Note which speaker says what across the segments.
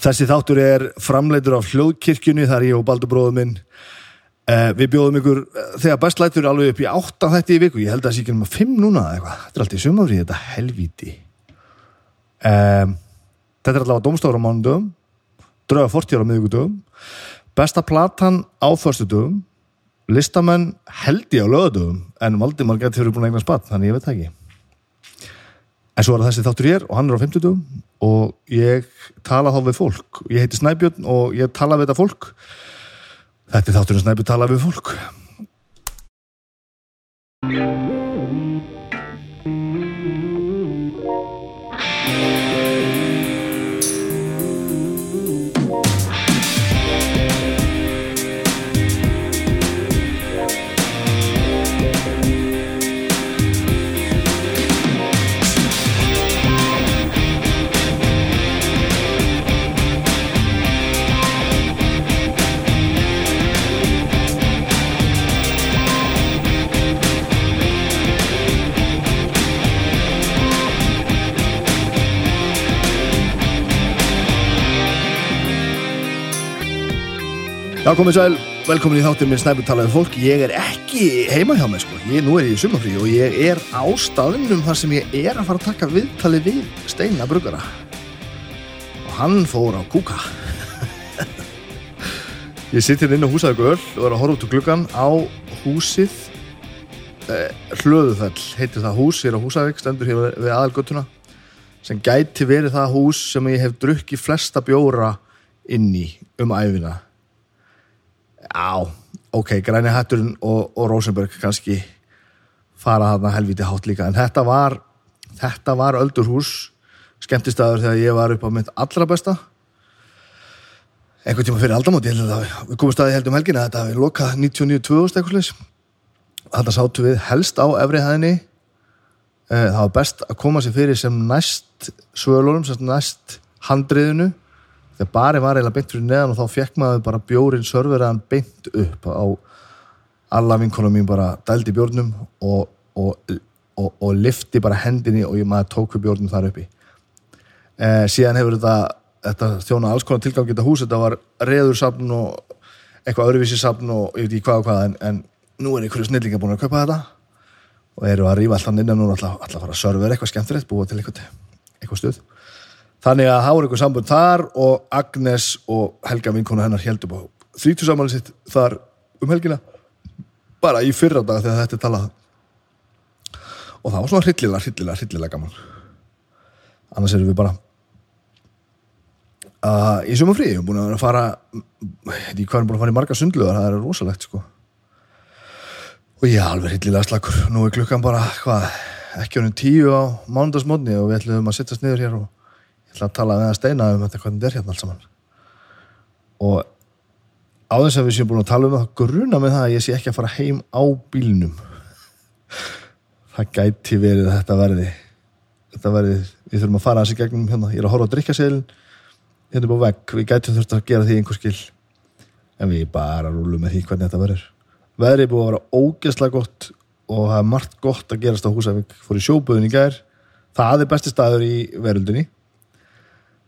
Speaker 1: Þessi þáttur er framleitur af hljóðkirkjunni, þar ég og Baldur bróðum minn. Uh, við bjóðum ykkur, eh, þegar best lætur alveg upp í átta þetta í viku, ég held að það sé ekki um að fimm núna eða eitthvað. Þetta er alltaf í sumafrið, þetta helvíti. Um, þetta er allavega domstofur á mánudöfum, drauga fortjár á miðvikudöfum, besta platan á förstudöfum, listamenn held ég á lögadöfum, en Valdimar gæti fyrir búin að eigna spatt, þannig ég veit það ekki. En svo er það þessi þáttur ég er og hann er á 50 og ég tala þá við fólk. Ég heiti Snæbjörn og ég tala við þetta fólk. Þetta er þátturinn Snæbjörn tala við fólk. Já, komið sæl, velkomin í þátturinn minn Snæbjörn tala við fólk. Ég er ekki heima hjá mig, sko. Ég, nú er ég í sumafrí og ég er á staðnum þar sem ég er að fara að taka viðtali við Steina Brugara. Og hann fór á kúka. ég sitt hérna inn á húsaðu göl og er að horfa út úr gluggan á húsið Eh, Hlöðufell heitir það hús, ég er á Húsavík, stendur hér við aðalgötuna sem gæti verið það hús sem ég hef drukkið flesta bjóra inn í um æfina Já, ok, Græni Hatturinn og, og Rosenberg kannski fara þarna helviti hátt líka en þetta var, þetta var öldurhús skemmtistæður þegar ég var upp á mitt allra besta einhvern tíma fyrir aldamóti ég held að það- við komum staði held um helgina að þetta við lokað 99.2 eitthvað slags Þetta sátu við helst á efri hæðinni Eh, Það var best að koma sér fyrir sem næst svölunum, sem næst handriðinu. Þegar bari var eiginlega beint fyrir neðan og þá fekk maður bara bjórin sörveraðan beint upp á alla vinkonum mín bara dældi bjórnum og, og, og, og lifti bara hendinni og ég maður tók við bjórnum þar uppi. Eh, síðan hefur þetta, þetta þjóna alls konar tilgang geta hús, þetta var reðursafn og eitthvað öðruvísi safn og ég veit ekki hvað og hvað en, en nú er einhverju snillingar búin að kaupa þetta og eru að rífa allan innan og alltaf, alltaf fara að servera eitthvað skemmtilegt, búa til eitthvað, eitthvað stuð. Þannig að hafa eitthvað sambund þar og Agnes og Helga vinkona hennar heldur á þrítusamæli sitt þar um helgina bara í fyrra dag þegar þetta er talað og það var svona hryllilega, hryllilega, hryllilega gaman annars erum við bara uh, í sumum frí, ég er búin að vera að fara ég er búin að fara í marga sundlugar það er rosalegt sko og ég er alveg hryllilega slakur nú er klukkan bara, hvað, ekki honum tíu á mánudagsmótni og við ætlum að sittast niður hér og ég ætla að tala við að steina um þetta hvernig þetta er hérna allt saman og á þess að við séum búin að tala um það þá gruna með það að ég sé ekki að fara heim á bílnum það gæti verið að þetta verði þetta verði, við þurfum að fara þessi gegnum hérna, ég er að horfa að drikka seglin hérna upp á vegg, við gætum þurft að gera því einhver skil en við bara rúlum með því hvernig þetta verður veðrið er búið að vera ógeðslega gott og það er margt gott að gerast á Húsavík fór í sjóböðin í gær það er besti staður í veröldinni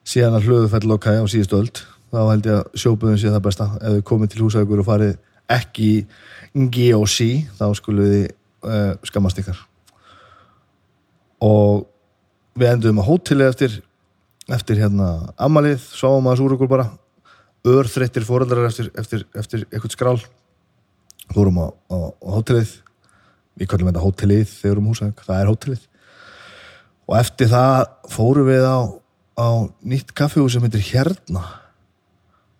Speaker 1: síðan að hlöðu fell lokaði á síðustu öld þá held ég að sjóböðin sé það besta ef við komið til Húsavíkur og farið ekki í GOC þá skulum við uh, skammast ykkar og við enduðum á hóteli eftir eftir hérna ammalið, sáum aðeins úr okkur bara örþreyttir foreldrar eftir, eftir, eftir eitthvað skrál fórum á, á, á hótelið við kallum þetta hótelið þegar um húsæk, það er hótelið og eftir það fórum við á, á nýtt kaffihús sem heitir Hérna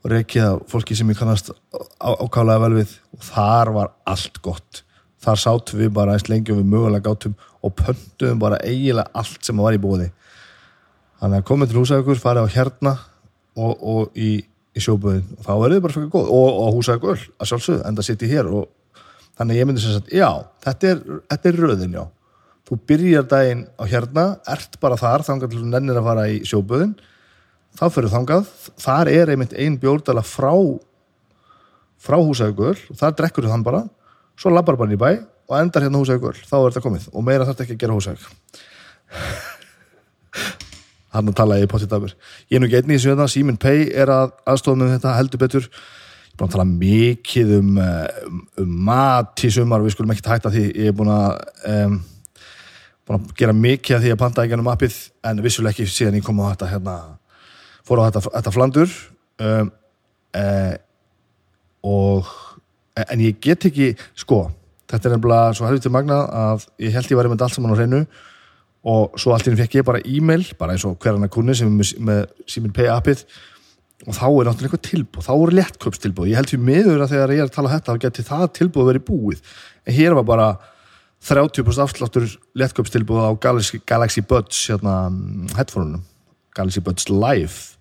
Speaker 1: og reikið af fólki sem ég kannast á- ákaflega vel við og þar var allt gott þar sátum við bara eins lengi og við mögulega gátum og pöntuðum bara eiginlega allt sem var í bóði þannig að komið til húsækur, farið á hérna og, og í, í sjóböðin og þá verður þið bara fyrir góð og, og húsækur að sjálfsögðu, enda sitt í hér og þannig að ég myndi sem sagt, já þetta er, þetta er röðin, já þú byrjar daginn á hérna, ert bara þar þangar til þú nennir að fara í sjóböðin þá fyrir þangað, þar er einmitt ein bjórdala frá frá húsæðugöl og þar drekkur þann bara, svo labbar bara inn í bæ og endar hérna húsæðugöl, þá er þetta komið og meira þarf ekki að gera húsæðug hann að tala ég potið dæmur ég er nú ekki einnig í sjöðan, Simen Pei er að aðstofa með þetta heldur betur ég er búin að tala mikið um, eh, um, um mat í sumar við skulum ekkert hætta því ég er búin að um, búin að gera mikið af því að panta ekki hann um appið en vissuleg ekki síðan ég kom á þetta hérna, fór á þetta, þetta flandur um, e, og en ég get ekki, sko þetta er nefnilega svo helviti magnað að ég held ég væri með þetta allt saman á hreinu og svo allt í henni fekk ég bara e-mail bara eins og hver annar kunni sem er með, með síminn pay appið og þá er náttúrulega eitthvað tilbúð, þá eru léttköpstilbúð ég held því miður að þegar ég er að tala um þetta þá geti það tilbúð verið búið en hér var bara 30% afsláttur léttköpstilbúð á Galaxy, Galaxy Buds hérna, headphone-unum Galaxy Buds Live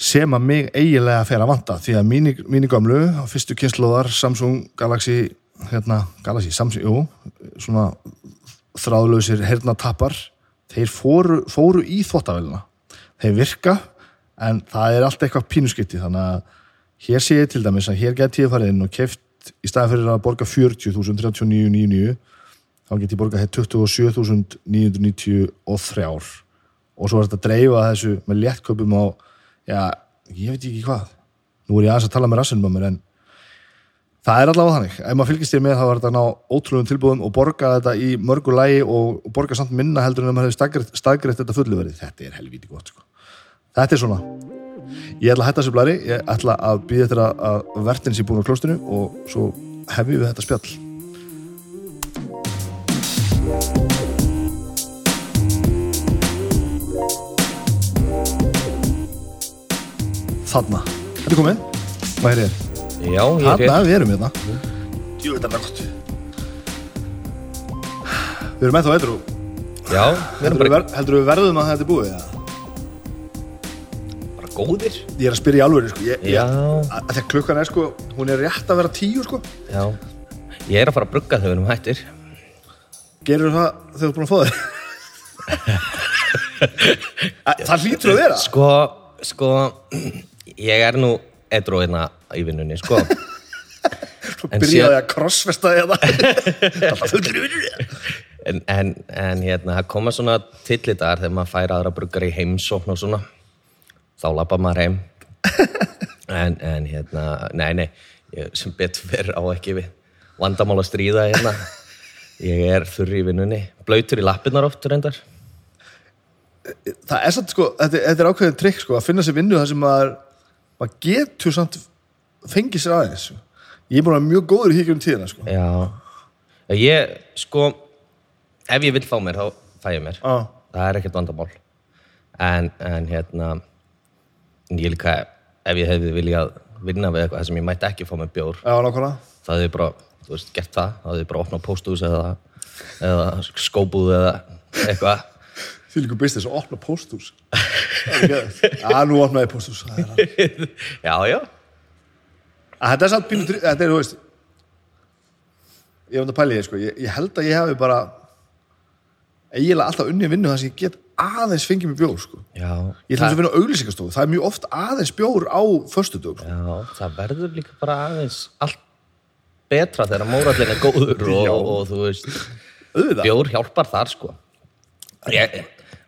Speaker 1: sem að mig eiginlega fer að vanta því að mínu, mínu gamlu á fyrstu kynnslóðar Samsung Galaxy hérna, Galaxy, Samsung, jú svona þráðlausir hernatappar þeir fóru, fóru í þvóttavélina þeir virka en það er allt eitthvað pínuskipti þannig að hér sé ég til dæmis að hér get ég farið inn og keft í staðan fyrir að borga 40.039.99 þá get ég borgað hér 27.993 og svo er þetta að dreifa þessu með léttköpum á já, ég veit ekki hvað nú er ég aðeins að tala með rassinum á mér en það er allavega þannig ef maður fylgist ég með þá var þetta að ná ótrúlegum tilbúðum og borga þetta í mörgu lægi og, og borga samt minna heldur en ef maður hefði staðgreitt þetta fullu verið þetta er helvíti gott sko. þetta er svona ég ætla að hætta þessu blæri, ég ætla að býða þetta að verðin sé búin á klóstinu og svo hefjum við þetta spjall þarna, þetta er komið hvað er ég?
Speaker 2: Já, ég er
Speaker 1: Hanna,
Speaker 2: hér.
Speaker 1: við erum hérna Jú, þetta er gott Við erum ennþá eitthvað
Speaker 2: Já, við erum
Speaker 1: heldur,
Speaker 2: bara,
Speaker 1: ver, heldur við verðum að þetta er búið ja?
Speaker 2: bara góðir.
Speaker 1: Ég er að spyrja í alvöru sko. ég,
Speaker 2: Já.
Speaker 1: ég, að, Þegar klukkan er sko, hún er rétt að vera tíu sko.
Speaker 2: Já. Ég er að fara að brugga þegar við erum hættir.
Speaker 1: Gerir það þegar þú er búin að fá þér Að- Það hlýtur að vera
Speaker 2: Sko, sko, ég er nú edru hérna í vinnunni, sko.
Speaker 1: Svo
Speaker 2: en
Speaker 1: byrjaði að krossfesta þér það Alltaf fullur vinnur
Speaker 2: En, en, en hérna, það koma svona tillitar þegar maður fær aðra bruggar í heimsókn og svona. Þá lappa maður heim. En, en hérna, nei, nei, ég, sem betur verð á ekki við vandamál að stríða hérna. Ég er þurri í vinnunni. Blautur í lappirnar oft, reyndar.
Speaker 1: það er samt sko, þetta, er- þetta er ákveðin trikk sko, að finna sér vinnu þar sem maður maður getur samt fengið sér aðeins sko. ég er búin að vera mjög góður í híkjum tíðina sko.
Speaker 2: Já, ég sko ef ég vil fá mér þá fæ ég mér
Speaker 1: á,
Speaker 2: það er ekkert vandamál en, en hérna en ég líka ef ég hefði viljað vinna við eitthvað sem ég mætti ekki fá mér bjór
Speaker 1: já, nákvæmlega
Speaker 2: það hefði ég bara, þú veist, gert það það hefði ég bara opnað póstús eða, eða skóbúð eða eitthvað
Speaker 1: því líka business að opna pósthús Það er geðveikt. já, nú opnaði ég pósthús það er alveg.
Speaker 2: já, já,
Speaker 1: Að þetta er samt pínu trikk, þetta er, þú veist ég er um að pæla ég, sko ég, ég held að ég hefði bara eiginlega alltaf unni vinnu þar sem ég get aðeins fengið mér bjór sko
Speaker 2: já
Speaker 1: Ég ætla þess að vinna á auglýsingastofu, það er mjög oft aðeins bjór á föstudögum. sko.
Speaker 2: Já, það verður líka bara aðeins allt betra þegar mórallin er góður og, og, þú veist
Speaker 1: Auðvitað.
Speaker 2: bjór hjálpar þar sko ég,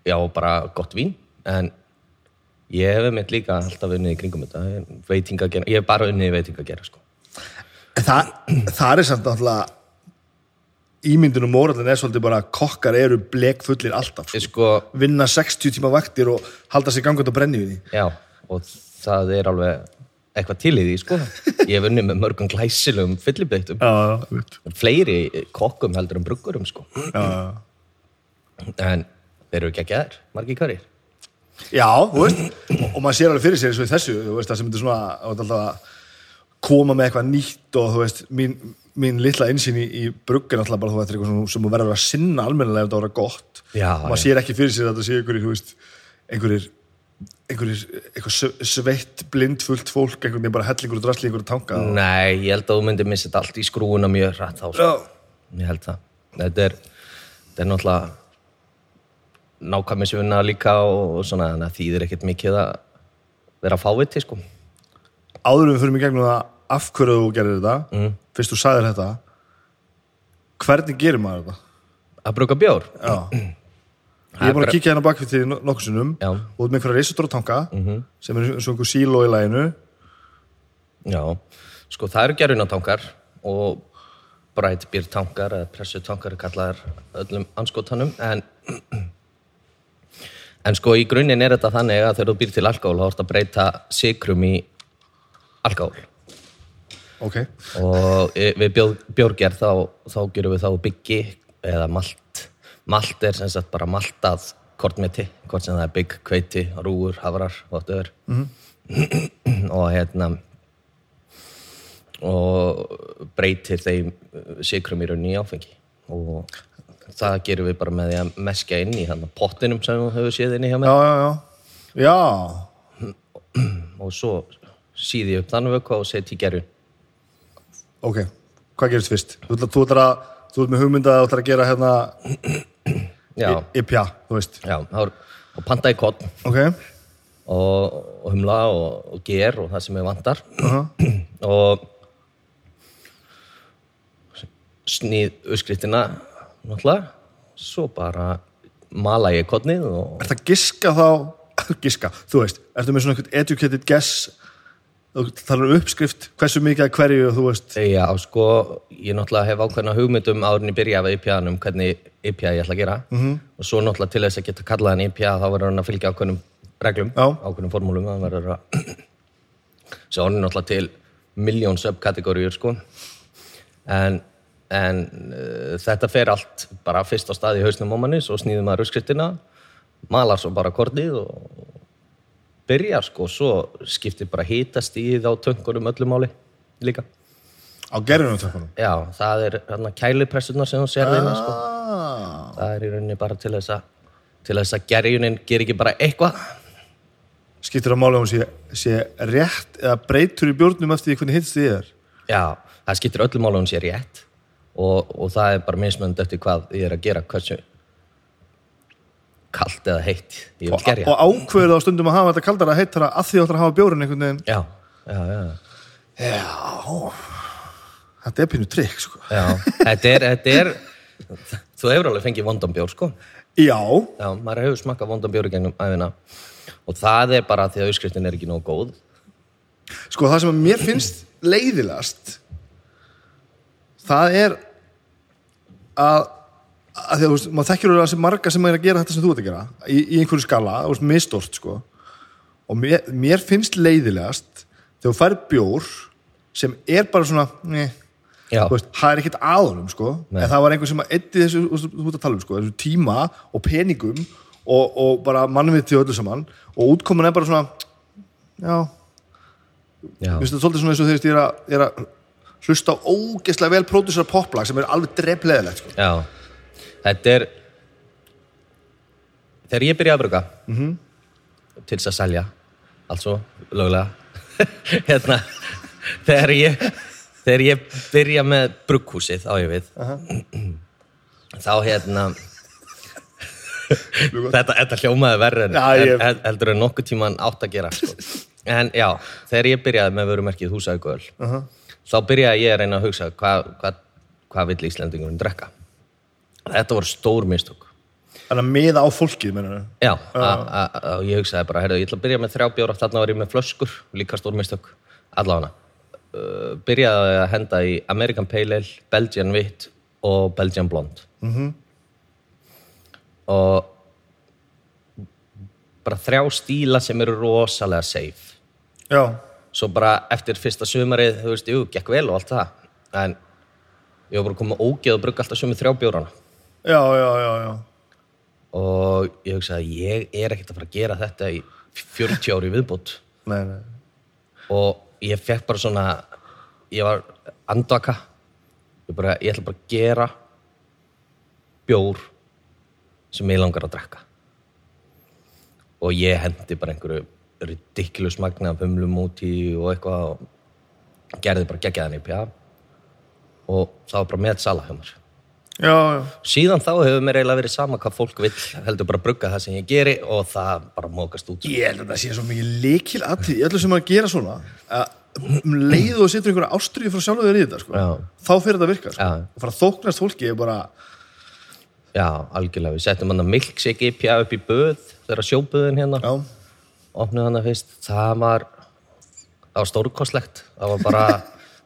Speaker 2: já, bara gott vín en ég hef mitt líka alltaf unnið í kringum þetta veitinga gera, ég hef bara unnið í veitinga gera sko
Speaker 1: En það, það er samt náttúrulega ímyndin og mórallin er svolítið bara að kokkar eru blekfullir alltaf
Speaker 2: ég
Speaker 1: sko.
Speaker 2: sko,
Speaker 1: vinna 60 tíma vaktir og halda sér gangut á brennivinni
Speaker 2: já, og það er alveg eitthvað til í því sko ég hef unnið með mörgum glæsilegum fyllibeittum,
Speaker 1: Já, veit
Speaker 2: fleiri kokkum heldur en bruggurum sko
Speaker 1: Já,
Speaker 2: en þeir eru ekki að gera, margir hverjir
Speaker 1: já þú veist og, og maður sér alveg fyrir sér eins og í þessu þú veist, það sem þetta er svona þú veist, alltaf að koma með eitthvað nýtt og þú veist mín, mín litla einsýn í, í bruggen alltaf bara þú veist, þetta er eitthvað svona sem þú verður að sinna almennilega ef þetta voru gott
Speaker 2: Já,
Speaker 1: Og maður
Speaker 2: já.
Speaker 1: sér ekki fyrir sér að þetta sé einhverjir þú veist, einhverjir einhverjir, einhver sve- sveitt blindfullt fólk, einhvern veginn bara hellingur og drasli einhverju tanka
Speaker 2: Mm. Nei, ég held að þú myndir missa þetta allt í skrúuna mjög hratt þá. sko.
Speaker 1: Já,
Speaker 2: Ég held það. Þetta er, þetta er náttúrulega nákvæmisvinna líka og, og svona, þannig að þýðir ekkert mikið að vera fáviti, sko.
Speaker 1: áður en við fyrir mig gegnum það af hverju þú gerir þetta
Speaker 2: Mm.
Speaker 1: fyrst þú sagðir þetta hvernig gerir maður þetta?
Speaker 2: Að bruka bjór.
Speaker 1: Já, Ég er búin að kíkja hérna bakið til nokkur sinnum
Speaker 2: Já. Mhm.
Speaker 1: og út með einhverja reisatrótanka mm -hmm. sem er eins og einhver síló í læginu
Speaker 2: Já, sko það eru gerunatankar og brætbýrtankar eða pressutankar er kallaðar öllum anskotanum en, en sko í grunninn er þetta þannig að þegar þú býr til alkohól þá ertu að breyta sikrum í alkohól
Speaker 1: Ok,
Speaker 2: og eh, við bjór, bjórgerð þá, þá gerum við þá byggi eða malt malt er sem sagt bara maltað kortmeti, hvort sem það er bygg, kveiti rúur, hafrar, whatever og hérna og breytir þeim sikrum í rauninni í áfengi og það gerum við bara með því að meskja inn í hann pottinum sem við höfum séð inn í hjá mér
Speaker 1: já, já, já Já,
Speaker 2: og svo síði upp þannig vöku og setji í gerjun
Speaker 1: ok, hvað gerist fyrst? Þú ætlar, þú ætlar að, þú ert með hugmynda að þú ætlar að gera hérna
Speaker 2: já,
Speaker 1: IPA, þú veist
Speaker 2: já, þá er- og pantaði kott
Speaker 1: Ok,
Speaker 2: og, og humla og, og ger og það sem ég vantar og snýð uppskriftina náttúrulega svo bara mala ég kodnið og
Speaker 1: ert að giska þá giska, þú veist, ertu með svona eitthvað educated guess þú talar um uppskrift, hversu mikið að hverju þú veist,
Speaker 2: já sko ég náttúrulega hef ákveðna hugmyndum áður en ég byrja af IPA-num hvernig IPA ég ætla að gera
Speaker 1: Mhm.
Speaker 2: -hmm. og svo náttúrulega til þess að geta kallað hann IPA þá verður hann að fylgja ákveðnum reglum
Speaker 1: Já.
Speaker 2: ákveðnum formúlum hann verður að svo hann er náttúrulega til miljón subkategóriur sko en, en uh, þetta fer allt bara fyrst á staði í hausnum á manni svo snýðum maður uppskriftina malar svo bara kornið og byrjar sko svo skiptir bara hítast í á tönkunum öllum máli líka
Speaker 1: á gerðunum tökunum
Speaker 2: já, það er hérna kælipressunar sem þú sér þeim sko.
Speaker 1: ah,
Speaker 2: það er í rauninni bara til þess að til þess að gerjunin ger ekki bara eitthvað
Speaker 1: skiptir að mála um sé, sé rétt eða breytur í bjórnum eftir því hvernig hittst því er
Speaker 2: já, það skiptir öllum máli að hún sé rétt og, og það er bara mismunandi eftir hvað ég er að gera hversu kalt eða heitt ég vil
Speaker 1: og,
Speaker 2: gerja
Speaker 1: og ákveður þá stundum að hafa þetta kaldara heittara að því þú ætlar að hafa bjórinn einhvern veginn
Speaker 2: Já, já, já.
Speaker 1: þetta er pínu trikk sko
Speaker 2: já. Þetta, er, þetta er, þú hefur alveg fengið vondanbjór, sko.
Speaker 1: já,
Speaker 2: Já, maður hefur smakkað vondanbjór í gegnum æfina. Og það er bara því að auðskriftin er ekki nóg góð.
Speaker 1: sko það sem að mér finnst leiðilegast það er að að því að þú veist, maður þekkir alveg að marga sem er að gera þetta sem þú ert að gera í, í einhverju skala, þú veist, mistort sko og mér, mér finnst leiðilegast þegar þú fær bjór sem er bara svona eh, neh,
Speaker 2: Já,
Speaker 1: Þú veist, það er ekkert aðunum sko. en það var einhver sem að eddi þessu þú veist, þú ert að tala um, sko, þessu tíma og peningum og, og bara mannviti og öllu saman og útkomin er bara svona já,
Speaker 2: já,
Speaker 1: Mér finnst þetta svolítið svona eins og þegar ég er að, ég er að hlusta á ógeðslega vel pródusar poplag sem er alveg drefleðilegt sko.
Speaker 2: já. Þetta er, þegar ég byrja að bruka, til þess að selja, altså, löglega, hérna, þegar ég, þegar ég byrja með brugghúsið, á ég við, þá hérna,
Speaker 1: Mjög gott.
Speaker 2: þetta, þetta hljómaði verri en,
Speaker 1: Já, ég-
Speaker 2: en, heldur en nokkuð tíman átt að gera sko. en já, þegar ég byrjaði með vörumerkið húsæðgöl þá byrjaði ég að reyna að hugsa hvað hva, hva vill Íslendingurinn drekka þetta voru stór mistök
Speaker 1: Þannig að miða á fólkið mennur.
Speaker 2: já, a- a- a- og ég hugsaði bara heyrðu, ég ætla að byrja með þrjá bjóra, þarna var ég með flöskur líka stór mistök, allána uh, byrjaði að henda í American Pale Ale, Belgian Wit og Belgian Blonde og bara þrjá stíla sem eru rosalega safe
Speaker 1: Já,
Speaker 2: svo bara eftir fyrsta sumarið þú veist, jú, gekk vel og allt það en ég var bara komið ógeð og brugga alltaf sumið þrjá bjórana
Speaker 1: já, já, já, já.
Speaker 2: og ég hugsaði, ég er ekkert að fara að gera þetta í 40 ári viðbútt
Speaker 1: Nei, nei.
Speaker 2: og ég fekk bara svona ég var andvaka ég, bara, ég ætla bara að gera bjór sem ég langar að drekka og ég hendi bara einhverju ridiculous magna humlum út í og eitthvað og gerði bara geggjaðan í pjá og það var bara með sala hjá mér
Speaker 1: Já, já.
Speaker 2: síðan þá hefur mér eiginlega verið sama hvað fólk vill heldur bara að brugga það sem ég geri og það bara mókast út
Speaker 1: Ég held að það sé svo mikið leikil aðtíð í öllu sem að gera svona að um leið og setur einhverja ástriði frá sjálfur þér í þetta sko.
Speaker 2: Já.
Speaker 1: þá fyrir þetta að virka sko.
Speaker 2: Já.
Speaker 1: og fara að þóknast fólki er bara
Speaker 2: já, algjörlega, við settum hann að milkshake IPA upp í böð, þegar sjóböðin hérna,
Speaker 1: Já,
Speaker 2: opnuð hann að fyrst, það var, það var stórkostlegt, það var bara,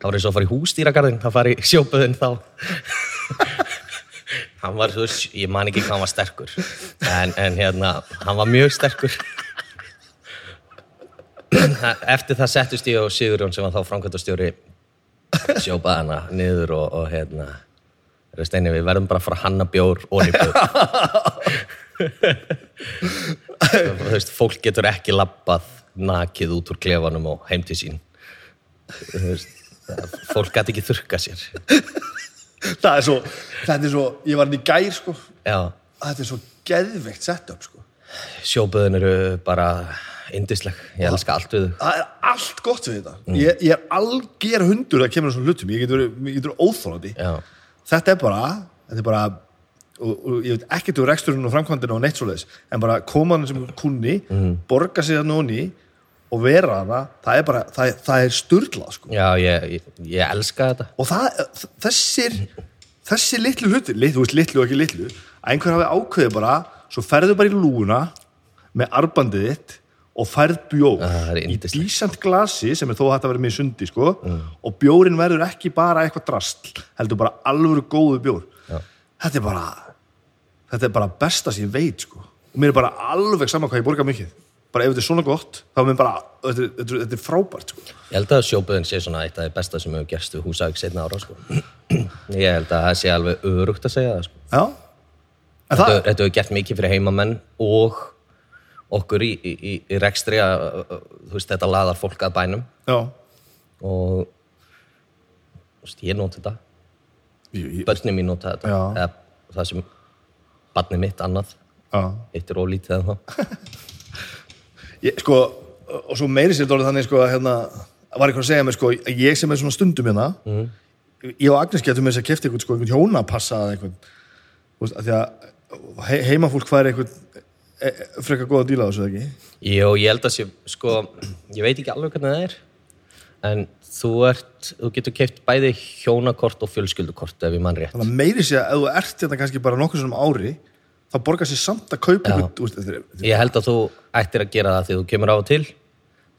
Speaker 2: það var eins og að fara í hústýragarðin, það fara í sjóböðin þá. hann var, þú veist, ég man ekki hvað hann var sterkur, en, en hérna, hann var mjög sterkur. Eftir það settust ég og Sigurjón sem var þá framkvæmtastjóri sjópaðana niður og, og hérna, Steini, við verðum bara að fara að hanna bjór og nýbjór. þú veist, fólk getur ekki lappað nakið út úr klefanum og heim til sín þú veist, það- fólk gæti ekki þurka sér
Speaker 1: það er svo, þetta er svo, ég var hann í gær, sko,
Speaker 2: já,
Speaker 1: þetta er svo geðveikt setup, sko.
Speaker 2: sjóböðin eru bara indisleg, ég elska allt við þau
Speaker 1: Það er allt gott við þetta. Ég, ég er algjör hundur að kemur að svona hlutum, ég getur, ég getur óþólandi.
Speaker 2: já,
Speaker 1: Þetta er bara, þetta er bara, og, og ég veit ekkert um reksturinn og framkvæmdina og neitt svoleiðis, en bara koma hann sem kunni, borga sig þarna honni og vera hana, það er bara, það, er- það er sturglað, sko.
Speaker 2: já ég, ég, ég elska þetta
Speaker 1: og það, þessir þessir litlu hlutir, lit, þú veist litlu og ekki litlu að einhver hafi ákveðið bara svo ferðu bara í lúuna með arbandið þitt og færð bjór
Speaker 2: Ah, það er
Speaker 1: í
Speaker 2: yndislegt.
Speaker 1: dísant glasi sem er þó hægt að vera með í sundi sko, og bjórin verður ekki bara eitthvað drast heldur bara alvöru góðu bjór
Speaker 2: Já.
Speaker 1: þetta er bara þetta er bara besta sem ég veit sko. og mér er bara alveg sama hvað ég borga mikið bara ef þetta er svona gott þá er mér bara, þetta er, þetta er, þetta er frábært sko.
Speaker 2: ég held að sjóböðin sé svona eitt af því besta sem hefur gerst við húsavík setna ára sko. ég held að það sé alveg örugt að segja það sko.
Speaker 1: já en það,
Speaker 2: þetta, þetta hefur gert mikið fyrir heimamenn og okkur í, í, í- í rekstri að, þú veist, þetta laðar fólk að bænum
Speaker 1: já
Speaker 2: og þú veist, ég nota þetta,
Speaker 1: Ég, ég,
Speaker 2: börnum mín nota þetta
Speaker 1: Já.
Speaker 2: eða það sem barnið mitt annað,
Speaker 1: já.
Speaker 2: eitt er ólítið en þá
Speaker 1: Ég, sko, og svo meiri sér dólið þannig sko, að, hérna, var eitthvað að segja mér sko, að ég sem er svona stundum hérna
Speaker 2: Mhm.
Speaker 1: ég og Agnes getum með þess að kefti eitthvað, sko, eitthvað hjónapassa eða eitthvað Þú veist, að því að he, heimafólk fær eitthvað e, e, frekar góða díla á þessu eða ekki
Speaker 2: Jó, ég held að sé, sko, ég veit ekki alveg hvernig það er en þú ert, þú getur keipt bæði hjónakort og fjölskyldukort ef ég mann rétt
Speaker 1: þannig að meiri sér að ef þú ert hérna kannski bara nokkur svona ári þá borgar sér samt að kaupa
Speaker 2: Já.
Speaker 1: eitthvað, þú veist, þetta er-
Speaker 2: Ég held að þú ættir að gera það þegar þú kemur á og til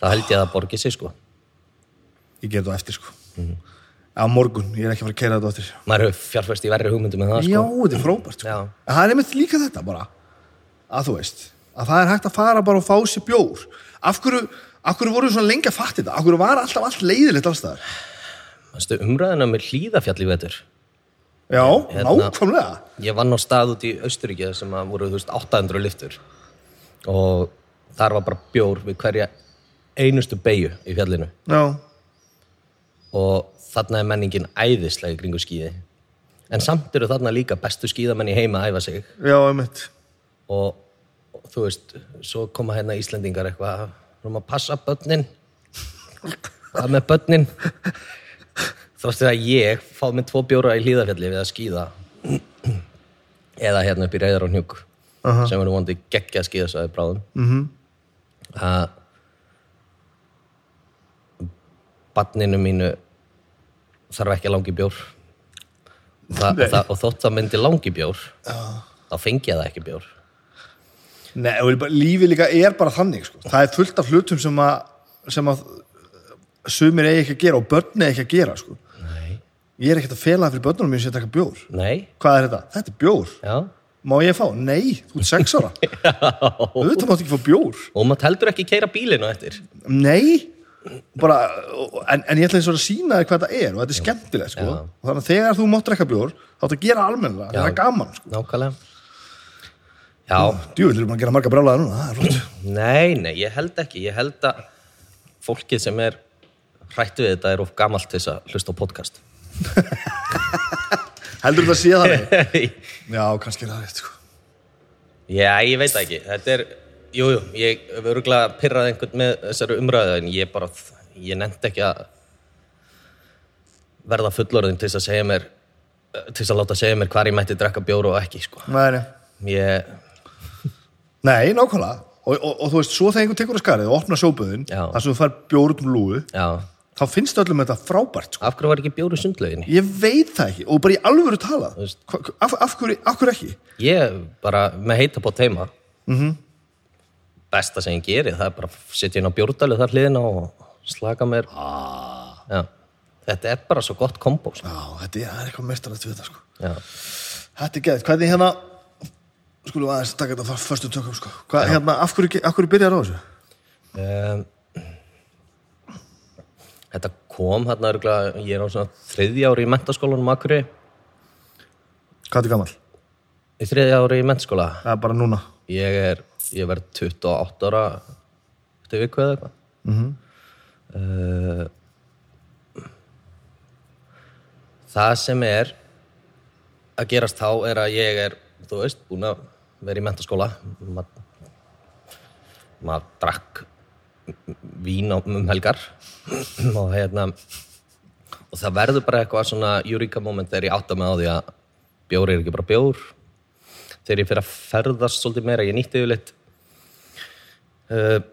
Speaker 2: þá held ég að það borgi sig, sko
Speaker 1: ég ger það eftir sko
Speaker 2: Mhm.
Speaker 1: á morgun, ég er ekki að fara að keira þetta á eftir
Speaker 2: maður hefur fjárfæst í verri hugmyndum en það, sko
Speaker 1: Já, þetta er frábært sko.
Speaker 2: Já.
Speaker 1: En það er einmitt líka þetta bara að þú veist, að það er hægt að fara bara og fá sér bjór Af hverju, af hverju voru við svona lengi að fatta þetta? Af hverju var alltaf allt leiðilegt alls staðar?
Speaker 2: Manstu, umræðina með hlýðafjall í vetur
Speaker 1: Já,
Speaker 2: Hérna.
Speaker 1: nákvæmlega
Speaker 2: Ég vann á stað út í Austuríki þar sem að voru þú veist, 800 lyftur og þar var bara bjór við hverja einustu beigju í fjallinu
Speaker 1: Já,
Speaker 2: og þarna er menningin æðislega í kringu skíði en samt eru þarna líka bestu skíðamenn í heima að æfa sig
Speaker 1: já, einmitt
Speaker 2: og, og þú veist, svo koma hérna Íslendingar eitthvað erum að passa börnin hvað með börnin þróttir að ég fá með tvo bjóra í hlýðafjalli við að skýða eða hérna upp í reyðar og hnjúk sem eru vondi geggja að skýða svo að bráðum mm -hmm. að barninu mínu þarf ekki að langi bjór Þa,
Speaker 1: Nei.
Speaker 2: það, og þótt það myndi langi bjór þá fengi ég það ekki bjór
Speaker 1: Nei, og bara- lífið líka er bara þannig sko. Það er fullt af hlutum sem að, sem að sumir eigi ekki að gera og börn eigi ekki að gera sko.
Speaker 2: Nei.
Speaker 1: Ég er ekkert að fela það fyrir börnunum mínu sem taka bjór
Speaker 2: Nei,
Speaker 1: Hvað er þetta? Þetta er bjór
Speaker 2: já.
Speaker 1: Má ég fá? Nei, þú ert sex ára Auðvitað máttu ekki fá bjór
Speaker 2: Og maður heldur ekki keira bílinu eftir.
Speaker 1: Nei bara, og- en, en ég ætla eins og að sína þér hvað það er og þetta er skemmtilegt sko.
Speaker 2: Já.
Speaker 1: og þannig að þegar þú mátt drekka bjór þá þetta að gera almennilega,
Speaker 2: Já.
Speaker 1: það er gaman sko.
Speaker 2: Nákvæmlega. Já,
Speaker 1: djúvill erum að gera marga brálaða núna það er flott.
Speaker 2: nei, nei, ég held ekki. Ég held að fólkið sem er hrætt við þetta er of gamalt til þess að hlusta á podcast.
Speaker 1: heldur þetta að sé þannig
Speaker 2: Já,
Speaker 1: já, kannski er það rétt sko.
Speaker 2: ég veit það ekki. Þetta er, jú, jú, ég hef öruglega pirrað einhvern með þessari umræðu en ég bara, ég nefndi ekki að verða fullorðin til þess að segja mér, til þess að láta segja mér hvar ég mætti drekka bjóru og ekki, sko.
Speaker 1: nei, nei.
Speaker 2: Ég,
Speaker 1: nei, nákvæmlega og, og, og þú veist, svo þegar einhver tekur að skarið og opna sjóböðin
Speaker 2: Já.
Speaker 1: þar sem þú fær bjór út um lúu
Speaker 2: já,
Speaker 1: þá finnst öllum þetta frábært sko.
Speaker 2: Af hverju var ekki bjóri sundlauginni?
Speaker 1: ég veit það ekki og bara í alvöru tala
Speaker 2: veist.
Speaker 1: Hva- af, af, hverju, af hverju ekki
Speaker 2: Ég bara, með heita bótt heima mm Besta sem ég geri Það er bara að setja inn á bjórdalið þar hliðina og slaka mér Já. Þetta er bara svo gott kombo sko.
Speaker 1: Já, þetta er, það er eitthvað mestarnast við þetta sko.
Speaker 2: Já.
Speaker 1: Þetta er geðið, hvernig hérna skulum aðeins taka þetta frá förstu tökum sko. Hvað, hérna, af hverju, ge- af hverju byrjar á þessu?
Speaker 2: Um, þetta kom hérna örgulega, ég er á svona þriðja ári í mentaskólanum Akurey
Speaker 1: Hvað er gammal?
Speaker 2: í þriðja ári í mentaskóla
Speaker 1: Það er bara núna
Speaker 2: ég er, ég verð 28 ára eftir viku eða eitthvað mm það sem er að gerast þá er að ég er þú veist, búin að vera í mentaskóla maður maður drakk vín á, um helgar og hérna og það verður bara eitthvað svona eureka moment þegar ég átta mig á því að bjór er ekki bara bjór þegar ég fyrir að ferðast svolítið meira, ég nýtti yfirleitt uh,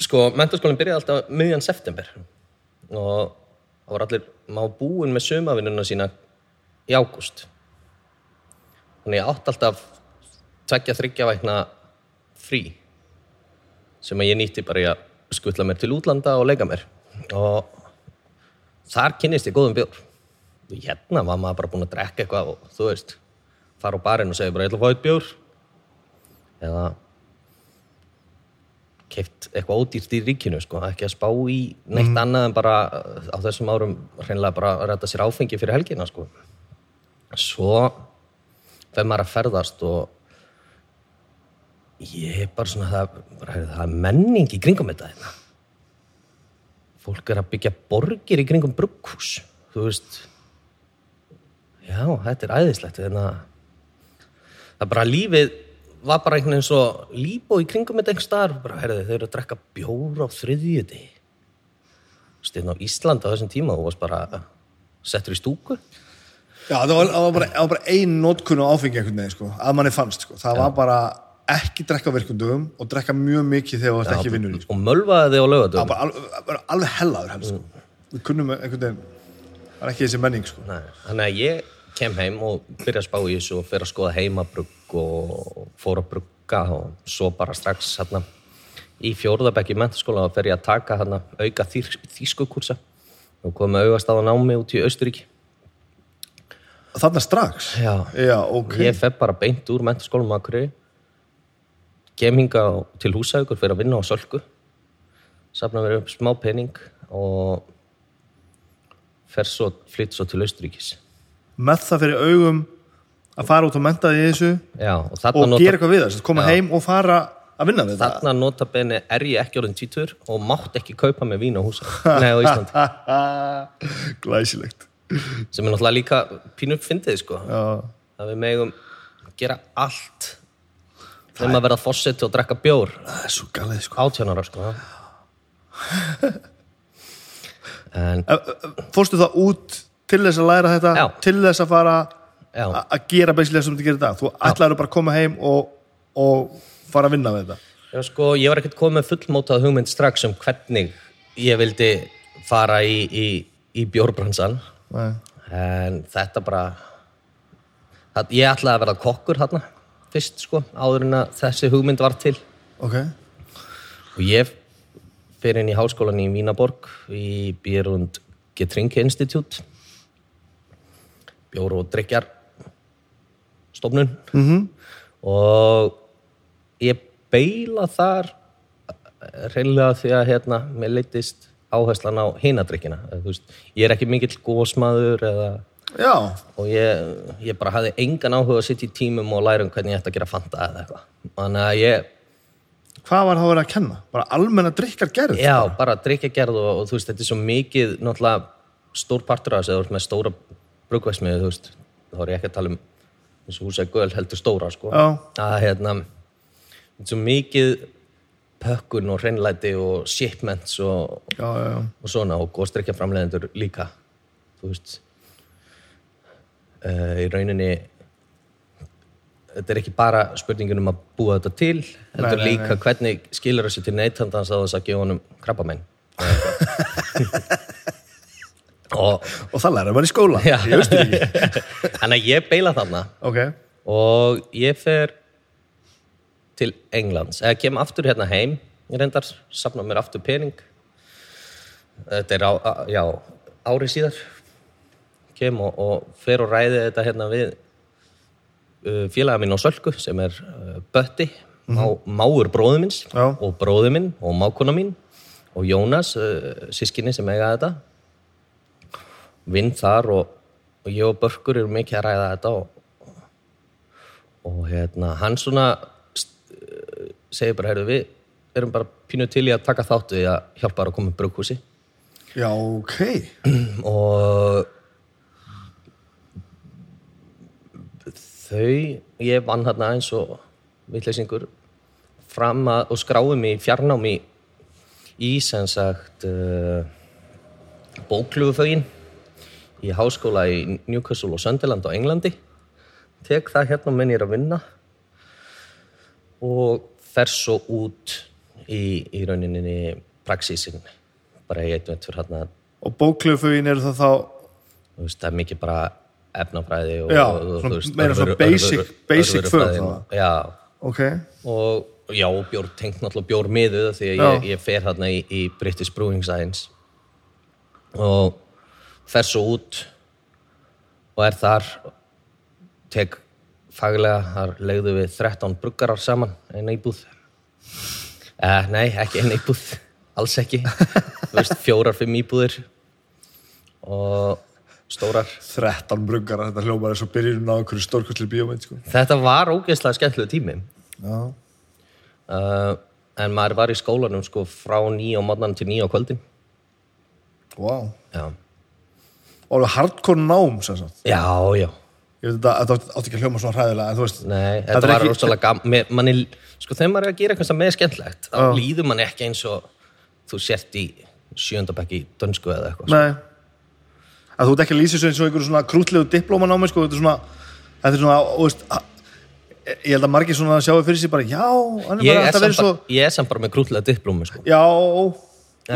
Speaker 2: sko, mentaskólinn byrjaði alltaf miðjan september og það var allir má búin með sömavinnuna sína í ágúst þannig ég átti alltaf tveggja þryggja vækna frí sem að ég nýtti bara í að skutla mér til útlanda og leika mér og þar kynnist ég góðum bjór og hérna var maður bara búin að drekka eitthvað og þú veist fara á barinn og segja bara ég ætla að fá eitt bjór eða keift eitthvað ódýrt í ríkinu sko, ekki að spá í neitt annað en bara uh, á þessum árum hreinlega bara að ræta sér áfengi fyrir helgina sko. svo þegar maður að ferðast og ég er bara svona það, bara, heyrðu, það er menning í kringum þetta hérna. fólk er að byggja borgir í kringum brugghús þú veist Já, þetta er æðislegt þannig að það bara lífið var bara einhvern veginn svo líbó í kringum þetta einhvers staðar bara, herðu, þau eru að drekka bjóra á þriðjöti styrna á Ísland á þessum tíma þú varst bara settur í stúku
Speaker 1: Já, það var, það var, bara, það var bara ein notkun á áfengi einhvern veginn, sko, að manni fannst sko. það var bara ekki drekka á virkum dögum og drekka mjög mikið þegar þú ert ekki vinnur í sko.
Speaker 2: og mölvaði þig á
Speaker 1: það var
Speaker 2: lögadögum
Speaker 1: bara alveg, bara alveg hellaður helst sko. við kunnum einhvern veginn það var ekki þessi menning sko.
Speaker 2: Nei, þannig að ég kem heim og byrja að spá í þessu og fyrir að skoða heimabrugg og fór að brugga og svo bara strax hérna í fjórðabekki mentaskóla og fer ég að taka hérna auka þýr, þýskukursa og komið með augast á námi út í Austuríki
Speaker 1: þarna strax
Speaker 2: Já.
Speaker 1: Já, ok
Speaker 2: ég fer bara beint úr mentaskólanum að hverju kem hinga til húsaukur fyrir að vinna á sölku safna mér upp smá pening og fer svo, flytt svo til Austuríkis
Speaker 1: með það fyrir augum að fara út og menta því þessu
Speaker 2: Já, og þarna
Speaker 1: og
Speaker 2: nota-
Speaker 1: gera eitthvað við það, sem sagt, koma heim og fara að vinna við það
Speaker 2: Þarna notabene er ég ekki orðin tvítur og mátt ekki kaupa með vín á húsa Nei, á Íslandi
Speaker 1: glæsilegt
Speaker 2: Sem er náttúrulega líka pínu fyndið, sko
Speaker 1: Já.
Speaker 2: Að við megum gera allt Þegar maður verða fórseti og drekka bjór
Speaker 1: það er svo galið sko
Speaker 2: Átjónara, sko En,
Speaker 1: fórstu það út til þess að læra þetta
Speaker 2: Já.
Speaker 1: til þess að fara
Speaker 2: já
Speaker 1: a- að gera basically það sem þú gerir í dag þú ætlaður bara að koma heim og, og fara að vinna við þetta
Speaker 2: Já, sko, ég var ekkert komið með fullmótað hugmynd strax um hvernig ég vildi fara í, í, í bjórbransan
Speaker 1: Nei.
Speaker 2: En þetta bara það, Ég ætlaði að vera kokkur hérna fyrst sko, áður en að þessi hugmynd var til
Speaker 1: ok,
Speaker 2: og ég fyrir inn í háskólan í Vínaborg í Björund Getrinke Institute bjór og drikjar stofnun -hmm. og ég beila þar reynilega því að hérna, mér leittist áherslan á hinadrykkina Eða, þú veist, ég er ekki mikill gósmaður eða
Speaker 1: já
Speaker 2: og ég, ég bara hafði engan áhuga að sitja í tímum og læra um hvernig ég ætti að gera fanta eða eitthvað. Þannig að ég,
Speaker 1: hvað var það að vera að kenna? bara almenna drikkar gerð
Speaker 2: já, bara drikja gerð og, og þú veist, þetta er svo mikið, náttúrulega, stór partur af þess að þú ert með stóra brugvæsmiðu, þú veist, þá er ég ekki að tala um eins og húsæk göl heldur stóra, sko.
Speaker 1: Já.
Speaker 2: Að, hérna, þetta er svo mikið pökkun og hreinlæti og shipments og,
Speaker 1: já, já, já.
Speaker 2: og svona og góðstrekja framleiðendur líka þú veist uh, í rauninni þetta er ekki bara spurningin um að búa þetta til þetta er
Speaker 1: nei,
Speaker 2: líka hvernig skilur þessi til neytandans að þess að gefa honum krabbamenn og
Speaker 1: og það læra maður í skóla
Speaker 2: já,
Speaker 1: ég veist ekki
Speaker 2: þannig að ég beila þarna
Speaker 1: ok,
Speaker 2: og ég fer til Englands eða kem aftur hérna heim ég reyndar, safna mér aftur pening þetta er á, á, já, ári síðar kem og, og fer og ræði þetta hérna við uh, félaga mín á Sölku sem er uh, Bötti má, máur bróðu minns
Speaker 1: Já.
Speaker 2: og bróðu minn og mákona mín og Jónas, uh, sískinni sem eiga þetta vinn þar og, og ég og Börkur eru mikið að ræða þetta og, og hérna, hann svona st- eh, segir bara, heyrðu, við erum bara pínu til í að taka þáttu í að hjálpa þér að koma upp brugghúsi
Speaker 1: já, ok
Speaker 2: og þau, ég vann hérna eins og vitleysingur fram að, og skráði mig í fjarnámi í sem sagt uh, bóklugufögin í háskóla í Newcastle og Söndiland á Englandi tek það hérna menn ég er að vinna og fer svo út í, í rauninni praxísin bara í eitt veit fyrir hérna
Speaker 1: og bóklöfugin eru það þá
Speaker 2: þú veist, það er mikið bara efnafræði og,
Speaker 1: Já,
Speaker 2: og, og
Speaker 1: svona- meira svona basic- basic fög þá.
Speaker 2: já,
Speaker 1: ok,
Speaker 2: og já, og bjór tengt náttúrulega bjór miðuð því að
Speaker 1: Já.
Speaker 2: ég, ég fer þarna í, í British Brewing Science og fer svo út og er þar tek faglega, þar legðu við 13 bruggarar saman, eina íbúð eh, nei, ekki eina íbúð alls ekki Þú veist, fjórar, fimm íbúðir og stórar
Speaker 1: 13 bruggar þetta hljómar eins og byrjunum á einhverju stórkvöldsli bíómynd sko.
Speaker 2: Þetta var ógeðslega skemmtilega tími
Speaker 1: já,
Speaker 2: uh, en maður var í skólanum sko frá nýja á morgnan til nýja á kvöldin
Speaker 1: wow
Speaker 2: Já,
Speaker 1: og alveg hardcore nám sem sagt
Speaker 2: já, já
Speaker 1: ég veit þetta, þetta átti ekki að hljóma svona hræðilega en þú veist,
Speaker 2: Nei,
Speaker 1: Þetta
Speaker 2: þetta
Speaker 1: er
Speaker 2: var
Speaker 1: ekki-
Speaker 2: rosalega gaman mér- manni, sko þegar maður er að gera eitthvað sem er skemmtilegt þá líður manni ekki eins og þú sért í sjöndabæk í dönsku eða eitthvað sko.
Speaker 1: Nei að þú ert ekki að lýsa þessu eins og einhverju svona krútlegu diplóman á mig sko, þetta er svona þetta er svona, þú veist að, ég held að margir svona sjáu fyrir sér bara já, hann er
Speaker 2: ég, er
Speaker 1: bara alltaf
Speaker 2: samt
Speaker 1: verið svo
Speaker 2: bara, ég er samt bara með grútlega diplómi sko.
Speaker 1: já,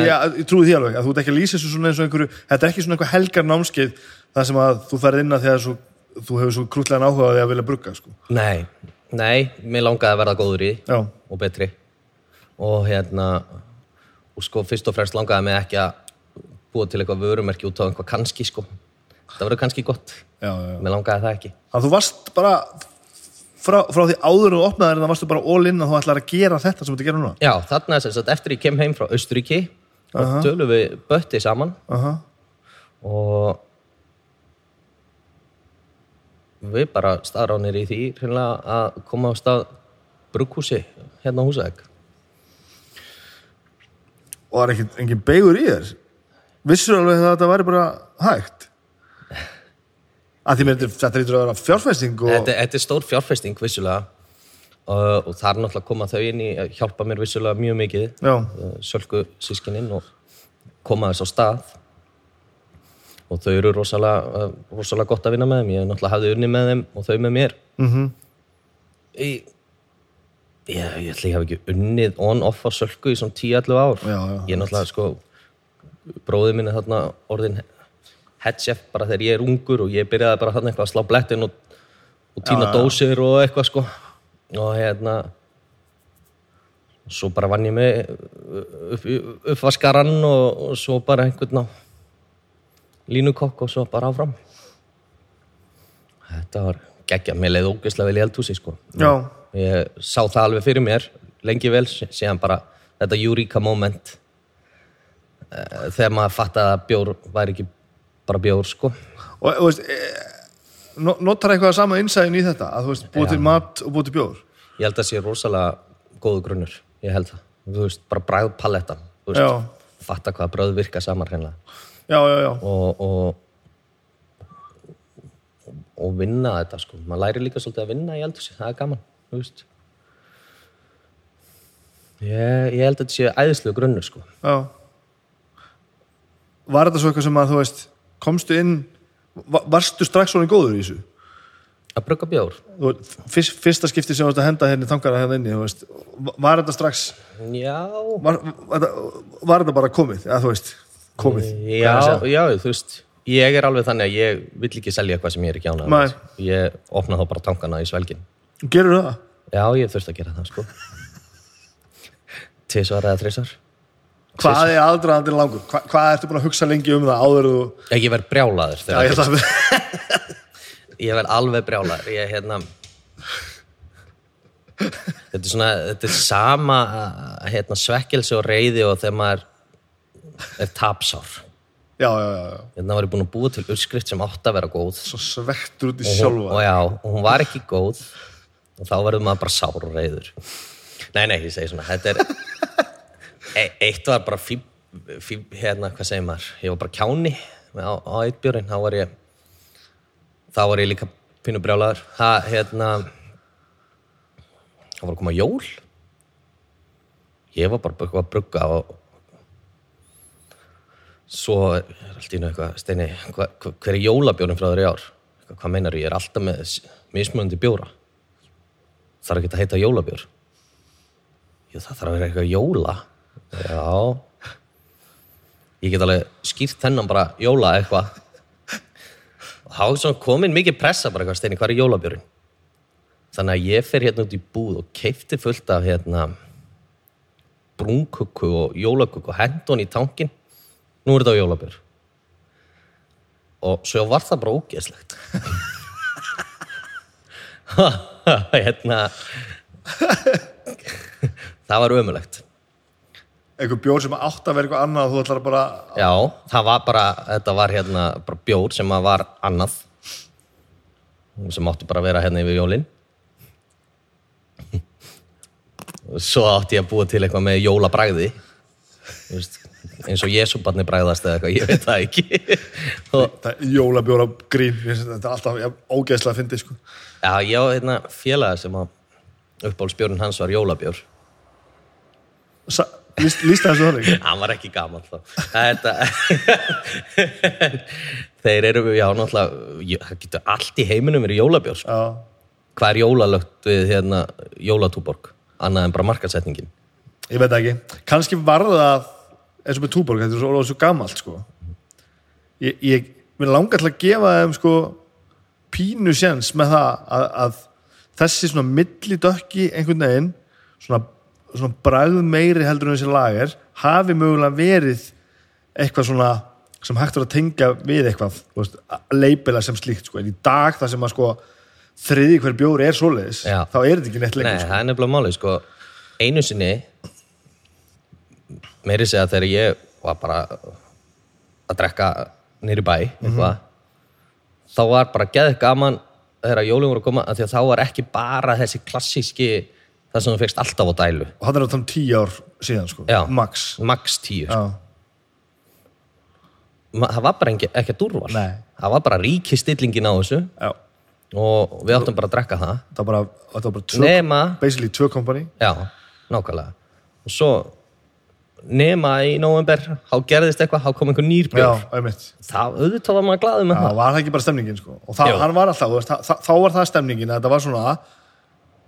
Speaker 1: já, ég trúi því alveg að þú ert ekki að lýsa þessu svona eins og einhverju þetta er ekki svona einhver helgar námskeið þar sem að þú ferð inn að þegar svo, þú hefur svo krútlegan áhuga á því að vilja brugga sko.
Speaker 2: Nei, nei, mér langaði að verða góður í því.
Speaker 1: já,
Speaker 2: og betri og hérna og sko fyrst og fremst langaði mig ekki að búa til eitthvað vörumerki út á einhvað kannski sko, það verður kannski gott
Speaker 1: já, já
Speaker 2: mér langaði það ekki
Speaker 1: þannig að þú varst bara frá, frá því áður en þú opnaðir það varstu bara all in að þú ætlar að gera þetta sem þetta gera núna
Speaker 2: já, þarna er sem sagt eftir ég kem heim frá Östuríki og
Speaker 1: Aha.
Speaker 2: tölum við Bötti saman
Speaker 1: uh
Speaker 2: og við bara staðránir í því hreinlega að koma á stað brugghúsi hérna á Húsæk
Speaker 1: og það er ekkit, engin beigur í þér vissur alveg að þetta væri bara hægt að því mér þetta- þetta lítur að vera fjárfæsting og
Speaker 2: þetta, þetta er stór fjárfesting vissulega uh, og þar náttúrulega koma þau inn í að hjálpa mér vissulega mjög mikið
Speaker 1: já,
Speaker 2: uh, sölku sískininn og koma þess á stað og þau eru rosalega, uh, rosalega gott að vinna með þeim ég náttúrulega hafði unni með þeim og þau með mér
Speaker 1: mm
Speaker 2: ég, ég, ég ætla ég hafi ekki unnið on-off á sölku í svona 10-11 ár
Speaker 1: Já, já.
Speaker 2: ég náttúrulega sko bróðið minni þarna orðin head chef bara þegar ég er ungur og ég byrjaði bara þarna eitthvað að slá blettin og, og tína dósir og eitthvað sko og hérna svo bara vann ég mig upp, uppvaskarann og, og svo bara einhvern á línukokk og svo bara áfram þetta var geggja, mér leið ógeðslega vel í eldhúsi sko
Speaker 1: já,
Speaker 2: ég sá það alveg fyrir mér lengi vel, sí- síðan bara þetta Eureka moment eh, þegar maður fattaði að bjór væri ekki bara bjór sko
Speaker 1: og þú veist e, no- notar eitthvað sama innsæðin í þetta að þú veist, búið til mat og búið til bjór
Speaker 2: ég held að sé rosalega góðu grunnur ég held það, þú veist, bara bræð palettan þú veist,
Speaker 1: Já.
Speaker 2: fatta hvaða bröð virka saman hreinlega
Speaker 1: já, já, já,
Speaker 2: og, og og vinna þetta sko, maður læri líka svolítið að vinna í eldhúsi, það er gaman, þú veist ég, ég held að þetta sé æðislega grunnur sko
Speaker 1: já var þetta svo eitthvað sem að þú veist komstu inn, va- varstu strax svona góður í þessu
Speaker 2: að brugga bjór
Speaker 1: Þú veist, fyrst, fyrsta skipti sem þú varst að henda henni þangar að hérna inni, þú veist var þetta strax
Speaker 2: Já,
Speaker 1: var, var, var þetta bara komið, eða þú veist komið
Speaker 2: já, já, þú veist ég er alveg þannig að ég vill ekki selja eitthvað sem ég er ekki ánað
Speaker 1: Nei.
Speaker 2: ég opna þá bara tankana í svelgin
Speaker 1: gerur það?
Speaker 2: já, ég þurfti að gera það sko tvisvar eða þrisvar
Speaker 1: hvað er aðdraðandinn langur? Hva, hvað ertu búin að hugsa lengi um það áður en þú
Speaker 2: ég verð brjálaður
Speaker 1: já,
Speaker 2: þegar
Speaker 1: ég, það,
Speaker 2: Ég verð alveg brjálar Ég er hérna Þetta er svona Þetta er sama hérna, svekkelsi og reyði og þegar maður er tapsár
Speaker 1: já, já, já, já.
Speaker 2: Hérna var ég búin að búa til uppskrift sem átt að vera góð
Speaker 1: svo svektur út í
Speaker 2: og,
Speaker 1: sjálfa
Speaker 2: og já, og hún var ekki góð og þá verður maður bara sár og reyður Nei, nei, ég segi svona Þetta er e, Eitt var bara fíb, fíb, hérna, hvað segir maður Ég var bara kjáni á, á eitt björn þá var ég þá var ég líka pínu brjálaður það, hérna það var að koma jól ég var bara eitthvað að brugga og svo er allt í einu eitthvað Steini, hva, hva, hver er jólabjórin frá þér í ár? Eitthvað, hvað meinar ég? Ég er alltaf með s- mismunandi bjóra þarf ekki að heita jólabjór Jú, það þarf að vera eitthvað jóla Já ég get alveg skýrt þennan bara jóla eitthvað og þá er svona komin mikið pressa bara eitthvað Steini, hvað er jólabjórin? Þannig að ég fer hérna út í búð og keipti fullt af hérna brúnkökku og jólakökku og hendi hann í tankin nú er þetta á jólabjör og svo var það bara ógeðslegt hérna það var ömulegt
Speaker 1: einhver bjór sem átt að vera eitthvað annað og þú ætlar bara
Speaker 2: já, það var bara þetta var hérna bara bjór sem að var annað sem átti bara að vera hérna yfir jólin og svo átti ég að búa til eitthvað með jólabræði eins og jesubarni bræðast eða eitthvað, ég veit það ekki og
Speaker 1: það er jólabjóra grín Ég finnst þetta er alltaf ja, ógeðslega að fyndi sko.
Speaker 2: Já, ég á hérna félaga sem að uppbólsbjörn hans var jólabjór.
Speaker 1: Sa- líst, líst þessu þannig
Speaker 2: Hann var ekki gaman þá. Þetta, þeir eru, já, náttúrulega, ég- það getur allt í heiminum verið jólabjór. sko.
Speaker 1: já,
Speaker 2: Hvað er jólalögt við hérna jólatúborg? Annað en bara markasetningin.
Speaker 1: ég veit það ekki kannski var það eins og með túborg þetta er svo, svo gamalt sko. ég, ég mér langar til að gefa þeim sko, pínu séns með það að, að þessi svona millidökki einhvern veginn svona, svona bragð meiri heldur en þessi lager hafi mögulega verið eitthvað svona sem hægt er að tengja við eitthvað þú veist, að leipila sem slíkt sko. en í dag það sem að sko þriði hver bjóri er svoleiðis
Speaker 2: Já.
Speaker 1: þá er þetta ekki neitt lengur
Speaker 2: Nei,
Speaker 1: sko.
Speaker 2: það er nefnilega málið, sko. Einu sinni, meiri segja þegar ég var bara að drekka nýri bæ, eitthvað,
Speaker 1: Mhm.
Speaker 2: þá var bara geðið gaman þegar jólum voru að koma, af því að þá var ekki bara þessi klassíski, það sem þú fegst alltaf á dælu.
Speaker 1: og hann er að tala um tíu ár síðan sko,
Speaker 2: Já.
Speaker 1: max
Speaker 2: Max 10, sko.
Speaker 1: Já.
Speaker 2: Ma- Það var bara ekki, ekki að durval.
Speaker 1: Nei.
Speaker 2: Það var bara ríkistillingin á þessu
Speaker 1: Já.
Speaker 2: og við áttum bara að drekka það.
Speaker 1: það var bara, það var bara tvö,
Speaker 2: Nema
Speaker 1: basically tvö kompani
Speaker 2: Já, nákvæmlega. Og svo nema í november, þá gerðist eitthvað, þá kom einhver nýr
Speaker 1: já,
Speaker 2: bjór.
Speaker 1: einmitt
Speaker 2: Það auðvitað var maður glaðið með
Speaker 1: Já,
Speaker 2: það.
Speaker 1: var það ekki bara stemningin sko og það,
Speaker 2: Jú.
Speaker 1: hann var alltaf, þú veist, það, þá var það stemningin að þetta var svona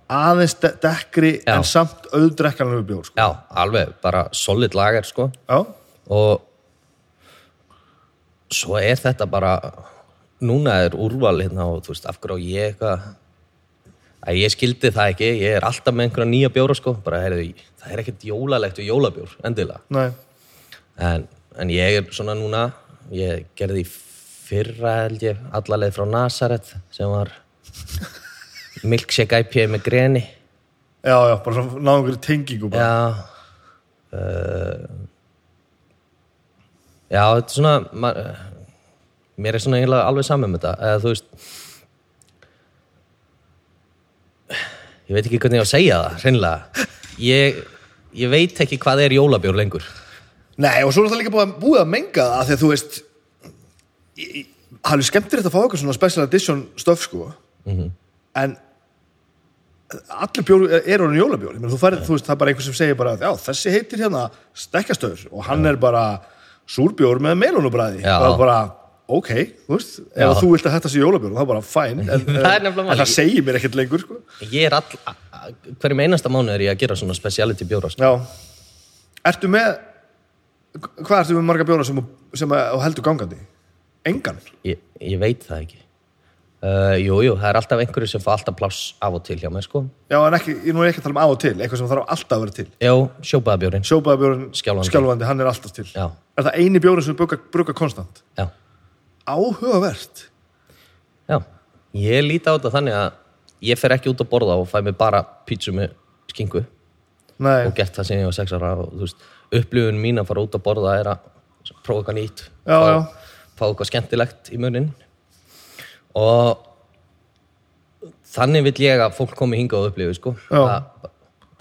Speaker 1: aðeins de dekkri
Speaker 2: Já.
Speaker 1: en samt auðdrekkanlega bjór sko.
Speaker 2: Já, alveg, bara solid lager, sko.
Speaker 1: já,
Speaker 2: Og svo er þetta bara, núna er úrval hérna og þú veist, af hverju á ég eitthvað, að ég skildi það ekki, ég er alltaf með einhverja nýja bjóra, sko. Bara, heyrðu, það er ekkert jólalegt við jólabjór, endilega.
Speaker 1: nei,
Speaker 2: En, en ég er svona núna, ég gerði í fyrra held ég, allaleg frá Nazareth sem var milkshake IPA með greni.
Speaker 1: já, já, bara svona náðum einhverju tengingu bara.
Speaker 2: Já. Uh, já, þetta er svona, ma, mér er svona eiginlega alveg saman með þetta. Eða, þú veist, ég veit ekki hvernig ég á að segja það, hreinlega. Ég, ég veit ekki hvað er jólabjór lengur.
Speaker 1: nei, og svo er það líka búið að, búið að menga það af því að þú veist í- í- það er alveg skemmtilegt að fá eitthvað svona special edition stöf sko
Speaker 2: Mhm.
Speaker 1: en allir bjóru eru hann jólabjór Ég meina, þú, færi, þú veist, það er bara einhver sem segir bara já, þessi heitir hérna stekkastöður og hann er bara súrbjór með melónubræði
Speaker 2: Já.
Speaker 1: og það er bara, ok, þú veist
Speaker 2: Já.
Speaker 1: ef þú vilt að þetta sé jólabjór, þá bara fæn en, eh,
Speaker 2: Það er nefnilega
Speaker 1: en
Speaker 2: málið.
Speaker 1: það segir mér ekkert lengur sko.
Speaker 2: Ég er all, a- a- hverjum einasta mánu er ég að gera svona speciality bjóra sko.
Speaker 1: já, ertu með hvað ertu með marga bjóra sem, þú- sem að, og heldur gangandi? Engan?
Speaker 2: Ég, ég veit það ekki. Uh, jú, jú, það er alltaf einhverju sem fá alltaf pláss af og til hjá mér, sko.
Speaker 1: Já, en ekki, ég nú er ekki að tala um af og til, eitthvað sem þarf alltaf að vera til.
Speaker 2: Já, sjópaðabjórin.
Speaker 1: Sjópaðabjórn,
Speaker 2: Skjálfandi.
Speaker 1: hann er alltaf til.
Speaker 2: Já.
Speaker 1: Er það eini bjórn sem bruka, bruka konstant?
Speaker 2: Já,
Speaker 1: Áhugavert.
Speaker 2: já. Ég líti á þetta þannig að ég fer ekki út að borða og fæ mig bara pítsu með skingu
Speaker 1: Nei,
Speaker 2: og gert það sem ég var sex ára og þú veist, upplifun mín að fara út að borða er að prófa eitthvað nýtt.
Speaker 1: Já,
Speaker 2: fá,
Speaker 1: já.
Speaker 2: Fá eitthvað skemmtilegt í munin. Og þannig vill ég að fólk komi hingað og upplifi, sko.
Speaker 1: Já.
Speaker 2: Það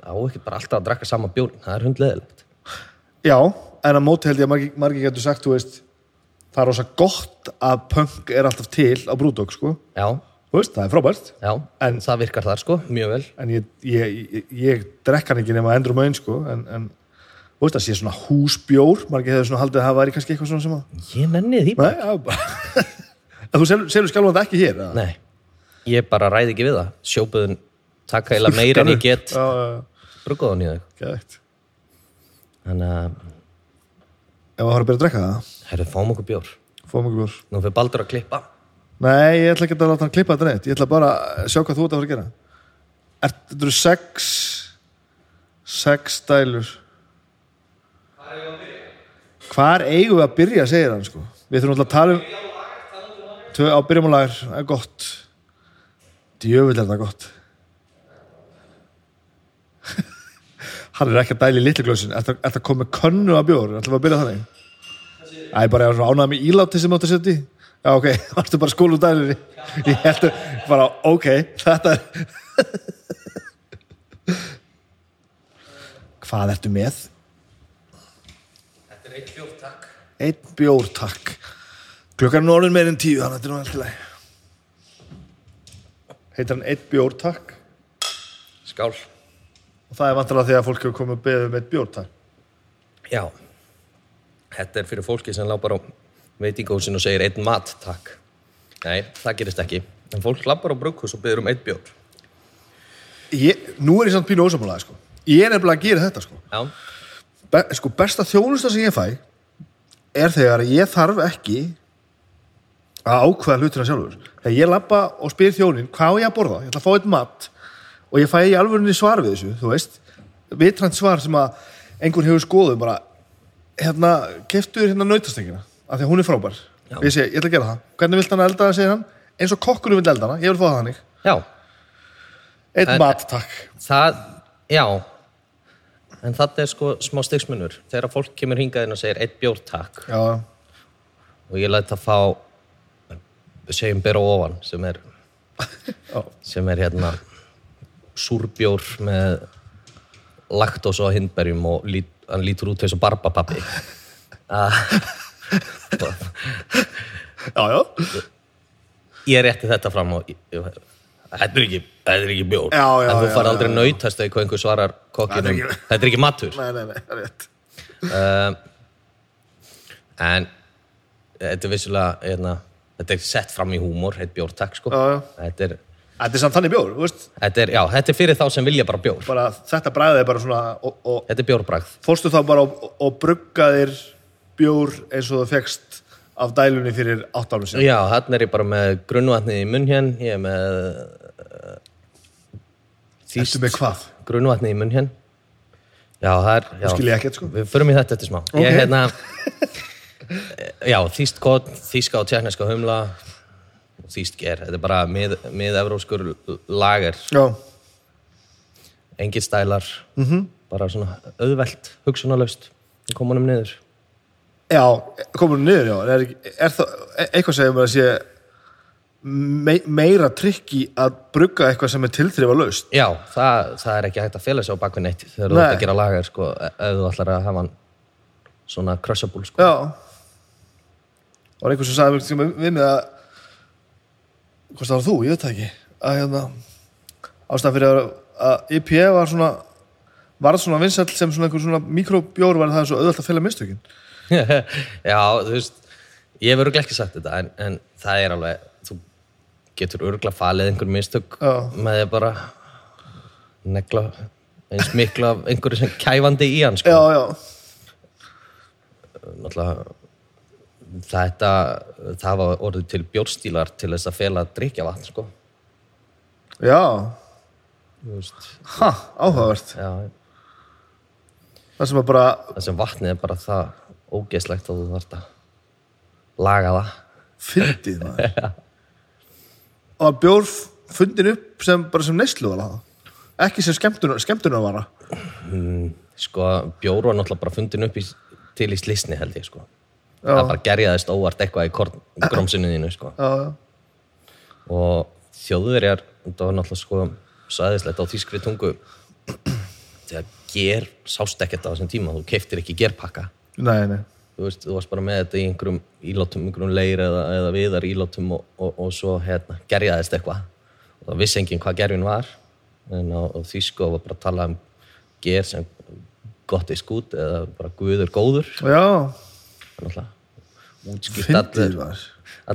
Speaker 2: það á ekki bara alltaf að drakka sama bjórin. Það er hundleðilegt.
Speaker 1: já, en að móti held ég að margi, margi getur sagt, þú veist, það er rosa gott að punk er alltaf til á brúdók, sko.
Speaker 2: Já,
Speaker 1: Þú veist, það er frábært.
Speaker 2: já,
Speaker 1: En-
Speaker 2: það virkar þar sko, mjög vel.
Speaker 1: En ég, ég, ég, ég drekk hann ekki nema endur um einn, sko, en, en þú veist, það sé svona húsbjór, margi hefur svona haldið að það væri kannski eitthvað svona sem að...
Speaker 2: Ég nenni því bara.
Speaker 1: Nei, já, bara... En þú selur, selur skjálfandi ekki hér? eða?
Speaker 2: Nei, ég bara ræði ekki við það. Sjóbuðin taka eila meira en ég get
Speaker 1: Já, já, já,
Speaker 2: bruggaðan í þau.
Speaker 1: geðveikt.
Speaker 2: Þannig að,
Speaker 1: Ef það har að byrja að drekka það,
Speaker 2: herru, fáum okkur bjór.
Speaker 1: fóðum okkur bjór.
Speaker 2: Nú fyrir Baldur að klippa.
Speaker 1: Nei, ég ætla ekki að láta hann klippa þetta neitt. Ég ætla bara að sjá hvað þú ert að fara að gera. Er, þetta eru sex, sex dælur. Hvar eigum við að byrja, segir hann, sko. Við þurfum alltaf að tala um... Tvö, á byrjum og lagar, það er gott. Djöfull er það gott. hann er ekki að dæla í litlu glössin. Er það að koma með könnu að bjór? Ætlum við að byrja þannig? Æ, bara ég var svona ánægð með íláti sem áttu að setja í. Já, ok, varstu bara skólu dælinni. Ég held að, bara, ok, þetta er... Hvað ertu með?
Speaker 2: Þetta er eitt bjór, takk.
Speaker 1: Einn bjór, takk. Klukkan er nú orðin meir en tíu, þannig að þetta er nú alltaf leið. Heitir hann einn bjór, takk.
Speaker 2: Skál.
Speaker 1: Og það er vantarlega því að fólk hefur komið að beða um einn bjór, takk.
Speaker 2: Já, þetta er fyrir fólki sem lápar á veitingósin og segir einn mat, takk. Nei, það gerist ekki. En fólk lappar á brugghús og byrður um eitt bjór.
Speaker 1: Ég, nú er ég samt pínu ósamálaði, sko. Ég er nefnilega að gera þetta, sko.
Speaker 2: Já,
Speaker 1: Be, sko, besta þjónusta sem ég fæ er þegar ég þarf ekki að ákveða hlutina sjálfur. Þegar ég labba og spyr þjónin hvað á ég að borða, ég ætla að fá eitt mat og ég fæ í alvörunni svar við þessu, þú veist, vitrænt svar sem að einhver hefur skoðum bara, hérna, keftur hérna nautastengina, af því að hún er frábær.
Speaker 2: Já.
Speaker 1: Ég segi, ég ætla að gera það. Hvernig vilt hann elda það, segir hann, eins og kokkurum vill elda hana, ég vil fá það hannig.
Speaker 2: já.
Speaker 1: Eitt mat, takk.
Speaker 2: Það, já En þetta er sko smá stigsmunur Þegar fólk kemur hingað inn og segir eitt bjór takk
Speaker 1: Já,
Speaker 2: og ég læt það fá segjum bera ofan sem er,
Speaker 1: já.
Speaker 2: sem er hérna súrbjór með laktos og hindberjum og lít, hann lítur út eins og Ah, barbapappi
Speaker 1: Já, já.
Speaker 2: Ég rétti þetta fram og ég- ég- Þetta er ekki, þetta er ekki bjór
Speaker 1: Já, já,
Speaker 2: en þú
Speaker 1: já,
Speaker 2: fara
Speaker 1: já,
Speaker 2: aldrei
Speaker 1: já.
Speaker 2: nautast þegar einhver svarar kokkinum
Speaker 1: Þetta er ekki-
Speaker 2: Þetta er ekki matur
Speaker 1: Nei, nei, nei, það er rétt.
Speaker 2: En þetta er vissulega, hérna, þetta er sett fram í húmor, eitt bjórtak, sko.
Speaker 1: Já, já.
Speaker 2: Þetta er,
Speaker 1: Þetta er samt þannig bjór, þú veist,
Speaker 2: þetta er, já, þetta er fyrir þá sem vilja bara bjór.
Speaker 1: bara þetta bræðið er bara svona og, og
Speaker 2: Þetta er bjórbragð.
Speaker 1: fórstu þá bara og, og bruggaðir bjór eins og það fegst af dælunni fyrir átt árum síðan
Speaker 2: Já, hann er ég bara með grunnvatnið í munn hér, ég er með eh, þýst
Speaker 1: Ertu með hvað?
Speaker 2: grunnvatnið í munn hér. Já, það er, já.
Speaker 1: Nú skil ég ekkert, sko.
Speaker 2: Við förum í þetta eftir smá.
Speaker 1: Ok.
Speaker 2: Ég, hérna, eh, já, þýst kott, þýska og tjekneska humla, þýst ger. Þetta er bara mið, mið-evróskur lager.
Speaker 1: Já,
Speaker 2: engir stælar
Speaker 1: Mhm.
Speaker 2: -hmm. bara svona auðvelt, hugsunarlaust Ég kom honum niður
Speaker 1: já komur hún niður, já er, ekki- er það, e- eitthvað segir mér að sé me, meira trikki að brugga eitthvað sem er tilþrifa laust
Speaker 2: já, það, það er ekki hægt að fela sig á bakvið neitt þegar þú
Speaker 1: Nei.
Speaker 2: ert að gera lagar sko, ef þú ætlar að hafa hann svona crushable sko.
Speaker 1: Já Það var einhver sem sagði mér sem við mig að hvort það var þú, ég veit það ekki að hérna ástæðan fyrir að, að IPA var svona varð svona vinsall sem svona einhver svona mikrobjór var það er svo auðvelt að fela mistökin
Speaker 2: já, þú veist ég verður ekki sagt þetta en, en það er alveg, þú getur örgla falið einhver mistök
Speaker 1: Já.
Speaker 2: með því að bara negla eins miklu af einhverju sem kæfandi í hann sko.
Speaker 1: Já, já,
Speaker 2: náttúrulega þetta, það var orðið til bjórstílar til þess að fela að drikja vatn, sko.
Speaker 1: Já,
Speaker 2: Þú veist,
Speaker 1: ha, áhugavert
Speaker 2: já, já.
Speaker 1: Það sem að bara,
Speaker 2: það sem vatnið er bara það ógeðslegt að þú þarft að laga það
Speaker 1: fyndið maður Og að bjór fundin upp sem, bara sem neyslu var það Ekki sem skemmtunar, skemmtunar vara
Speaker 2: sko, bjór var náttúrulega bara fundin upp í, til í slisni held ég sko
Speaker 1: Já.
Speaker 2: það bara gerjaðist óvart eitthvað í korn, grómsinu þínu sko
Speaker 1: Já, já,
Speaker 2: og þjóðverjar þetta var náttúrulega sko sæðislegt á þýskri tungu þegar ger sást ekkert á þessum tíma þú keiftir ekki gerpakka
Speaker 1: nei, nei
Speaker 2: þú veist, þú varst bara með þetta í einhverjum ílátum, einhverjum leir eða, eða viðar ílátum og, og, og svo hérna, gerjaðist eitthvað og það vissi enginn hvað gerjun var en á, á þýsku var bara að tala um ger sem gott í skút eða bara guður góður
Speaker 1: Já,
Speaker 2: þannig að útskýrt
Speaker 1: fyndið
Speaker 2: allir,
Speaker 1: var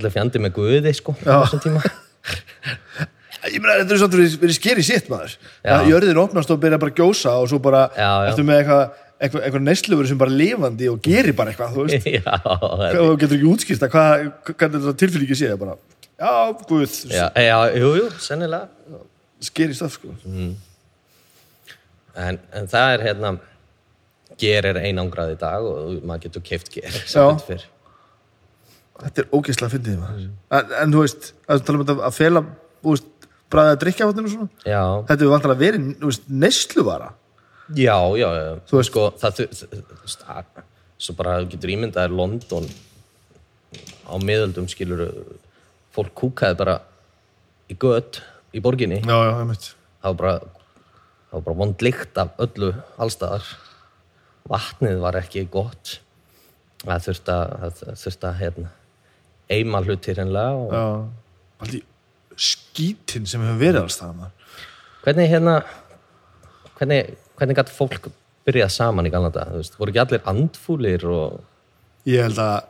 Speaker 2: allir fjandi með guði sko, á
Speaker 1: Já.
Speaker 2: þessum tíma
Speaker 1: Ég meina, þetta er samt verið, verið skeri sitt maður
Speaker 2: Já.
Speaker 1: Það jörðin opnast og byrja bara að gjósa og svo bara,
Speaker 2: Já, já.
Speaker 1: eftir með eitthvað eitthvað, eitthvað neysluveru sem bara lifandi og gerir bara eitthvað, þú veist
Speaker 2: já, þetta-
Speaker 1: og þú getur ekki útskýrt að hvað hvernig þetta tilfinningi sé bara, já, guð,
Speaker 2: já, já, jú, jú, sennilega
Speaker 1: skeri stöf sko.
Speaker 2: en, en það er hérna ger er einangrað í dag og maður getur keift ger
Speaker 1: Já.
Speaker 2: sem þetta fyrr
Speaker 1: þetta er ógeðslega fyndið maður en, en þú veist, að tala um þetta að fela þú veist, bræðið að drikja vatninu svona
Speaker 2: já,
Speaker 1: þetta er vantilega verið, þú veist, neysluvara
Speaker 2: Já, já, já.
Speaker 1: Þú
Speaker 2: Þú
Speaker 1: veist-
Speaker 2: veist, sko, það, þu- þ- þú veist, að- svo bara þú getur ímyndaðir London á miðöldum skilur fólk kúkaði bara í gött í borginni.
Speaker 1: já, já, ég mitt
Speaker 2: Það var bara, það var bara vond lykt af öllu allstaðar. Vatnið var ekki gott. Það þurfti að, það þurfti að, hérna, eima hluti hreinlega og
Speaker 1: já. allir skítin sem hefur verið alls það maður
Speaker 2: Hvernig hérna hvernig, hvernig gæti fólk byrjað saman í Galanda? Þú veist, voru ekki allir andfúlir og
Speaker 1: ég held að,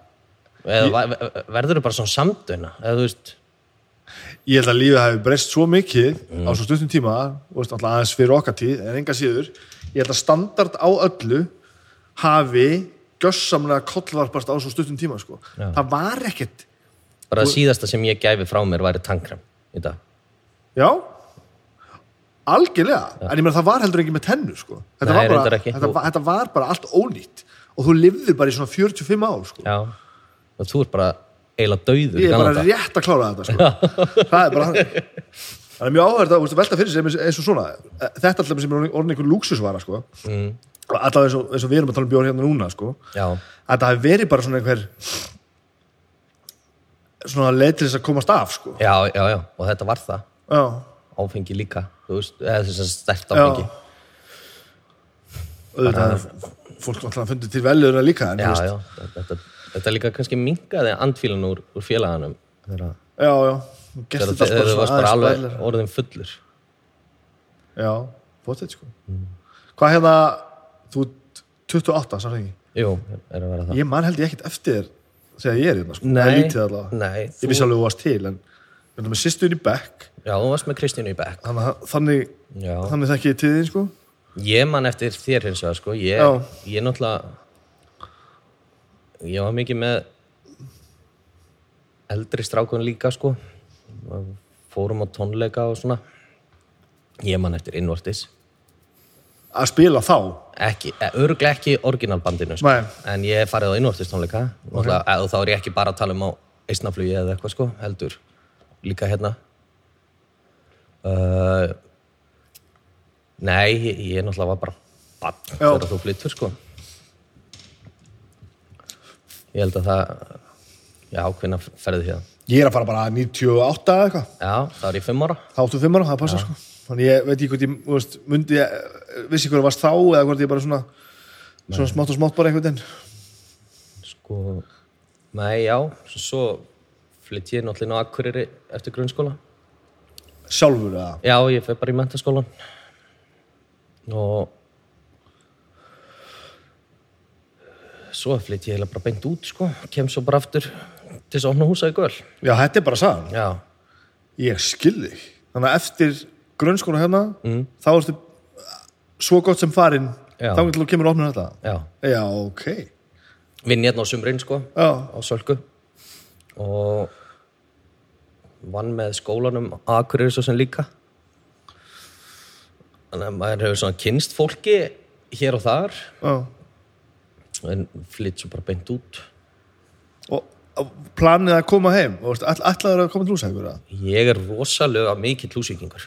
Speaker 2: eða ég... verður þau bara svona samduna eða þú veist
Speaker 1: ég held að lífið hafi breyst svo mikið á svo stuttum tíma og veist, alltaf aðeins fyrir okkar tíð, en enga síður ég held að standard á öllu hafi gössamlega kollvarpast á svo stuttum tíma sko.
Speaker 2: Já.
Speaker 1: það var ekkert
Speaker 2: bara það síðasta sem ég gæfi frá mér væri tangram í dag
Speaker 1: já algjörlega, en ég meina það var heldur ekki með tennu sko. þetta,
Speaker 2: Nei,
Speaker 1: var bara,
Speaker 2: reyndar ekki.
Speaker 1: þetta,
Speaker 2: Þú-
Speaker 1: var- þetta var bara allt ónýtt og þú lifðir bara í svona 45 ár sko.
Speaker 2: já og þú er bara eiginlega dauður í
Speaker 1: ég er bara
Speaker 2: Galanda
Speaker 1: rétt að klára þetta sko. það er bara þannig. það er mjög áhverð að veist, velta fyrir sér eins- eins og svona þetta alltaf sem er orðin- orðin einhver lúksusvara sko. mm. alltaf eins og, eins og við erum að tala um bjór hérna núna sko.
Speaker 2: já,
Speaker 1: að það hafi verið bara svona einhver svona leið til þess að komast af sko.
Speaker 2: já, já, já og þetta var það
Speaker 1: já,
Speaker 2: áfengi líka, þú veist, eða þess að stert
Speaker 1: já
Speaker 2: áfengi
Speaker 1: auðvitað er fólk alltaf fundið til veljöðuna líka en,
Speaker 2: já,
Speaker 1: þú veist,
Speaker 2: já, þetta, þetta líka kannski minkaði andfílan úr, úr félaganum þegar
Speaker 1: já, já,
Speaker 2: þegar-
Speaker 1: gerst þetta
Speaker 2: þegar
Speaker 1: bara
Speaker 2: þú varst
Speaker 1: svona
Speaker 2: bara
Speaker 1: aðeins
Speaker 2: alveg
Speaker 1: bæðilega.
Speaker 2: orðin fullur
Speaker 1: já, bóttið sko hvað hérna þú ert 28, sann hengi
Speaker 2: jú, er að vera það
Speaker 1: Ég man held ég ekkert eftir þér þegar ég er hérna, sko.
Speaker 2: Nei,
Speaker 1: Það er lítið allavega.
Speaker 2: nei,
Speaker 1: Ég vissi alveg þú varst til, en við erum með sýstur í bekk,
Speaker 2: já, þú varst með Kristínu í bekk
Speaker 1: þannig, að- þannig,
Speaker 2: já,
Speaker 1: þannig þekki ég til þín, sko.
Speaker 2: Ég man eftir þér hins vegar sko Ég,
Speaker 1: Já.
Speaker 2: ég náttúrulega Ég var mikið með Eldri strákun líka sko Fórum á tónleika og svona Ég man eftir innvortis
Speaker 1: Að spila þá.
Speaker 2: ekki, örglega ekki orginalbandinu sko.
Speaker 1: Nei.
Speaker 2: en ég hef farið á innvortis tónleika okay. og þá er ég ekki bara að tala um á eisnaflugi eða eitthvað sko, heldur líka hérna uh, Nei, ég, ég náttúrulega var bara bann
Speaker 1: Já.
Speaker 2: þegar þú flyttur sko Ég held að það Já, hvernig ferði hérna?
Speaker 1: Ég er að fara bara 98 eða eitthvað.
Speaker 2: Já, það er ég fimm ára
Speaker 1: Það áttu fimm ára, það passar, sko. Þannig ég veit ekki hvort ég, þú veist, myndi, ég, eh, vissi hvort það varst þá eða hvort ég bara svona, svona smátt og smátt bara einhvern veginn.
Speaker 2: Sko, nei, já, svo, svo flytt ég náttúrulega á Akureyri eftir grunnskóla
Speaker 1: Sjálfur eða.
Speaker 2: Já, ég fer bara í mentaskólan og svo flytt ég heila bara beint út sko, kem svo bara aftur til þess að opna húsa í göl
Speaker 1: Já, þetta er bara sagan.
Speaker 2: Já,
Speaker 1: Ég skil þig. Þannig að eftir grunnskóla hérna, þá ertu svo gott sem farin,
Speaker 2: Já.
Speaker 1: þá getur þú kemur að opna þetta.
Speaker 2: já
Speaker 1: Já, ok.
Speaker 2: vinn hérna á sumrin sko
Speaker 1: Já.
Speaker 2: á Sölku og vann með skólanum á Akureyri svo sem líka þannig að maður hefur svona kynst fólki hér og þar
Speaker 1: Já.
Speaker 2: en flytt svo bara beint út
Speaker 1: Og og planið að koma heim og veist, all, allar að koma til húsækur Já.
Speaker 2: ég er rosalega mikill húsíkingur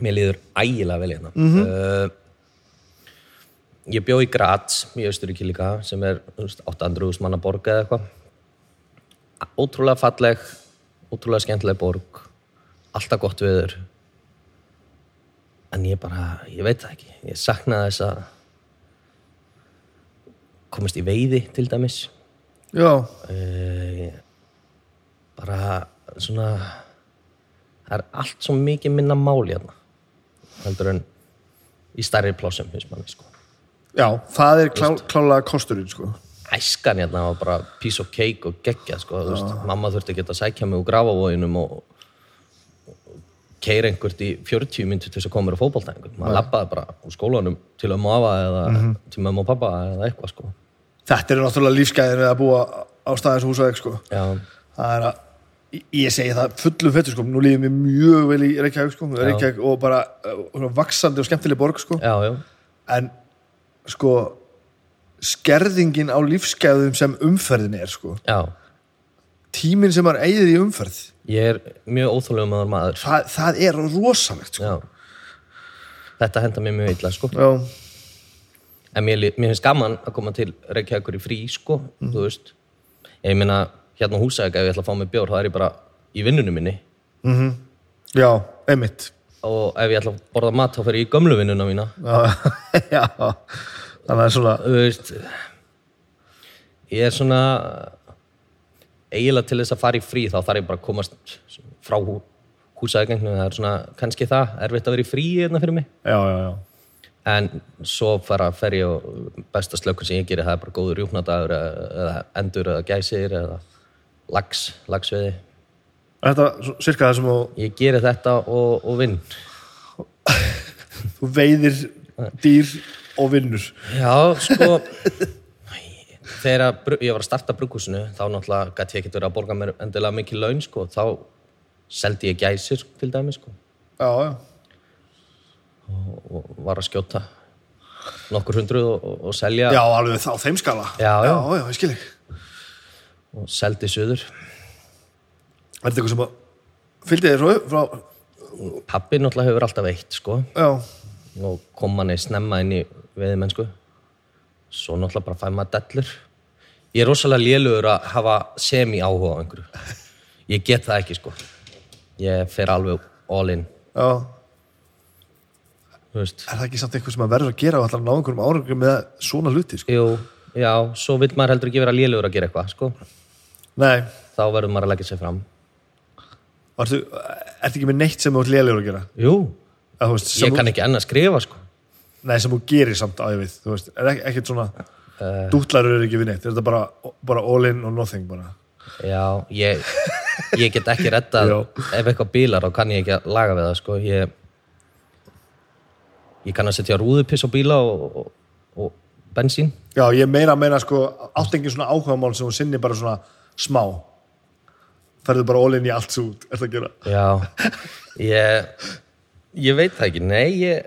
Speaker 2: mér líður ægilega vel hérna mm ég bjó í Graz í Austuríki líka sem er þú veist, 800.000 manna borg eða eitthvað ótrúlega falleg ótrúlega skemmtileg borg alltaf gott viður en ég bara ég veit það ekki, ég sakna þess að komast í veiði til dæmis
Speaker 1: Já.
Speaker 2: Eh, bara svona það er allt svo mikið minna máli hérna heldur en í stærri plássum finnst manni sko
Speaker 1: Já, það er klá, klálega kosturinn sko.
Speaker 2: æskan hérna var bara piece of cake og geggja sko, þú veist, mamma þurfti að geta að sækja mig úr grafavóginum og, og keira einhvert í 40 myndir til þess að koma mér á fótboltæðingum maður lappaði bara úr skólanum til ömmu afa eða til mömmu og pappa eða eitthvað sko
Speaker 1: Þetta er náttúrulega lífsgæðin við að búa á staðins húsæk sko.
Speaker 2: já,
Speaker 1: það er að ég segi það fullum fettur sko, nú líður mér mjög vel í Reykjavík sko, Reykjavík og bara uh, svona vaksandi og skemmtileg borg sko
Speaker 2: já, já,
Speaker 1: en sko skerðingin á lífsgæðum sem umferðin er sko,
Speaker 2: já
Speaker 1: tíminn sem maður eigið í umferð,
Speaker 2: ég er mjög óþjóðlega maður maður
Speaker 1: það, það er rosalegt sko.
Speaker 2: Já. Þetta henda mér mjög illa, sko.
Speaker 1: Já,
Speaker 2: En mér, li- mér finnst gaman að koma til Reykjavíkur í frí, sko, þú veist. Ég meina, hérna á Húsæk, ef ég ætla að fá mig bjór, þá er ég bara í vinnunum minni.
Speaker 1: já, einmitt
Speaker 2: Og ef ég ætla að borða mat, þá fer ég í gömlu vinnuna mína.
Speaker 1: já, já, þannig að svona
Speaker 2: Þú veist, ég er svona, eiginlega til þess að fara í frí, þá þarf ég bara að komast frá húsæðgengnum. Það er svona, kannski það, erfitt að vera í frí hérna fyrir mig.
Speaker 1: já, já, já,
Speaker 2: En svo fara fer ég og besta slökun sem ég gerir, það er bara góður rjúknadagur eða endur eða gæsir eða lax, laxveiði.
Speaker 1: Er þetta svo- sirka það sem þú-
Speaker 2: Ég gerir þetta og, og vinn.
Speaker 1: þú veiðir dýr og vinnur
Speaker 2: Já, sko, þegar að bru- ég var að starta brugghúsinu, þá náttúrulega gæti ég ekkert verið að borga mér endilega mikið laun, sko, þá seldi ég gæsir til dæmi, sko,
Speaker 1: Já, já,
Speaker 2: og var að skjóta nokkur hundruð og, og, og selja
Speaker 1: já alveg þá þeim skala
Speaker 2: Já, já.
Speaker 1: já, já ég skil ekki
Speaker 2: og seldi suður.
Speaker 1: Er þetta eitthvað sem að fylgdi þér frá, frá
Speaker 2: Pappi náttúrulega hefur alltaf veitt, sko.
Speaker 1: já,
Speaker 2: og kom manni snemma inn í veiðimennsku svo náttúrulega bara fæ maður dellur ég er rosalega lélugur að hafa semi áhuga á einhverju ég get það ekki sko ég fer alveg all in
Speaker 1: já,
Speaker 2: þú veist
Speaker 1: er það ekki samt eitthvað sem að verður að gera og ætlar að ná einhverjum árangum með svona hluti, sko?
Speaker 2: Jú, já, svo vill maður heldur ekki vera lélugur að gera eitthvað sko
Speaker 1: Nei,
Speaker 2: þá verður maður að leggja sér fram
Speaker 1: ertu, ertu ekki með neitt sem þú ert lélegur að gera?
Speaker 2: Jú,
Speaker 1: Að, þú veist,
Speaker 2: ég
Speaker 1: sem,
Speaker 2: kann ekki enn að skrifa sko
Speaker 1: þú, nei, sem þú gerir samt á ég við, þú veist, er ekki, ekkert svona uh,
Speaker 2: Eh.
Speaker 1: dútlarur er ekki við neitt, er þetta bara, bara all in og nothing bara.
Speaker 2: Já, ég, ég get ekki rettað
Speaker 1: Já.
Speaker 2: ef eitthvað bílar þá kann ég ekki að laga við það sko. ég, ég kann að setja rúðupiss á bíla og, og, og bensín
Speaker 1: Já, ég meira að meina, sko, átt engin svona áhugamál sem þú sinni bara svona smá. Ferðu bara all in í allt svo út, er að gera.
Speaker 2: Já, ég, ég veit það ekki Nei, ég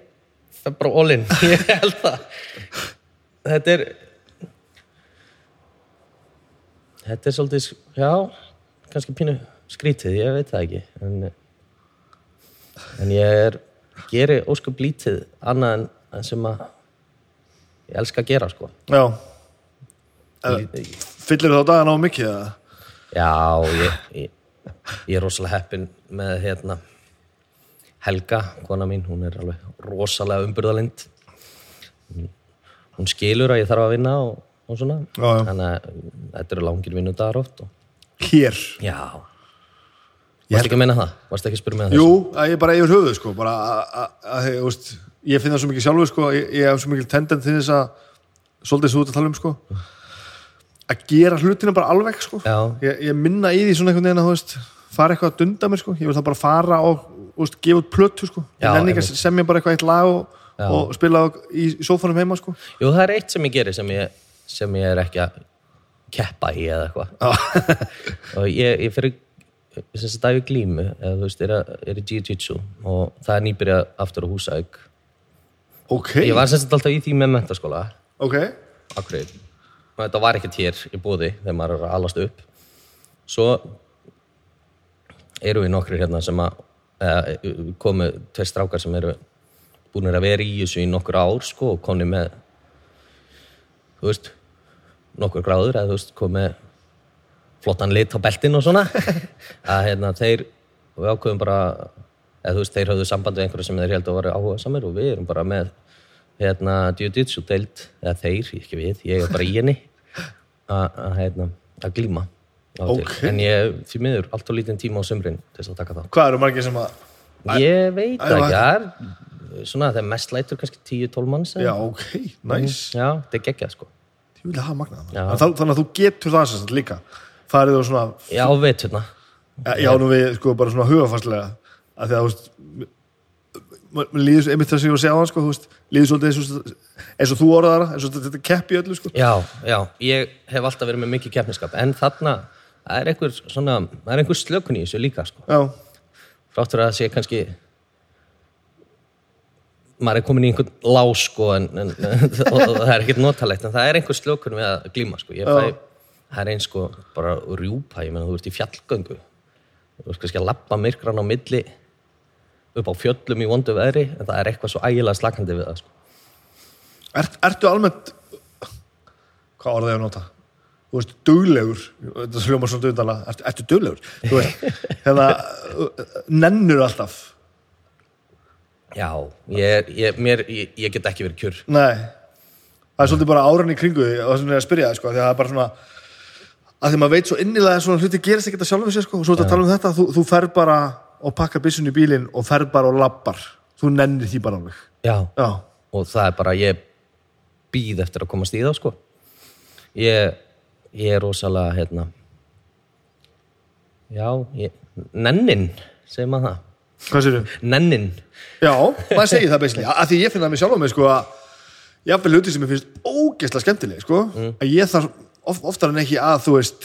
Speaker 2: það er bara all-in, ég held það Þetta er Þetta er svolítið, sk- já kannski pínu skrítið, ég veit það ekki en, en ég er geri óskup lítið annað en, en sem að ég elska að gera sko
Speaker 1: Já. Uh, fyllir þá dagan á mikið, eða?
Speaker 2: Já, ég, ég, ég er rosalega heppin með hérna Helga, kona mín, hún er alveg rosalega umburðalind Hún- hún skilur að ég þarf að vinna og, og svona
Speaker 1: Já, já.
Speaker 2: þannig að þetta eru langir vinnudagar oft og...
Speaker 1: Hér.
Speaker 2: Já,
Speaker 1: Ég
Speaker 2: varst ekki að meina það? Varst ekki að spyrja með það?
Speaker 1: Jú, að ég bara yfir höfuð sko, bara að- að- að, þú veist, ég finn það svo mikið sjálfur sko, ég, ég hef svo mikið tendent til þess að svolítið svo út að tala um sko að gera hlutina bara alveg sko
Speaker 2: Já.
Speaker 1: ég, ég minna í því svona einhvern veginn að þú veist fara eitthvað að dunda mér sko, ég vil það bara fara og þú veist, gefa út plötu sko,
Speaker 2: Já,
Speaker 1: ég nenni ekki að semja bara eitthvað eitt lag og, og spila á- í sófanum heima sko
Speaker 2: Jú, það er eitt sem ég gerir sem ég, sem ég er ekki að keppa í eða eitthvað. og ég, ég fyrir sem sagt að ég glímu, eða þú veist, er, að, er í jiu-jitsu og það er nýbyrja aftur á húsæk.
Speaker 1: ok,
Speaker 2: Ég var sem sagt alltaf í því með mentaskóla,
Speaker 1: ok
Speaker 2: akkurat. Og þetta var ekkert hér í bóði þegar maður er að alast upp. Svo eru við nokkrir hérna sem að eða, komu tveir strákar sem eru búinir að vera í þessu í nokkur ár sko og konni með þú veist, nokkur gráður eða þú veist, komið flottan lit á beltin og svona að hérna, þeir, við ákveðum bara eða þú veist, þeir höfðu samband við einhverja sem þeir held að voru áhuga samir og við erum bara með hérna, jiu-jitsu deild eða þeir, ekki við, ég er bara í henni að að, hérna, að glíma á og til.
Speaker 1: Ok.
Speaker 2: en ég, því miður, allt og lítinn tíma á sömrin til þess að taka það.
Speaker 1: hvað eru margir sem að,
Speaker 2: Ég veit
Speaker 1: Æ,
Speaker 2: ekki, það er svona þegar mest lætur kannski 10-12 manns eða-
Speaker 1: já ok, nice
Speaker 2: já, þetta er geggjað sko
Speaker 1: ég vil hafa magnað
Speaker 2: Mm. Já.
Speaker 1: það. Þannig, þannig að þú getur það sérst líka það er þú svona,
Speaker 2: Já, hérna. veturna
Speaker 1: já nú við sko bara svona hugafarslega að því að þú veist m- m- líður, einmitt það sem ég var að segja á hann sko, þú veist, líður svolítið eins og, eins og þú orðaðara eins og þetta- þetta keppi öllu sko
Speaker 2: Já, já, ég hef alltaf verið með mikið keppniskap en þarna, það er einhver svona, það er einhver slökun í þessu líka sko.
Speaker 1: já,
Speaker 2: fráttur að það sé kannski maður er komin í einhvern lá sko en, en, og, og það er ekkert notalegt en það er einhver slökun við að glíma sko. ég fæ, það er eins sko bara rjúpa, ég meina þú ert í fjallgöngu þú ert kannski að lappa myrkran á milli upp á fjöllum í vondu veðri en það er eitthvað svo ægilega slakandi við það sko.
Speaker 1: er, ertu almennt hvað orðið ég að nota þú veist, duglegur þetta sljóma svona dugdala, ertu, ertu duglegur þú veist, hérna nennur alltaf,
Speaker 2: Já, ég, ég, mér, ég, ég get ekki verið kjur
Speaker 1: nei það er svolítið bara áran í kringu því og það sem ég er að spyrja þig, sko, af því að það er bara svona að því maður veit svo innilega að svona hluti gerist ekki að sjálfum sér sko, og svo þetta tala um þetta, þú, þú fer bara og pakkar byssun í bílinn og fer bara og labbar, þú nennir því bara alveg
Speaker 2: Já,
Speaker 1: já,
Speaker 2: og það er bara ég býð eftir að komast í þá sko ég, ég er rosalega hérna já, ég, nennin segir maður það,
Speaker 1: hvað sér þau?
Speaker 2: nennin
Speaker 1: Já, maður segir það beisli, að því ég finna það mér sjálf á mig sko að jafnvel hluti sem ég finnst ógeðslega skemmtileg sko, að ég þarf of, oftar en ekki að þú veist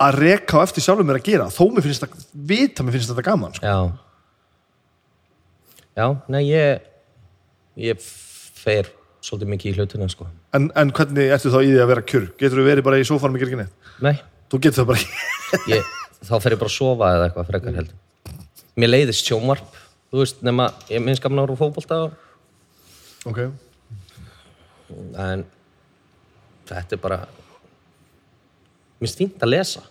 Speaker 1: að reka á eftir sjálfum mér að gera, þó mér finnst það vita mér finnst þetta gaman sko.
Speaker 2: já já, nei ég ég fer svolítið mikið í hlutina sko
Speaker 1: en, en hvernig ertu þá í því að vera kjur? Getur þú verið bara í sófanum í kirkinni?
Speaker 2: nei,
Speaker 1: Þú getur það bara ekki
Speaker 2: ég, þá fer ég bara að sofa eða eitthvað frekar heldur mér leiðist sjónvarp þú veist, nema, ég minnst gaman ára fótbolta og
Speaker 1: Ok,
Speaker 2: en þetta er bara mér stínt að lesa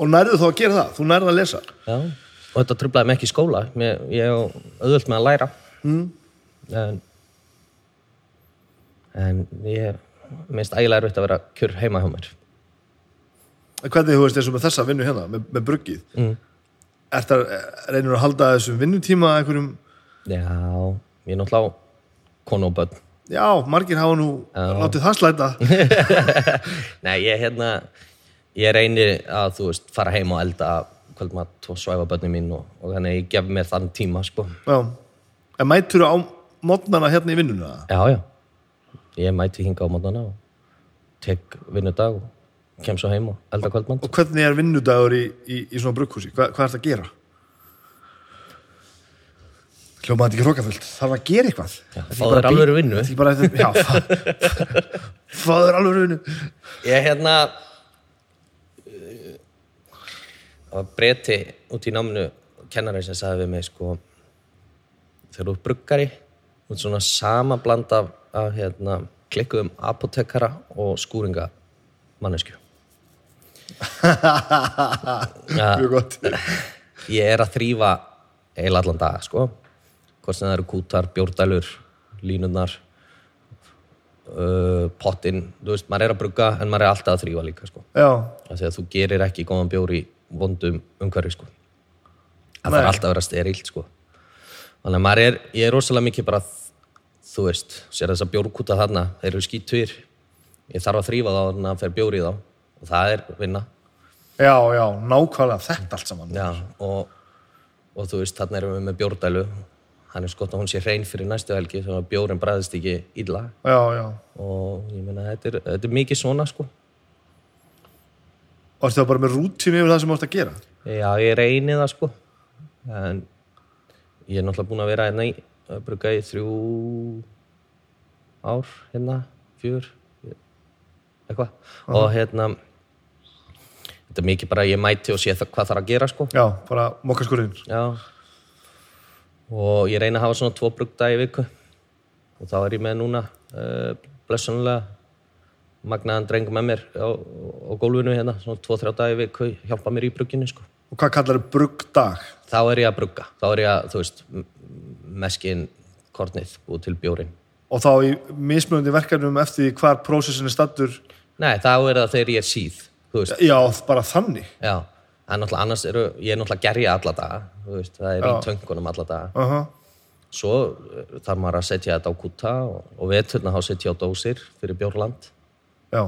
Speaker 1: og nærðu þá að gera það? Þú nærðu að lesa?
Speaker 2: já. og þetta trublaði mig ekki í skóla mér, ég er auðvöld með að læra mm. en en ég minnst ægilega erfitt að vera kjur heima hjá mér
Speaker 1: En Hvernig þú veist eins og með þessa vinnu hérna, með, með bruggið? Mm. Ertu að eh, reynir að halda þessum vinnutíma einhverjum
Speaker 2: já, ég er náttúrulega á konu og börn
Speaker 1: Já, margir hafa nú látið það slæta
Speaker 2: nei, ég hérna ég reynir að þú veist fara heim og elda kvöldmatt og svæfa börnum mín og, og þannig að ég gef mér þann tíma sko.
Speaker 1: Já En mætur á mótnana hérna í vinnuna?
Speaker 2: Já, já. Ég mæti hinga á mótana og tek vinnudag og kem svo heim og elda kvöldmann.
Speaker 1: Og hvernig er vinnudagur í, í, í svona brugghúsi? Hva, hvað er þetta að gera? Hljóma þetta ekki hrókafullt Þarf að gera eitthvað Já,
Speaker 2: fá þér alvöru vinnu.
Speaker 1: bara, Já, fá, fá þér alvöru vinnu
Speaker 2: Ég er hérna eh, það var breyti uh, út í náminu kennarinn sem sagði við mig sko þegar þú ert bruggari þú ert svona sama bland af, af hérna, klikkuðum apotekara og skúringa mannesku.
Speaker 1: Mjög gott
Speaker 2: Ég er að þrýfa eiginlega allan dag, sko. Hvort sem það eru kútar, bjórdælur, línunar, uh, pottinn, þú veist, maður er að brugga en maður er alltaf að þrýfa líka, sko.
Speaker 1: Já,
Speaker 2: Það sé að þú gerir ekki góðan bjór í vondum umhverfi, sko. Það
Speaker 1: Nei.
Speaker 2: þarf alltaf að vera sterilt, sko. Þannig að maður er, ég er rosalega mikið bara, þú veist, sér þess að bjórkúta þarna, þeir eru skítur, ég þarf að þrýfa þá þannig að fer bjór í þá og það er vinna.
Speaker 1: já, já, nákvæmlega þetta allt saman
Speaker 2: Já, og, og þú veist, þarna erum við með bjórdælu hann er skott að hún sé hrein fyrir næstu helgi þannig að bjórin bræðist ekki illa
Speaker 1: já, já.
Speaker 2: og ég meina þetta er, þetta er mikið svona sko
Speaker 1: Varstu það bara með rútínu yfir það sem ást að gera?
Speaker 2: já ég reyni það sko en ég er náttúrulega búin að vera hérna í að bruga í þrjú ár hérna fjör eitthvað og hérna þetta er mikið bara að ég mæti og sé það, hvað þarf að gera sko
Speaker 1: Já, bara mokka skurðin.
Speaker 2: Já og ég reyna að hafa svona tvo brugda í viku og þá er ég með núna uh, blessunlega magnaðan dreng með mér á, á gólfinu hérna, svona tvo-þrjá dag í viku hjálpa mér í brugginu sko.
Speaker 1: Og hvað kallar þau brugdag?
Speaker 2: Þá er ég að brugga, þá er ég að, þú veist, m- meskin kornið og til bjórin.
Speaker 1: Og þá í mismunandi verkefnum eftir því hvar prósessin er stattur,
Speaker 2: Nei, þá er það þegar ég er síð, þú veist,
Speaker 1: já, bara þannig.
Speaker 2: já. En náttúrulega annars eru, ég er náttúrulega gerja alla daga, þú veist, það er í töngunum alla daga.
Speaker 1: Uh
Speaker 2: svo eh, þarf maður að setja þetta á kúta og, og veturna þá setja ég á dósir fyrir bjórland
Speaker 1: Já,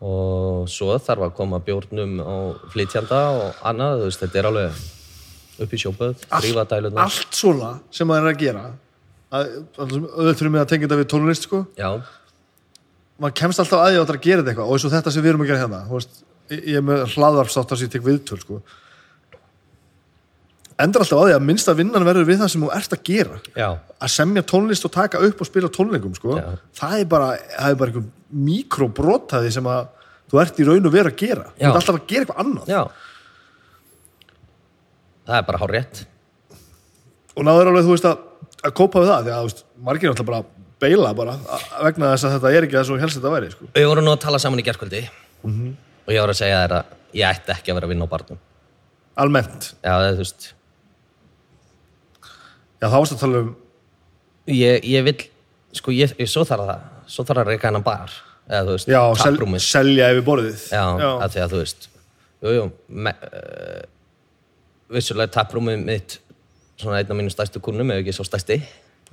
Speaker 2: og svo þarf að koma bjórnum á flytjanda og annað, þú veist, þetta er alveg upp í sjópöð, rífa dæluna
Speaker 1: allt svona sem maður er að gera, að- auðvitað fyrir mig að tengja þetta við tónlist, sko,
Speaker 2: já,
Speaker 1: maður kemst alltaf að ég áttur að gera þetta eitthvað og eins og þetta sem við erum að gera hérna þú veist, ég ég er með hlaðvarpstátt þar sem ég tek viðtöl sko. endur alltaf á því að minnsta vinnan verður við það sem þú ert að gera
Speaker 2: já,
Speaker 1: að semja tónlist og taka upp og spila tónleikum sko.
Speaker 2: Já.
Speaker 1: það er bara, það er bara einhver mikrobrotaði sem að þú ert í raun og veru að gera þú
Speaker 2: Já.
Speaker 1: ert alltaf að gera eitthvað annað
Speaker 2: já það er bara hár rétt
Speaker 1: og náður alveg þú veist að, að kópa við það því að þú veist, margir er alltaf bara að beila bara að- vegna þess að þetta er ekki það sem þú helst þetta væri sko.
Speaker 2: við vorum nú að tala saman í gerkvöldi
Speaker 1: Mhm.
Speaker 2: og ég voru að segja þér að ég ætti ekki að vera að vinna á barnum
Speaker 1: almennt,
Speaker 2: já, það er, þú veist,
Speaker 1: já þá varst að tala um
Speaker 2: ég, ég vil sko, ég, ég, svo þarf það, svo þarf að reyka hennan bar eða, þú veist,
Speaker 1: já, sel,
Speaker 2: taprúmið.
Speaker 1: selja yfir borðið
Speaker 2: Já, að því að þú veist Jú, jú me, uh, Vissulega taprúmið mitt Svona einn af mínum stærstu kúnum Ef ekki svo stærsti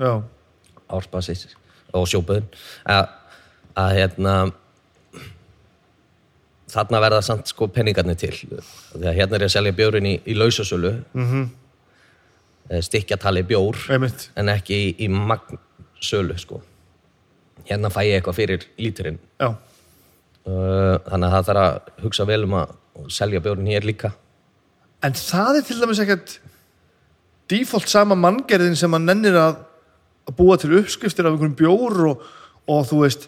Speaker 1: Já,
Speaker 2: Ársbasis og sjóböðun Að, að hérna Þarna verða samt sko peningarnir til Því að hérna er ég að selja bjórin í, í lausasölu mm -hmm. Stikkja tali bjór
Speaker 1: einmitt.
Speaker 2: En ekki í, í magnsölu sko Hérna fæ ég eitthvað fyrir líturinn
Speaker 1: Já,
Speaker 2: Uh, þannig að það þarf að hugsa vel um að selja bjórn hér líka
Speaker 1: en það er til dæmis ekkert default sama manngerðin sem að nennir að að búa til uppskriftir af einhverjum bjór og, og þú veist,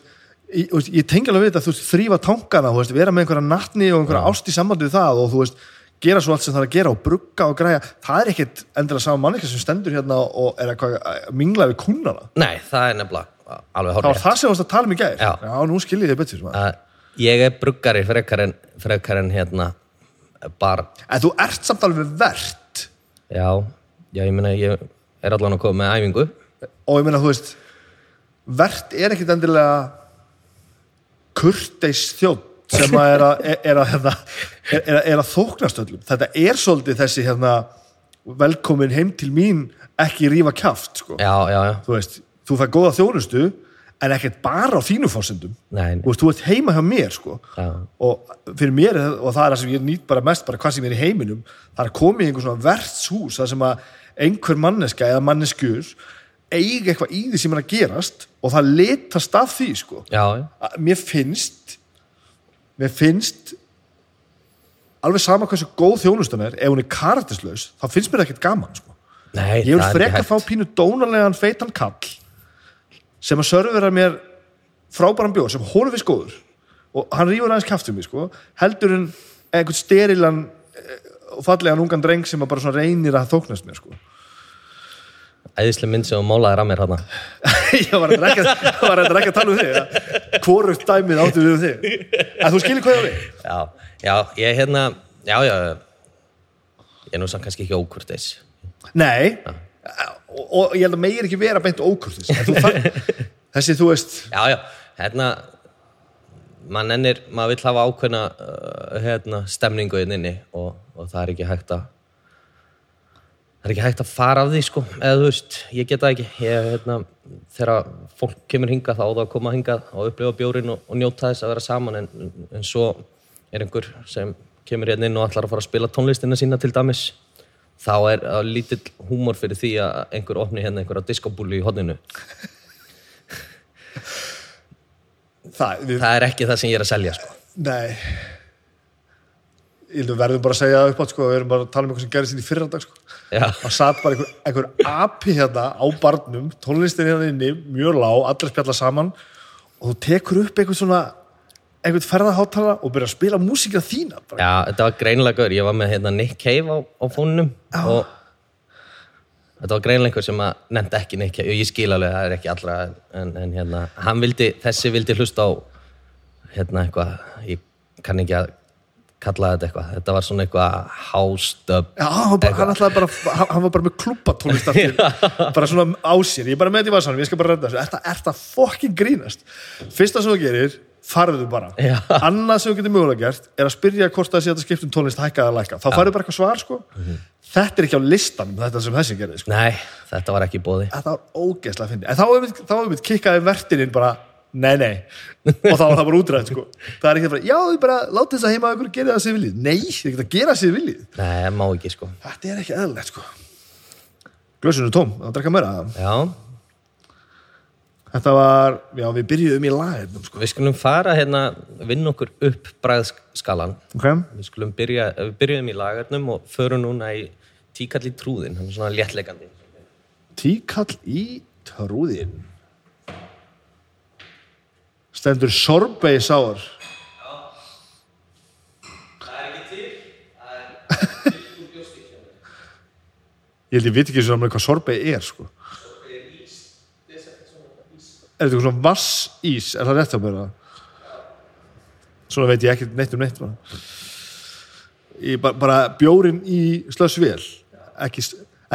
Speaker 1: ég, þú veist, ég tengi alveg við þetta, þú veist, þrýfa tankana, þú veist, vera með einhverja nattni og einhverja ást í sambandi við það og þú veist, gera svo allt sem það er að gera og brugga og græja, það er ekkert endilega sama mannekja sem stendur hérna og er eitthvað að mingla við kúnana.
Speaker 2: Nei, það er nefnilega alveg
Speaker 1: Það var
Speaker 2: hórrið
Speaker 1: það sem þú varst að tala um í gær.
Speaker 2: Já.
Speaker 1: nú skil ég þig betur. maður.
Speaker 2: að ég er bruggari frekar en, frekar en hérna bar,
Speaker 1: En þú ert samt alveg verðt
Speaker 2: já já, ég meina, ég er allan að koma með æfingu
Speaker 1: og ég meina, þú veist verðt er ekkit endilega kurteis þjótt sem að er að, er að, hérna, er, er, að, er að þóknast öllum þetta er svolítið þessi hérna, velkomin heim til mín ekki rífa kjaft sko.
Speaker 2: já, já, já,
Speaker 1: þú veist, þú fær góða þjónustu en ekkert bara á þínu fórsendum
Speaker 2: nei,
Speaker 1: þú
Speaker 2: nei
Speaker 1: veist, þú ert heima hjá mér sko.
Speaker 2: já,
Speaker 1: og fyrir mér, er það- og það er það sem ég nýt bara mest, bara hvað sem er í heiminum það er að koma í einhver svona vertshús það sem að einhver manneska eða manneskjur eiga eitthvað í því sem er að gerast og það litast af því sko.
Speaker 2: já, já,
Speaker 1: Að mér finnst mér finnst alveg sama hversu góð þjónustan er ef hún er karakterslaus, þá finnst mér það ekkert gaman sko.
Speaker 2: nei
Speaker 1: ég vil
Speaker 2: það er ekki
Speaker 1: frekar
Speaker 2: hægt.
Speaker 1: fá pínu dónarlegan feitan kall sem að servera mér frábæran bjór sem honum finnst góður og hann rífur aðeins kjaft um mig sko heldur en einhvern sterilan eh, og fallegan ungan dreng sem að bara svona reynir að þóknast mér sko
Speaker 2: Æðisleg mynd sem þú málaðir að mér hana
Speaker 1: ég var að drekka, var að drekka að tala um þig ja. hvorugt dæmið áttu við um þig en þú skilir hvað ég á við
Speaker 2: Já, já, ég hérna já, já, ég er nú samt kannski ekki ókurteis
Speaker 1: nei og, og ég held að megir ekki vera beint ókurtis þessi þú veist
Speaker 2: Já, já, hérna mann ennir, maður vill hafa ákveðna uh, hérna, stemningu inn inni og, og það er ekki hægt að það er ekki hægt að fara af því sko, eða þú veist, ég get það ekki ég, hérna, þegar fólk kemur hingað þá á það að koma hingað og upplifa bjórin og, og njóta þess að vera saman en, en svo er einhver sem kemur hérna inn og ætlar að fara að spila tónlistina sína til dæmis þá er á lítill húmor fyrir því að einhver opni hérna einhverja diskobúlu í hodninu
Speaker 1: það, við,
Speaker 2: það er ekki það sem ég er að selja sko.
Speaker 1: nei ég held við verðum bara að segja það upp átt sko, við erum bara að tala um eitthvað sem gerðist hérna í fyrra dag sko.
Speaker 2: Já.
Speaker 1: það satt bara einhver, einhver api hérna á barnum, tónlistin hérna inni mjög lág, allir spjalla saman og þú tekur upp einhvern svona einhvern ferðaháttala og byrjar að spila músíka þína bara.
Speaker 2: Já, þetta var greinilega gaur, ég var með hérna, Nick Cave á, á fónunum og þetta var greinilega einhver sem að nefndi ekki Nick Cave, ég skil alveg að það er ekki allra en, en hérna, hann vildi, þessi vildi hlusta á hérna eitthvað, ég kann ekki að kalla þetta eitthvað, þetta var svona eitthvað hástöp
Speaker 1: Já, hann, bara, hann, ætlaði bara, hann hann var bara með klubbatónlist aftur, bara svona á sér ég er bara með þetta í vasanum, ég skal bara redda þessu Ertu er það fokkin grínast Fyrsta sem þú gerir, farðu bara
Speaker 2: Já.
Speaker 1: Annað sem þú getur mögulega gert er að spyrja hvort það sé að það skipt um tónlist hækkaða að lækka þá farðu bara eitthvað svar sko Þetta er ekki á listanum, þetta sem þessi gerir sko.
Speaker 2: Nei, þetta var ekki í bóði
Speaker 1: Þetta var ógeðslega að finna En þá hefur við- þá hefur við kikkaði vertininn bara Nei, nei, og þá var það bara útrætt sko. Það er ekki bara, já, þið bara látið þess að heima ykkur gera það sér viljið, nei, þið geta að gera sér viljið
Speaker 2: Nei, það má ekki sko
Speaker 1: Þetta er ekki eðlilegt sko Glössun er tóm, það drekka meira
Speaker 2: Já,
Speaker 1: Þetta var, já við byrjuðum í lagernum sko
Speaker 2: við skulum fara hérna vinna okkur upp bræðskalan
Speaker 1: Ok,
Speaker 2: Við skulum byrja, við byrjuðum í lagarnum og förum núna í tíkall í trúðin, hann er svona léttleikandi.
Speaker 1: tíkall í trúðin Stendur sorbei sáar
Speaker 2: Það er ekki til,
Speaker 1: Ég held ég veit ekki svo alveg hvað sorbei er sko Er þetta eitthvað svona vassís? Er það rétt að byrja? Svona veit ég ekki neitt um neitt bara, Ég bara, bara bjórin í slössvél ekki,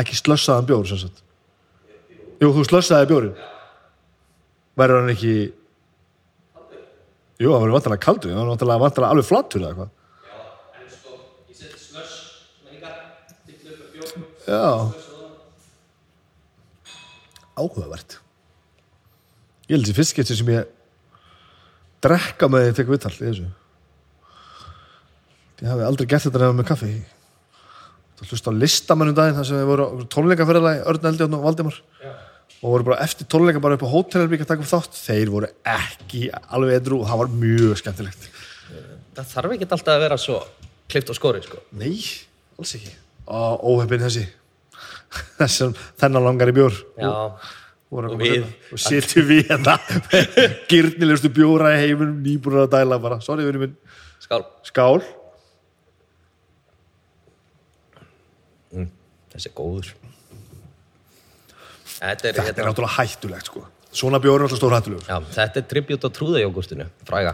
Speaker 1: ekki slössaðan bjór sem sagt Jú, þú slössaði bjórin Verður hann ekki Jú, hann verður vantanlega kaldur hann verður vantanlega, vantanlega alveg flattur eða eitthvað Já Áhugavert Ég held þessi fiskettir sem ég drekka með því að tekja viðtal í þessu Ég hafi aldrei gert þetta nefnum með kaffi Það hlusta á listamennum daginn þar sem við voru á tónleikaferðalagi Örn Eldjón og Valdimar Já. og voru bara eftir tónleika bara upp á hótelherbygg að taka upp þátt þeir voru ekki alveg edru og það var mjög skemmtilegt
Speaker 2: það þarf ekki alltaf að vera svo klift og skori, sko.
Speaker 1: Nei, alls ekki Ó, Óheppin þessi Þessum, þennan langar í bjór
Speaker 2: Já,
Speaker 1: og,
Speaker 2: Og við.
Speaker 1: við hérna. og sitjum við hérna gyrnilegustu bjóra í heiminum nýbúrar að dæla bara, sorry vinnu minn
Speaker 2: skál.
Speaker 1: skál,
Speaker 2: Þessi er góður. Þetta er,
Speaker 1: þetta er
Speaker 2: hérna,
Speaker 1: náttúrulega hættulegt sko svona bjóra er alltaf stór hættulegur
Speaker 2: já, þetta er tribut á trúðajógurtinu, fræga.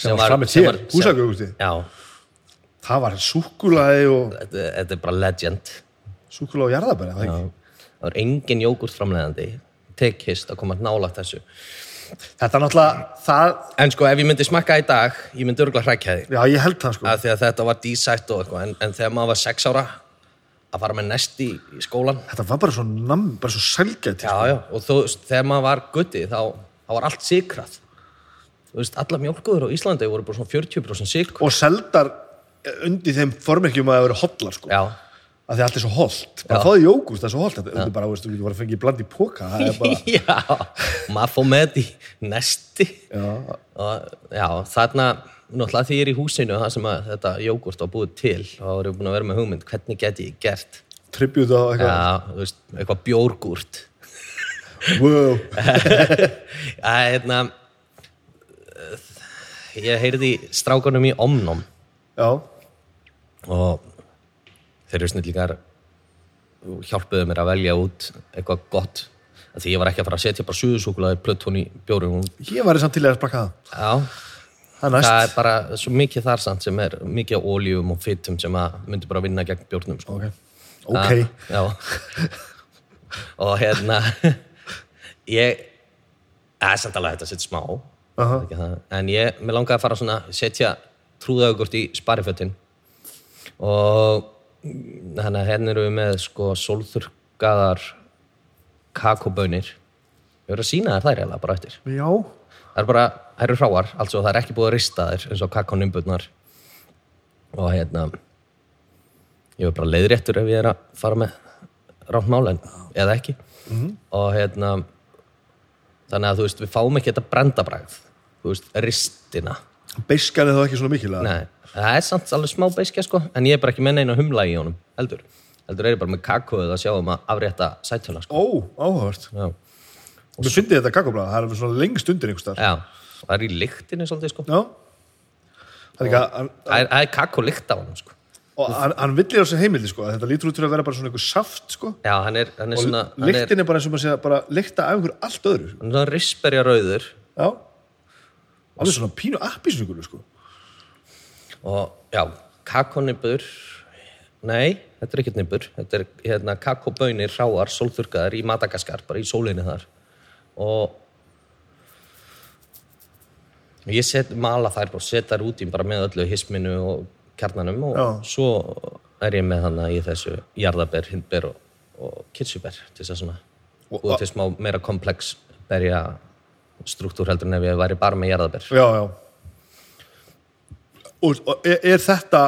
Speaker 1: Sem var framið þér, húsakökustið.
Speaker 2: Já,
Speaker 1: það var súkulaði og
Speaker 2: þetta, þetta er bara legend.
Speaker 1: súkulaði og jarðabæri það, ekki?
Speaker 2: Það er engin jógurtframleðandi, tekist að koma nálagt þessu.
Speaker 1: þetta er náttúrulega, það
Speaker 2: En sko, ef ég myndi smakka í dag, ég myndi örgulega hrækja því.
Speaker 1: já ég held það sko,
Speaker 2: af því að þetta var dísætt og eitthvað en, en þegar maður var sex ára að fara með nesti í, í skólan
Speaker 1: þetta var bara svo nam, bara svo sælgæti
Speaker 2: já, já, og þú veist, þegar maður var gutti þá, þá var allt sikrað þú veist, alla mjólkuður á Íslandi voru bara svona 40% sikr
Speaker 1: og seldar eh, undir þeim formerkjum að það eru hotlar sko
Speaker 2: já,
Speaker 1: að því allt er svo holt, bara
Speaker 2: Já.
Speaker 1: fáði jógúst það er svo holt, þetta er bara, veist, þú getur bara að fengið bland í póka, það er bara
Speaker 2: já maður fór með þetta í nesti
Speaker 1: já,
Speaker 2: og já, þarna náttúrulega því ég er í húsinu það sem að þetta jógurt var búið til þá voru búin að vera með hugmynd, hvernig get ég gert
Speaker 1: tribute á eitthvað,
Speaker 2: já, þú veist, eitthvað bjórgúrt
Speaker 1: wow
Speaker 2: að hérna ég heyrði í strákunum í Omnum
Speaker 1: já,
Speaker 2: og þeir eru snillíkar hjálpuðu mér að velja út eitthvað gott Af því ég var ekki að fara að setja bara suðusúkulaði plötun í bjórum
Speaker 1: Ég væri samt til að sprakka það.
Speaker 2: já,
Speaker 1: Það er næst.
Speaker 2: það er bara svo mikið þar samt sem er mikið af óljum og fytum sem að myndi bara vinna gegn bjórnum sko.
Speaker 1: Ok. Ok.
Speaker 2: Já. og hérna, ég, það er samt alveg hægt að setja smá,
Speaker 1: Aha.
Speaker 2: ekki það, en ég, mér langaði að fara svona, setja trúðaugurt í sparifötin og þannig að hérna eru við með sko sólþurkaðar kakobönir. Ég verður að sína þær þær eiginlega bara eftir.
Speaker 1: Já.
Speaker 2: Það er bara, það eru hráar, altså það er ekki búið að rista þér eins og kakónimbutnar og hérna ég var bara leiðréttur ef ég er að fara með rámt mál en eða ekki og hérna þannig að þú veist, við fáum ekki þetta brendabræð þú veist, ristina
Speaker 1: beiskan er þá ekki svona mikil að
Speaker 2: Nei, það er samt alveg smá beiskja sko en ég er bara ekki með neina humla í honum, heldur heldur er ég bara með kakóið að sjá um að afrétta sættöla sko
Speaker 1: ó, áhugavert
Speaker 2: Já.
Speaker 1: Mér fyndi þetta kakoblaða, það er alveg svona lengst undir einhvers þar.
Speaker 2: Já, það er í lyktinni svolítið sko
Speaker 1: Já. Það er ekki að, hann-
Speaker 2: Það er, það er kakó lykt af honum sko
Speaker 1: og hann, hann villir á sig heimildi sko, að þetta lítur út fyrir að vera bara svona einhver saft sko.
Speaker 2: Já, hann er, hann er
Speaker 1: Og
Speaker 2: svona hann er,
Speaker 1: lyktin er bara eins og maður sé að bara lykta af einhver allt öðru. sko.
Speaker 2: hann er svona risperja rauður
Speaker 1: Já. Alveg svona pínu appisnugulu sko.
Speaker 2: og já, kakónibur Nei, þetta er ekkert nýbur þetta er hérna kakóbönir hráar sólþurkaðar í Madagaskar, bara í sólinni þar og Og Ég set, mala þær bara, set þær út í bara með öllu hisminu og kjarnanum og
Speaker 1: Já.
Speaker 2: svo er ég með hana í þessu jarðaber, hindber og, og kirsuber til þess að svona
Speaker 1: Og-
Speaker 2: búið til smá meira komplex berja struktúr heldur en ef ég væri bara með jarðaber.
Speaker 1: Já, já. Og, og er, er þetta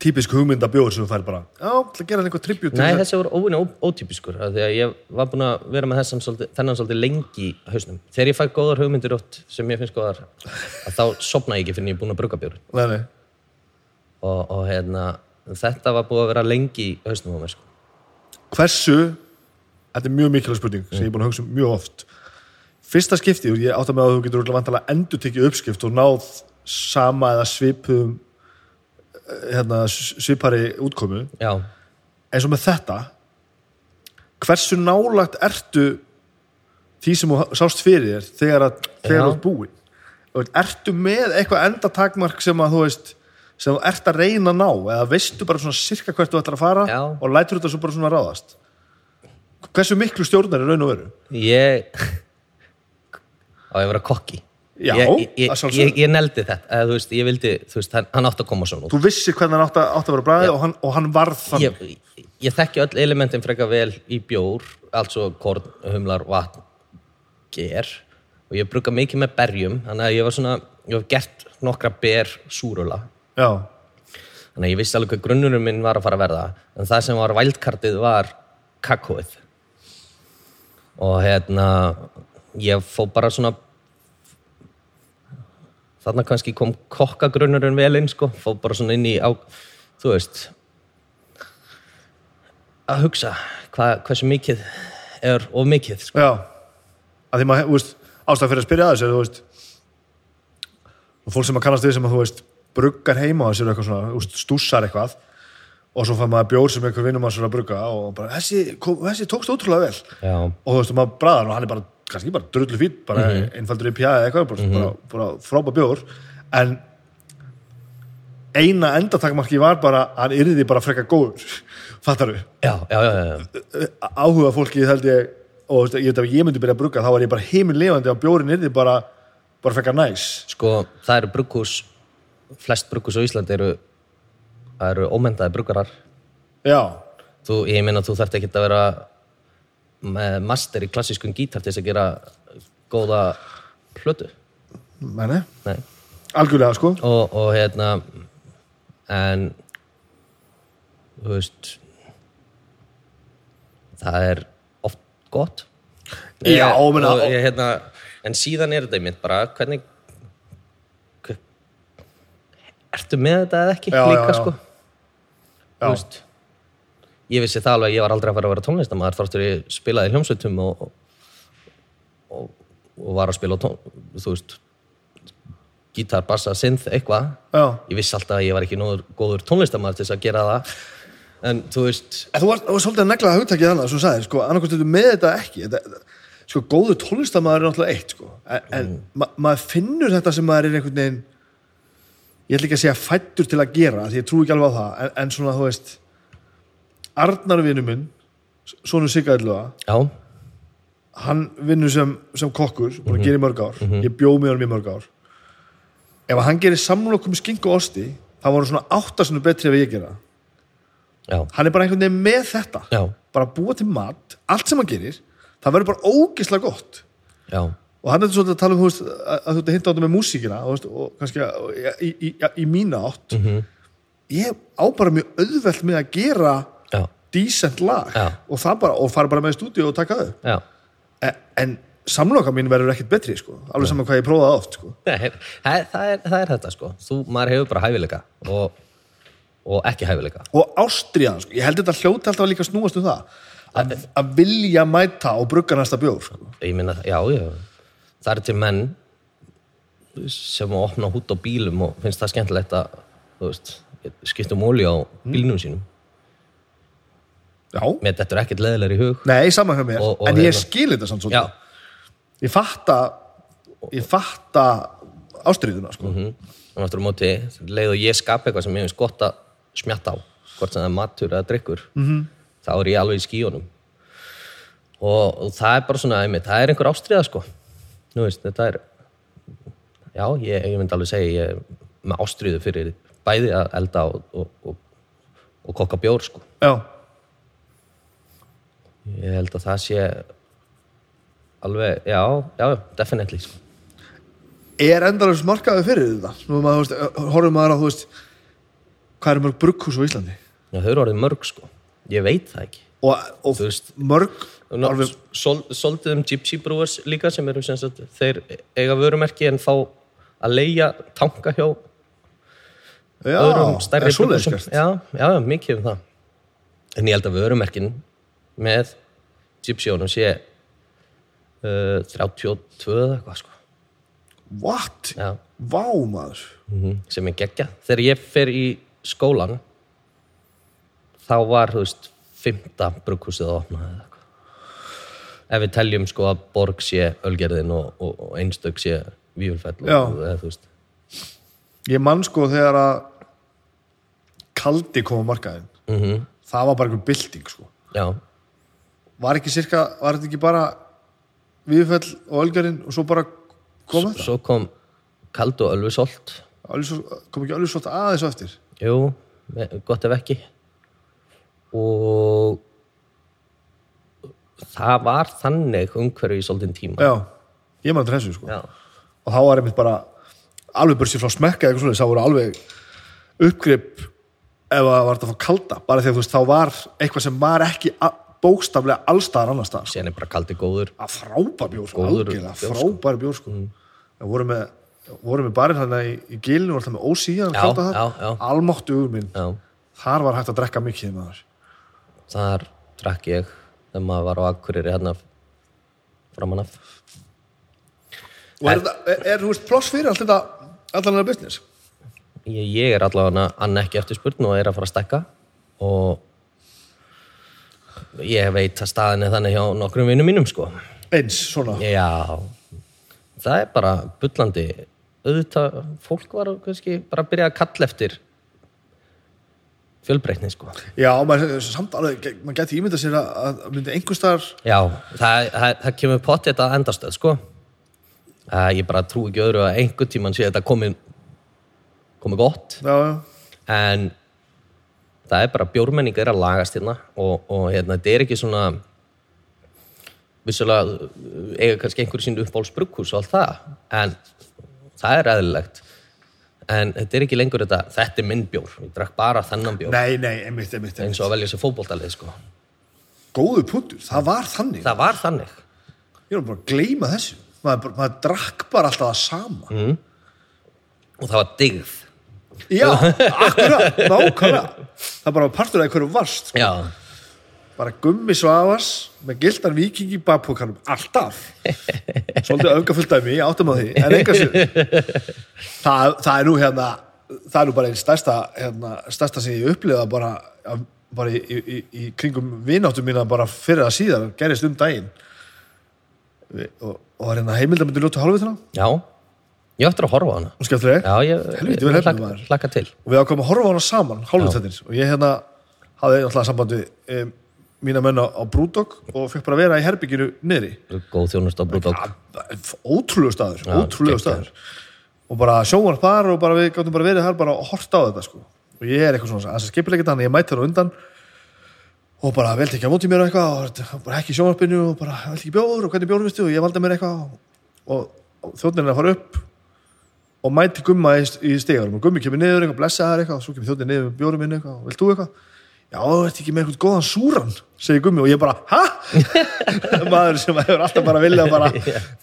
Speaker 1: típisk hugmyndabjóður sem þú fær bara, já, það gera hann einhver tribut
Speaker 2: Nei, þessi voru óvinni ótypiskur af því að ég var búin að vera með þessan svolítið, þennan svolítið lengi í hausnum. Þegar ég fæ góðar hugmyndir ótt sem ég finnst góðar, að þá sopna ég ekki fyrir en ég er búin að bruka bjórn.
Speaker 1: Nei, nei.
Speaker 2: Og, og hérna, þetta var búið að vera lengi í hausnum á mér, sko.
Speaker 1: hversu þetta er mjög mikilvæg spurning sem ég er búin að hugsa um mjög oft fyrsta skipti og ég átta með að þú getur vantalega endur tekið uppskipt og náð sama eða svipum eh, hérna, s- svipari útkomu
Speaker 2: Já,
Speaker 1: eins og með þetta hversu nálagt ertu því sem þú sást fyrir þér þegar að
Speaker 2: Já.
Speaker 1: þegar þú ert búin Og ertu með eitthvað endatakmark sem að þú veist sem þú ert að reyna að ná eða veistu bara svona sirka hvert þú ætlar að fara
Speaker 2: Já.
Speaker 1: og lætur þetta svo bara svona ráðast hversu miklu stjórnar er raun og veru
Speaker 2: ég... Á, ég að vera kokki.
Speaker 1: Já,
Speaker 2: ég, ég,
Speaker 1: að
Speaker 2: ég,
Speaker 1: sjálfsögðu.
Speaker 2: ég, ég neldi þetta, eða þú veist, ég vildi, þú veist, hann, hann átti að koma svona út.
Speaker 1: þú vissir hvernig hann átt að, átt að vera bræðið og, hann- og hann varð þannig
Speaker 2: ég, ég þekki öll elementin frekar vel í bjór, altså korn, humlar, vatn, ger og ég brugga mikið með berjum þannig að ég var svona, ég hef gert nokkra ber súrula,
Speaker 1: já,
Speaker 2: þannig að ég vissi alveg hvað grunnurum minn var að fara að verða, en það sem var vældkartið var kakóið og hérna ég fó bara svona þarna kannski kom kokkagrunnurinn vel inn sko, fó bara svona inn í á, þú veist að hugsa hva, hversu mikið er of mikið sko.
Speaker 1: já að því maður, þú veist, ástæð fyrir að spyrja að þessu er, þú veist og fólk sem að kannast því sem að þú veist bruggar heima á þessu eitthvað svona, þú veist, stússar eitthvað og svo fann maður bjór sem einhver vinnum að svona brugga og bara, þessi, kom, þessi tókst ótrúlega vel
Speaker 2: já,
Speaker 1: og þú veist, og maður bræðar og hann er bara, kannski bara drullu fýtt, bara einfaldur IPA eða eitthvað, bara, bara, bara frábær bjór en eina endatakmarki var bara að hann yrði bara frekka góður fattar við,
Speaker 2: já, já, já, já, já.
Speaker 1: áhuga fólki held ég, og þú veist, ég, veit að ef ég myndi byrja að brugga, þá var ég bara heimilefandi að bjórin yrði bara, bara frekka næs
Speaker 2: sko, það eru brugghús flest brugghús á Íslandi eru það eru ómentaði bruggarar
Speaker 1: já,
Speaker 2: þú, ég meina þú þarft ekki að vera með master í klassískum gítar til þess að gera góða plötu
Speaker 1: meni
Speaker 2: Nei.
Speaker 1: algjörlega sko,
Speaker 2: og, og hérna en þú veist það er oft gott
Speaker 1: Já,
Speaker 2: Ég-
Speaker 1: meina,
Speaker 2: og
Speaker 1: og-
Speaker 2: ég, hérna, en síðan er þetta einmitt bara hvernig hver, ertu með þetta eða ekki
Speaker 1: Já,
Speaker 2: líka
Speaker 1: já, já.
Speaker 2: sko
Speaker 1: Já.
Speaker 2: Þú veist, ég vissi það alveg að ég var aldrei að fara að vera tónlistamæður þáttur ég spilaði í hljómsveitum og, og, og var að spila á tón, þú veist gítar, bassa, synth, eitthvað
Speaker 1: já
Speaker 2: ég vissi alltaf að ég var ekki nóður góður tónlistamæður til þess að gera það en þú veist,
Speaker 1: En Þú varst, þú varst svolítið að negla það hugtakið þannig sem þú sagði, sko, annarkvæmst þetta með þetta ekki þetta, sko, góður tónlistamæður er náttúrulega eitt, sko, en, en ma maður finnur þetta sem maður er einhvern veginn ég ætla ekki að segja fættur til að gera því ég trú ekki alveg á það, en, en svona þú veist Arnarvinu minn Sónu Siggaðilua
Speaker 2: já,
Speaker 1: hann vinnur sem, sem kokkur og hann gerir í mörg ár,
Speaker 2: Mhm.
Speaker 1: ég bjó með honum í mörg ár ef hann gerir samlokum með skinku og osti, þá var hann svona áttasunum betri ef ég gera það
Speaker 2: já,
Speaker 1: hann er bara einhvern veginn með þetta
Speaker 2: Já.
Speaker 1: bara að búa til mat, allt sem hann gerir það verður bara ógislega gott
Speaker 2: já
Speaker 1: og hann er svolítið að tala um þú veist,
Speaker 2: Mhm.
Speaker 1: að, að þú ert að hinta á þetta með músíkina þú veist, og kannski að, í, í, í, í mína átt ég á bara mjög auðvelt með að gera
Speaker 2: Já.
Speaker 1: decent lag
Speaker 2: Já.
Speaker 1: og, það bara, og fara bara með í stúdíu og taka þau
Speaker 2: já.
Speaker 1: en, en samloka mín verður ekkert betri sko. alveg saman hvað ég prófaði oft sko.
Speaker 2: Nei, það, er, það, er, það er þetta sko þú, maður hefur bara hæfileika og, og ekki hæfileika
Speaker 1: og ástriðan, sko. ég held þetta hljóti alltaf líka að snúast um það að, að vilja mæta og brugga næsta bjór sko.
Speaker 2: ég minna, já, já það eru til menn sem opna hút á bílum og finnst það skemmtilegt að þú veist, skipta um olja á bílnum sínum
Speaker 1: já,
Speaker 2: mér þetta er ekkert leðilegar í hug
Speaker 1: nei, saman hjá mér
Speaker 2: Og- og
Speaker 1: en ég
Speaker 2: hérna-
Speaker 1: skil þetta samt svolítið
Speaker 2: já,
Speaker 1: ég fatta ég fatta ástriðuna sko.
Speaker 2: Mhm. og náttúrulega móti leið og ég skapa eitthvað sem ég finnst gott að smjatta á hvort sem það er matur eða drikkur -hmm. þá er ég alveg í skíunum og, og það er bara svona einmitt, það er einhver ástriða sko nú veist, þetta er já, ég, ég myndi alveg segja ég er með ástriðu fyrir bæði að elda og, og, og, og kokka bjór sko
Speaker 1: já,
Speaker 2: ég held að það sé alveg, já, já, já, definitely sko.
Speaker 1: er endalega markaði fyrir þetta Nú er maður, þú veist, horfum maður á þú veist, hvað eru mörg brugghús á Íslandi
Speaker 2: já, þau eru orðið mörg sko ég veit það ekki
Speaker 1: og, og
Speaker 2: Þú veist-
Speaker 1: mörg
Speaker 2: Ná,
Speaker 1: alveg,
Speaker 2: sol, soldið um Gypsy Brewers líka sem eru sem sagt, þeir eiga vörumerki en þá að leia tanka hjá
Speaker 1: já,
Speaker 2: öðrum stærri
Speaker 1: er svoleiðis
Speaker 2: brugghúsum.
Speaker 1: gert?
Speaker 2: já, já, já, mikið um það en ég held að vörumerkin með Gypsyónum sé uh, 32 eða eitthvað sko
Speaker 1: what,
Speaker 2: já,
Speaker 1: vá maður
Speaker 2: mhm, sem er geggja þegar ég fer í skólan þá var, þú veist, fymta brugghúsið að opna eða eitthvað ef við teljum sko að borg sé ölgerðin og, og, og einstök sé vífulfell og,
Speaker 1: Já.
Speaker 2: og, eða, þú veist
Speaker 1: ég mann sko þegar að kaldi kom á markaðin -hmm. það var bara einhver bylting sko.
Speaker 2: já,
Speaker 1: var ekki cirka, var þetta ekki bara viðfell og ölgerinn og svo bara kom þetta
Speaker 2: svo kom kald og ölfusolt
Speaker 1: Ölfusá- kom ekki alveg svolítið aðeins á eftir
Speaker 2: jú, me- gott ef ekki og það var þannig umhverju í svolítinn tíma
Speaker 1: já, ég mann þessu sko.
Speaker 2: já,
Speaker 1: og þá var einmitt bara alveg börsið frá smekka eða eitthvað svolítið, þá voru alveg uppgrip ef að var þetta að fá kalda bara þegar þú veist, þá var eitthvað sem var ekki a- bókstaflega allstaðar annars staðar sko.
Speaker 2: síðan er bara kaldi góður
Speaker 1: að frábær bjór, sko,
Speaker 2: Góður
Speaker 1: algjörlega
Speaker 2: bjór, sko.
Speaker 1: frábær bjór sko. mm. voru með voru með barinn hann í, í gilinu og alltaf með ósíðan
Speaker 2: Já,
Speaker 1: kalda
Speaker 2: já, já.
Speaker 1: það, almáttu hugur minn
Speaker 2: já
Speaker 1: þar var hægt að drekka mikið maður
Speaker 2: þar drakk ég þegar maður var á Akureyri hérna framan af
Speaker 1: og er, er, er, er þú veist, ploss fyrir allt þetta allan er business
Speaker 2: ég, ég er allavega ann ekki eftir spurn og er að fara að stekka og ég veit að staðin er þannig hjá nokkrum vinnum mínum sko
Speaker 1: eins, svona
Speaker 2: já það er bara bullandi auðvitað fólk var kannski bara að byrja að kalla eftir fjölbreytni sko
Speaker 1: Já, maður, eh, samt alveg, maður geti ímyndað sér að, að myndi einhver staðar
Speaker 2: já, það, það, það kemur potið að endastöð sko að ég bara trú ekki öðru að einhvern tíman sé þetta komið komið gott
Speaker 1: Já, já,
Speaker 2: en það er bara bjórmenning er að lagast hérna og, og hérna, þetta er ekki svona vissulega uh, eiga kannski einhverjum sín uppáhalds brugghús og allt það en það er eðlilegt en þetta er ekki lengur þetta þetta er minn bjór, ég drakk bara þennan bjór
Speaker 1: nei, nei, einmitt, einmitt, einmitt.
Speaker 2: eins og að velja sér fótboltalið sko
Speaker 1: Góðu punktur, það var þannig
Speaker 2: það var þannig
Speaker 1: Ég var bara að gleyma þessu maður, bara- maður drakk bara alltaf það sama
Speaker 2: og það var digð
Speaker 1: Já, akkurat, nákvæmlega Það bara var partur af hverju varst sko.
Speaker 2: já,
Speaker 1: Bara gummi svafas með gildan viking í bakpokanum Alltaf Svolítið öfgafullt af mig, ég áttum á því En enga sér það, það er nú hérna Það er nú bara einn stærsta, hérna, stærsta sem ég upplifa bara, að- bara í, í, í, í kringum vináttum mína bara fyrir að síðan gerist um daginn Vi- og, og var hérna heimildamöndu ljótu hálfið þarna
Speaker 2: já ég ætti að horfa á hana
Speaker 1: og skemmtileg
Speaker 2: já, ég,
Speaker 1: Helvíti, vel
Speaker 2: ég
Speaker 1: heppnuð
Speaker 2: hlakka,
Speaker 1: maður.
Speaker 2: hlakka til
Speaker 1: og við ákvæmum að horfa á hana saman hálfið þettir og ég hérna hafði alltaf samband við um, mína menn á, á Brúdok og fekk bara að vera í herbygginu niðri
Speaker 2: góð þjónust á Brúdók
Speaker 1: ótrúlegu staður,
Speaker 2: Já,
Speaker 1: ótrúlegu
Speaker 2: geggjaður.
Speaker 1: staður og bara sjónvarp þar og bara við gáttum bara verið þar bara og horta á þetta sko og ég er eitthvað svona, þess að skipilegget hann, ég mæti hann undan og bara veldi ekki á móti mér og eitthvað og bara ekki í sjónvarpinu og bara veldi ekki bjóður og hvernig bjóður vistu og ég valda mér eitthvað og, og þjóðnin er að fara upp og mæti gumma í, í stegarum og gummi kemur niður eitthvað, blessa það eitthvað og svo kemur þjóttin niður með bjórum inn eitthvað, vilt þú eitthvað? Já, þú ert ekki með eitthvað góðan súran, segir gummi og ég bara, hæ? Maður sem hefur alltaf bara viljað bara,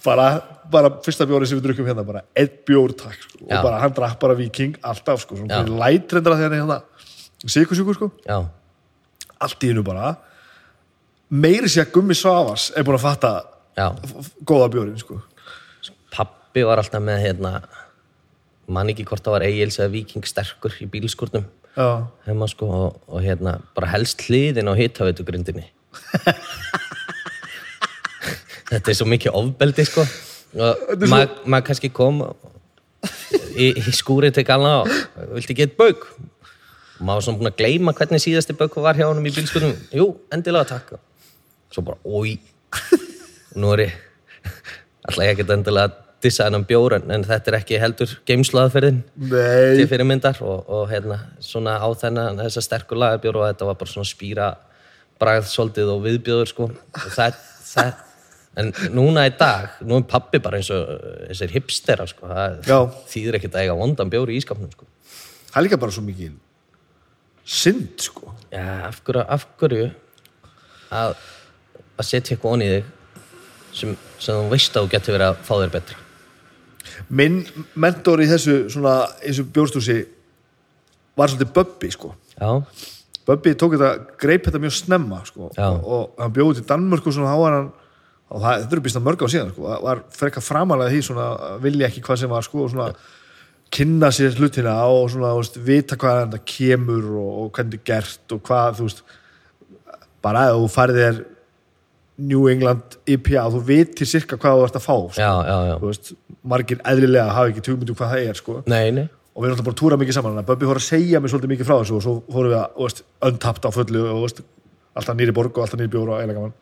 Speaker 1: bara, bara fyrsta bjóri sem við drukum hérna, bara einn bjór takk sko, og
Speaker 2: Já.
Speaker 1: bara hann drakk bara viking alltaf sko,
Speaker 2: Já.
Speaker 1: svona lætrendra þegar hann er hérna sikursjúkur sko,
Speaker 2: já,
Speaker 1: allt í hennu bara meiri sér að gummi Svavars er búin að fatta
Speaker 2: já.
Speaker 1: f- f- góða bjórin sko.
Speaker 2: Pappi var alltaf með, hérna, mann ekki hvort það var Egil's eða Viking sterkur í bílskurnum
Speaker 1: Já.
Speaker 2: heima sko og, og hérna bara helst hliðin á hitaveitugrindinni þetta er svo mikið ofbeldi sko og maður mað kannski kom í, í skúrið til galna og vilti geta bauk og maður var svona búin að gleyma hvernig síðasti bauk var hjá honum í bílskutum jú, endilega takk svo bara, oi nú er ég alltaf ég get endilega að dissa hennan bjór en, en þetta er ekki heldur geimslaðferðin
Speaker 1: Nei,
Speaker 2: til fyrirmyndar og, og hérna, svona á þennan þessa sterkur lagarbjór og þetta var bara svona spýra bragð svolítið og viðbjóður sko og það, það en núna í dag, nú er pappi bara eins og uh, þessir hipstera sko það
Speaker 1: Já.
Speaker 2: þýðir ekkert að eiga vondan bjór í ískapnum sko
Speaker 1: það er líka bara svo mikið synd sko.
Speaker 2: Já, af hverju, af hverju að, að setja eitthvað onni í þig sem, sem þú veist að þú getur verið að fá þér betra
Speaker 1: Minn mentor í þessu, svona, í þessu bjórstúsi var svolítið Böbbi sko.
Speaker 2: Já,
Speaker 1: Böbbi tók þetta, greip þetta mjög snemma sko.
Speaker 2: Já.
Speaker 1: og, og hann bjóði til Danmörku svona háan hann og það, þetta eru býst að mörg á síðan sko. var frekka framalega því svona að vilja ekki hvað sem var sko, og svona kynna sér hlutina og svona þú veist, vita hvað þetta kemur og, og hvernig þetta er gert og hvað þú veist bara að þú farið þér New England IPA þú vitir sirka hvað þú ert að fá sko.
Speaker 2: já, já, já
Speaker 1: þú veist, margir eðlilega hafa ekki tugmyndu hvað það er sko.
Speaker 2: Nei, nei,
Speaker 1: og við erum alltaf bara að túra mikið saman þannig að Böbbi fór að segja mér svolítið mikið frá þessu og svo fórum við að þú veist, öntapt á fullu og þú veist, alltaf nýri borg og alltaf nýri bjór og eiginlega gaman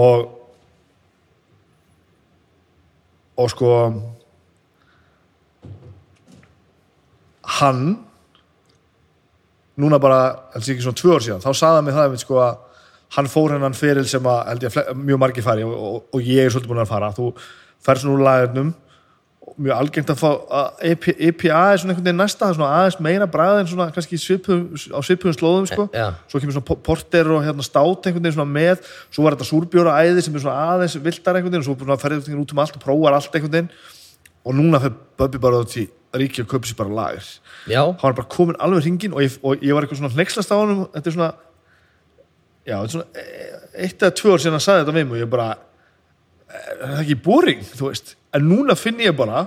Speaker 1: og og sko hann núna bara, held ég ekki svona tvö ár síðan þá saði hann mig það einmitt sko að hann fór hennan feril sem að held ég að fle- mjög margir fari og, og, og ég er svolítið búin að fara þú ferð svona úr lagarnum mjög algengt að fá að E EP, EPA er svona einhvern veginn næsta, það er svona aðeins meira bræð en svona kannski svipum, á svipuðum slóðum sko.
Speaker 2: E- já.
Speaker 1: svo kemur svona po- porter og hérna stát einhvern veginn svona með, svo var þetta súrbjóra æði sem er svona aðeins viltar einhvern veginn og svo bara ferði einhvern veginn út um allt og prófar allt einhvern veginn og núna fer Böbbi bara út í ríki og köpsi bara lagur
Speaker 2: já,
Speaker 1: hann var bara komin alveg hringin og ég, og ég var eitthvað svona hneikslast á honum þetta er svona já, þetta er svona e- eitt eða tvö ár síðan að sagði þetta við mig og ég bara er það ekki boring, þú veist en núna finn ég bara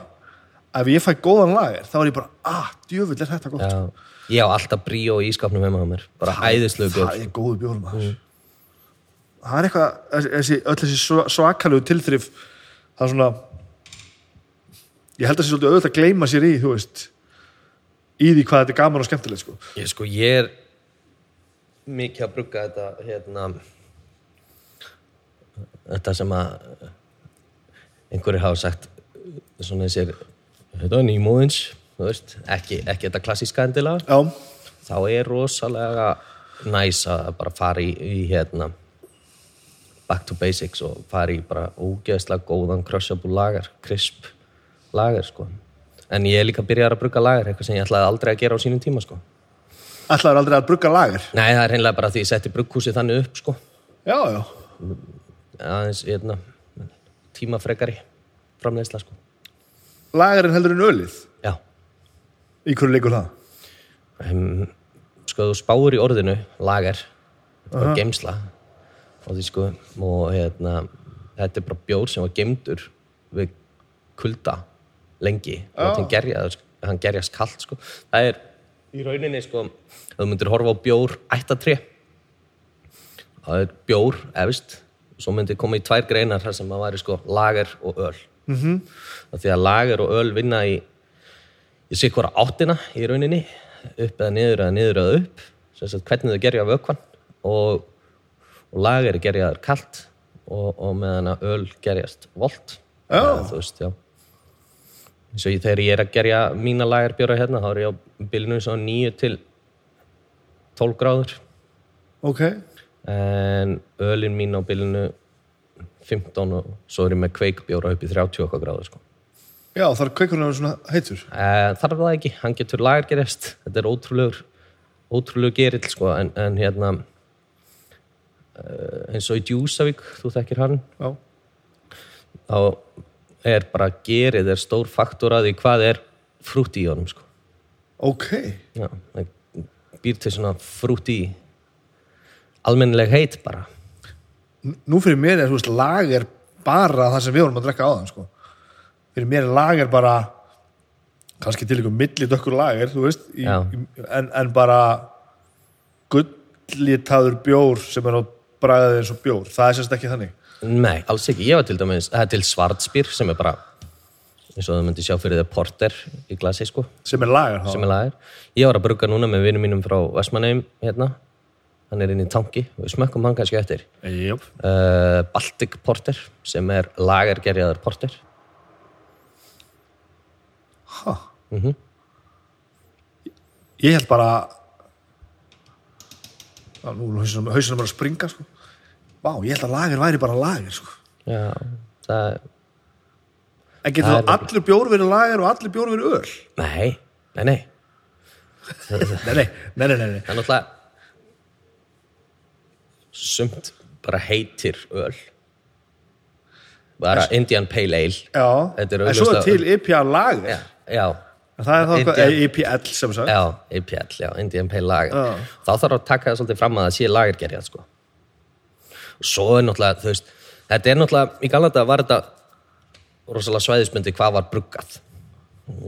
Speaker 1: að ef ég fæ góðan lager, þá er ég bara ah, djöfull er þetta gott,
Speaker 2: já Ég á alltaf bríó í ískapnum heima á mér bara æðislu bjór
Speaker 1: það er góðu bjórum mm. það er eitthvað þessi- þessi, öll þessi sva- svakalegu tilþrif það er svona ég held að það sé svolítið auðvitað að gleyma sér í þú veist í því hvað þetta er gaman og skemmtilegt sko.
Speaker 2: Ég sko, ég er mikið að brugga þetta hérna þetta sem að einhverjir hafa sagt svona þessir þetta er nýmóðins, hérna, þú veist ekki, ekki þetta klassíska endilega
Speaker 1: já,
Speaker 2: þá er rosalega næs að bara fara í, í hérna back to basics og fara í bara ógeðslega góðan crushable lager, crisp lager sko en ég er líka byrjar að brugga lager, eitthvað sem ég ætlaði aldrei að gera á sínum tíma sko
Speaker 1: ætlaður aldrei að brugga lager
Speaker 2: Nei, það er reynilega bara því ég setti brugghúsið þannig upp, sko.
Speaker 1: já, já,
Speaker 2: Aðeins, hérna, tímafrekari framleiðsla, sko.
Speaker 1: lagerinn heldur en ölið
Speaker 2: Já.
Speaker 1: í hverju leikur það
Speaker 2: Um, sko, þú spáir í orðinu, lager, og geimsla, og því, sko, og hérna, þetta er bara bjór sem var geimdur við kulda lengi. Og hann gerjast, hann gerjast kallt, sko. Það er í rauninni, sko, ef þú myndir horfa á bjór ættatré, það er bjór, efist svo myndi koma í tvær greinar þar sem að væri sko lager og öl mm -hmm. því að lager og öl vinna í ég sé hvora áttina í rauninni upp eða niður eða niður eða upp sem sagt hvernig þau gerja vökvann og, og lager gerjaður kalt og, og meðan að öl gerjast volt
Speaker 1: Já.
Speaker 2: Eða, þú veist, já eins og ég, þegar ég er að gerja mína lagerbjóra hérna þá er ég á bylnu svo 9 til 12 gráður
Speaker 1: ok,
Speaker 2: en ölin mín á bylunu 15 og svo er ég með kveikbjóra upp í 30 okkar gráður sko.
Speaker 1: Já, þar er kveikurinn að vera svona heitur.
Speaker 2: Eh, þarf það ekki, hann getur lagargerist þetta er ótrúlegur ótrúlegur gerill sko, en, en hérna eh, eins og í Djúsavík, þú þekkir hann
Speaker 1: Já.
Speaker 2: þá er bara gerið er stór faktor að því hvað er frútt í honum sko.
Speaker 1: Ok.
Speaker 2: Já, það býr til svona frútt í almennileg heit bara
Speaker 1: N- Nú fyrir mér er, þú veist, lag er bara það sem við vorum að drekka áðan, sko. Fyrir mér er lag er bara, kannski til ykkur milli dökkur lager, þú veist, í,
Speaker 2: Já.
Speaker 1: í, en, en bara gullitaður bjór sem er á bræðið eins og bjór. Það er sérst ekki þannig.
Speaker 2: nei, alls ekki, ég var til dæmis það er til svartspýr sem er bara eins og þau myndi sjá fyrir þau porter í glasi sko
Speaker 1: Sem er lager, þá.
Speaker 2: sem er lager. Ég var að brugga núna með vinnum mínum frá Vestmanneum hérna. Hann er inn í tanki, við smökkum hann kannski eftir.
Speaker 1: Jöp.
Speaker 2: Uh, Baltic Porter, sem er lagergerjaður porter.
Speaker 1: Ha. Ég held bara Já, nú er hausinn hausinn bara að springa sko. Vá, ég held að lager væri bara lager sko.
Speaker 2: Já, það...
Speaker 1: En getur þá allir bjór verið lager og allir bjór verið öl?
Speaker 2: Nei, nei, nei.
Speaker 1: Nei, nei, nei, nei,
Speaker 2: Það
Speaker 1: nei, nei.
Speaker 2: er náttúrulega... Sumt bara heitir öl. Bara Indian Pale Ale.
Speaker 1: Já,
Speaker 2: Þetta er
Speaker 1: en svo er
Speaker 2: augljóslega-
Speaker 1: til IPA lager
Speaker 2: Já, já.
Speaker 1: En það er þá eitthvað,
Speaker 2: Indian-
Speaker 1: eh, IPL sem sagt
Speaker 2: Já, IPL, já, Indian Pale Lager
Speaker 1: Já.
Speaker 2: þá þarf að taka það svolítið fram að það sé lagergerjað sko. og svo er náttúrulega þú veist, þetta er náttúrulega í galanda var þetta rosalega svæðismyndi hvað var bruggað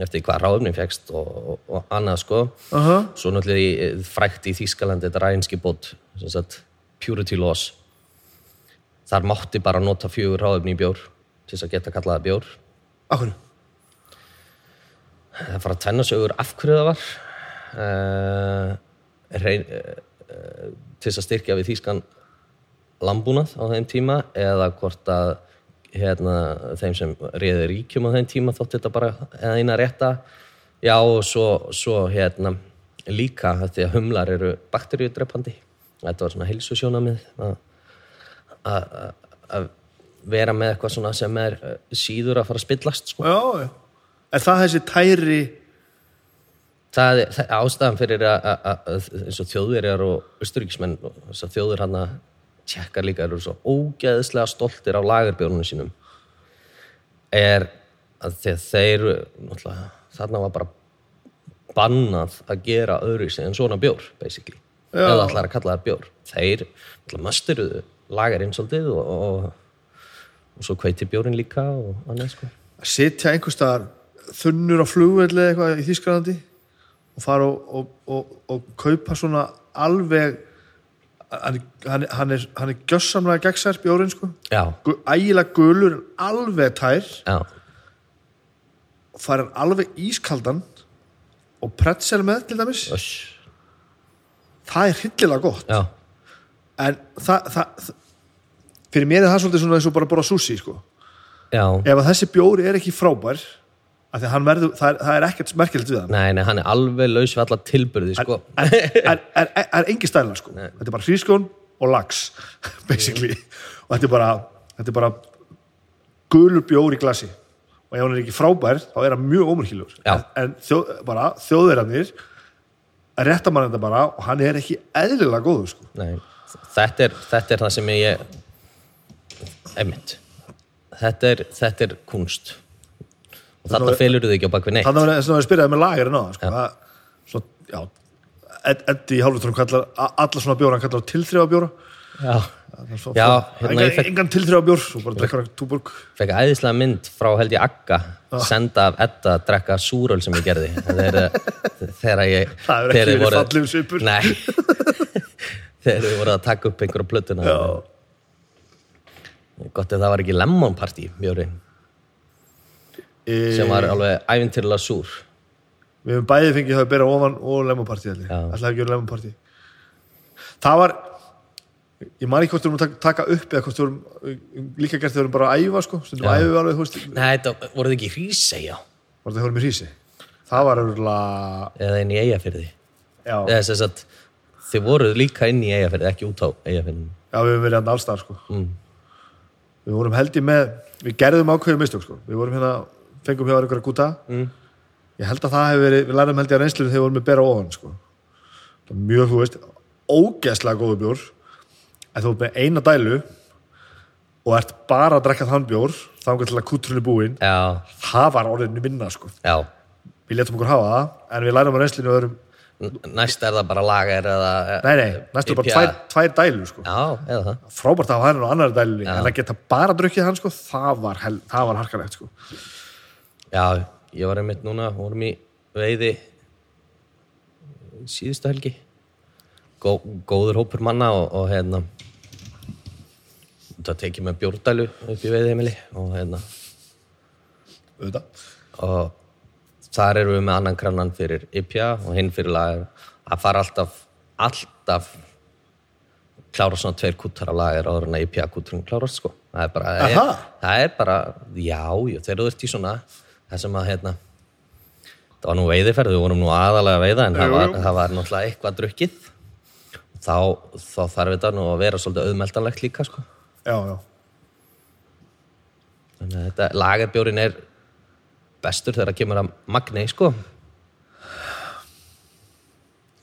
Speaker 2: eftir hvað ráðumni fegst og, og, og annað sko
Speaker 1: Aha.
Speaker 2: svo náttúrulega í- eh, frækt í Þýskalandi þetta rænski bót, sem sagt purity laws þar mátti bara nota fjögur ráðumni í bjór til þess að geta kallaða bjór
Speaker 1: Akkur,
Speaker 2: það fara að tvenna sögur af hverju það var uh, reyn, uh, til þess að styrkja við þýskan lambúnað á þeim tíma eða hvort að hérna, þeim sem réði ríkjum á þeim tíma þótti þetta bara eða eina rétta já og svo, svo hérna, líka af því að humlar eru bakteríudrepandi þetta var svona heilsusjónamið að að- að vera með eitthvað svona sem er eh, síður að fara að spillast sko.
Speaker 1: já, já En það þessi tæri
Speaker 2: það er það er ástæðan fyrir að- að að- að- eins og þjóðverjar og austuríkismenn og þess að þjóður hann að tjekkar líka eru svo ógeðslega stoltir á lagerbjörnunum sínum er að þeir, þeir náttúrulega, þarna var bara bannað að gera öðru en svona bjór, basically
Speaker 1: Já.
Speaker 2: eða allar að kalla það bjór þeir náttúrulega masteruðu lagerinn svolítið og, og, og svo kveiti bjórin líka og annað sko
Speaker 1: að sitja einhverstaðar þunnur á flugvelli eða eitthvað í Þýskalandi og fara og, og, og, og kaupa svona alveg hann, hann, hann er, hann er gjössamlega gegnsær bjórin sko
Speaker 2: já,
Speaker 1: Gu- ægilega gulur en alveg tær
Speaker 2: já,
Speaker 1: og fara hann alveg ískaldan og pretzel með til dæmis
Speaker 2: öss,
Speaker 1: það er hryllilega gott
Speaker 2: já
Speaker 1: en það, það, það fyrir mér er það svolítið svona eins og bara bara sushi sko
Speaker 2: já,
Speaker 1: ef að þessi bjóri er ekki frábær af því að hann verður, það er, það er ekkert merkilegt við hann
Speaker 2: Nei, nei, hann er alveg laus við alla tilburði, sko.
Speaker 1: er, er, er, er engi stæla sko. þetta er bara hrískjón og lax basically og þetta er bara, þetta er bara gulur bjór í glasi og ef hann er ekki frábær þá er hann mjög ómurkilegur
Speaker 2: Já.
Speaker 1: en, en þjóð, bara, þjóðverðanir rétta mann þetta bara og hann er ekki eðlilega góður sko.
Speaker 2: Nei, þetta er, þetta er það sem ég, einmitt, þetta er, þetta er kunst. Og þarna felur þið ekki á bakvið neitt.
Speaker 1: þannig að þess að við spyrjaði með lagerinn á það, sko. það, svo, já Ed- Eddi í hálfutunum kallar a- alla svona bjóra hann kallar tilþrifa bjóra
Speaker 2: Já, já hérna ég
Speaker 1: engan,
Speaker 2: fekk,
Speaker 1: engan tilþrifa bjór og bara drekkar hann túborg
Speaker 2: fekk æðislega mynd frá held ég Akka,
Speaker 1: Ah.
Speaker 2: senda af Edda að drekka súröl sem ég gerði. Þegar, þegar ég...
Speaker 1: Það
Speaker 2: þegar þið
Speaker 1: hefur ekki verið
Speaker 2: voruð-
Speaker 1: fallegur svipur.
Speaker 2: Nei, þegar þið voru að taka upp einhverja plötuna.
Speaker 1: Já.
Speaker 2: Gott ef það var ekki lemon party, bjórið.
Speaker 1: e,
Speaker 2: sem var alveg ævintýrlega súr
Speaker 1: Við hefum bæði fengið það að bera ofan og lemmapartí allir.
Speaker 2: Já.
Speaker 1: Alltaf ekki verið lemmapartí. Það var, ég man ekki hvort við vorum að taka- taka upp eða hvort við vorum líka gert þegar við vorum bara að æfa, sko. Stundum æfum við alveg, þú veist,
Speaker 2: Nei, þetta voruð ekki hrísa, já
Speaker 1: var þetta hjálpum í hrísi. Það var örgulega,
Speaker 2: eða inn í eigafyrði
Speaker 1: já,
Speaker 2: eða þess að þið voruð líka inn í eigafyrði ekki út á eigafyrðin
Speaker 1: já, við hefum verið hann allstað, sko. Við vorum held ég með, við gerðum ákveðið mistök, sko. Við vorum hérna fengum hjá einhverja gúta ég held að það hefur verið, við lærum held ég að reynslunum þegar við vorum með bera ofan sko. Það var mjög, þú veist, ógeðslega góðu bjór en þú ert með eina dælu og ert bara að drekka þann bjór þangar til að kútrunni búin
Speaker 2: já,
Speaker 1: það var orðinu minna sko.
Speaker 2: já
Speaker 1: við letum okkur hafa það en við lærum að reynslunum og erum
Speaker 2: N- næst er það bara lager eða
Speaker 1: nei, nei, næstu bara
Speaker 2: IPA.
Speaker 1: tvær, tvær dælu sko.
Speaker 2: já, eða það
Speaker 1: frábært að hafa hann á annar dælunni en að geta bara drukkið hann sko, það var, hel, það var harkalegt sko.
Speaker 2: Já, ég var einmitt núna, vorum í veiði síðustu helgi. Gó, góður hópur manna og, og hérna, það tekið með bjórdælu upp í veiðheimili og hérna,
Speaker 1: auðvitað
Speaker 2: og þar erum við með annan krannan fyrir IPA og hinn fyrir lager. Það fara alltaf, alltaf klára svona tveir kútar af lager áður en að IPA kúturinn klárast sko. Það er bara, það er,
Speaker 1: Aha.
Speaker 2: það er bara já, já, þegar þú ert í svona það sem að hérna það var nú veiðiferð, við vorum nú aðalega að veiða en það
Speaker 1: Jú,
Speaker 2: var,
Speaker 1: jú.
Speaker 2: það var náttúrulega eitthvað drukkið þá, þá þarf þetta nú að vera svolítið auðmeldanlegt líka sko.
Speaker 1: já, já,
Speaker 2: Þannig að þetta lagerbjórin er bestur þegar það kemur að magni sko.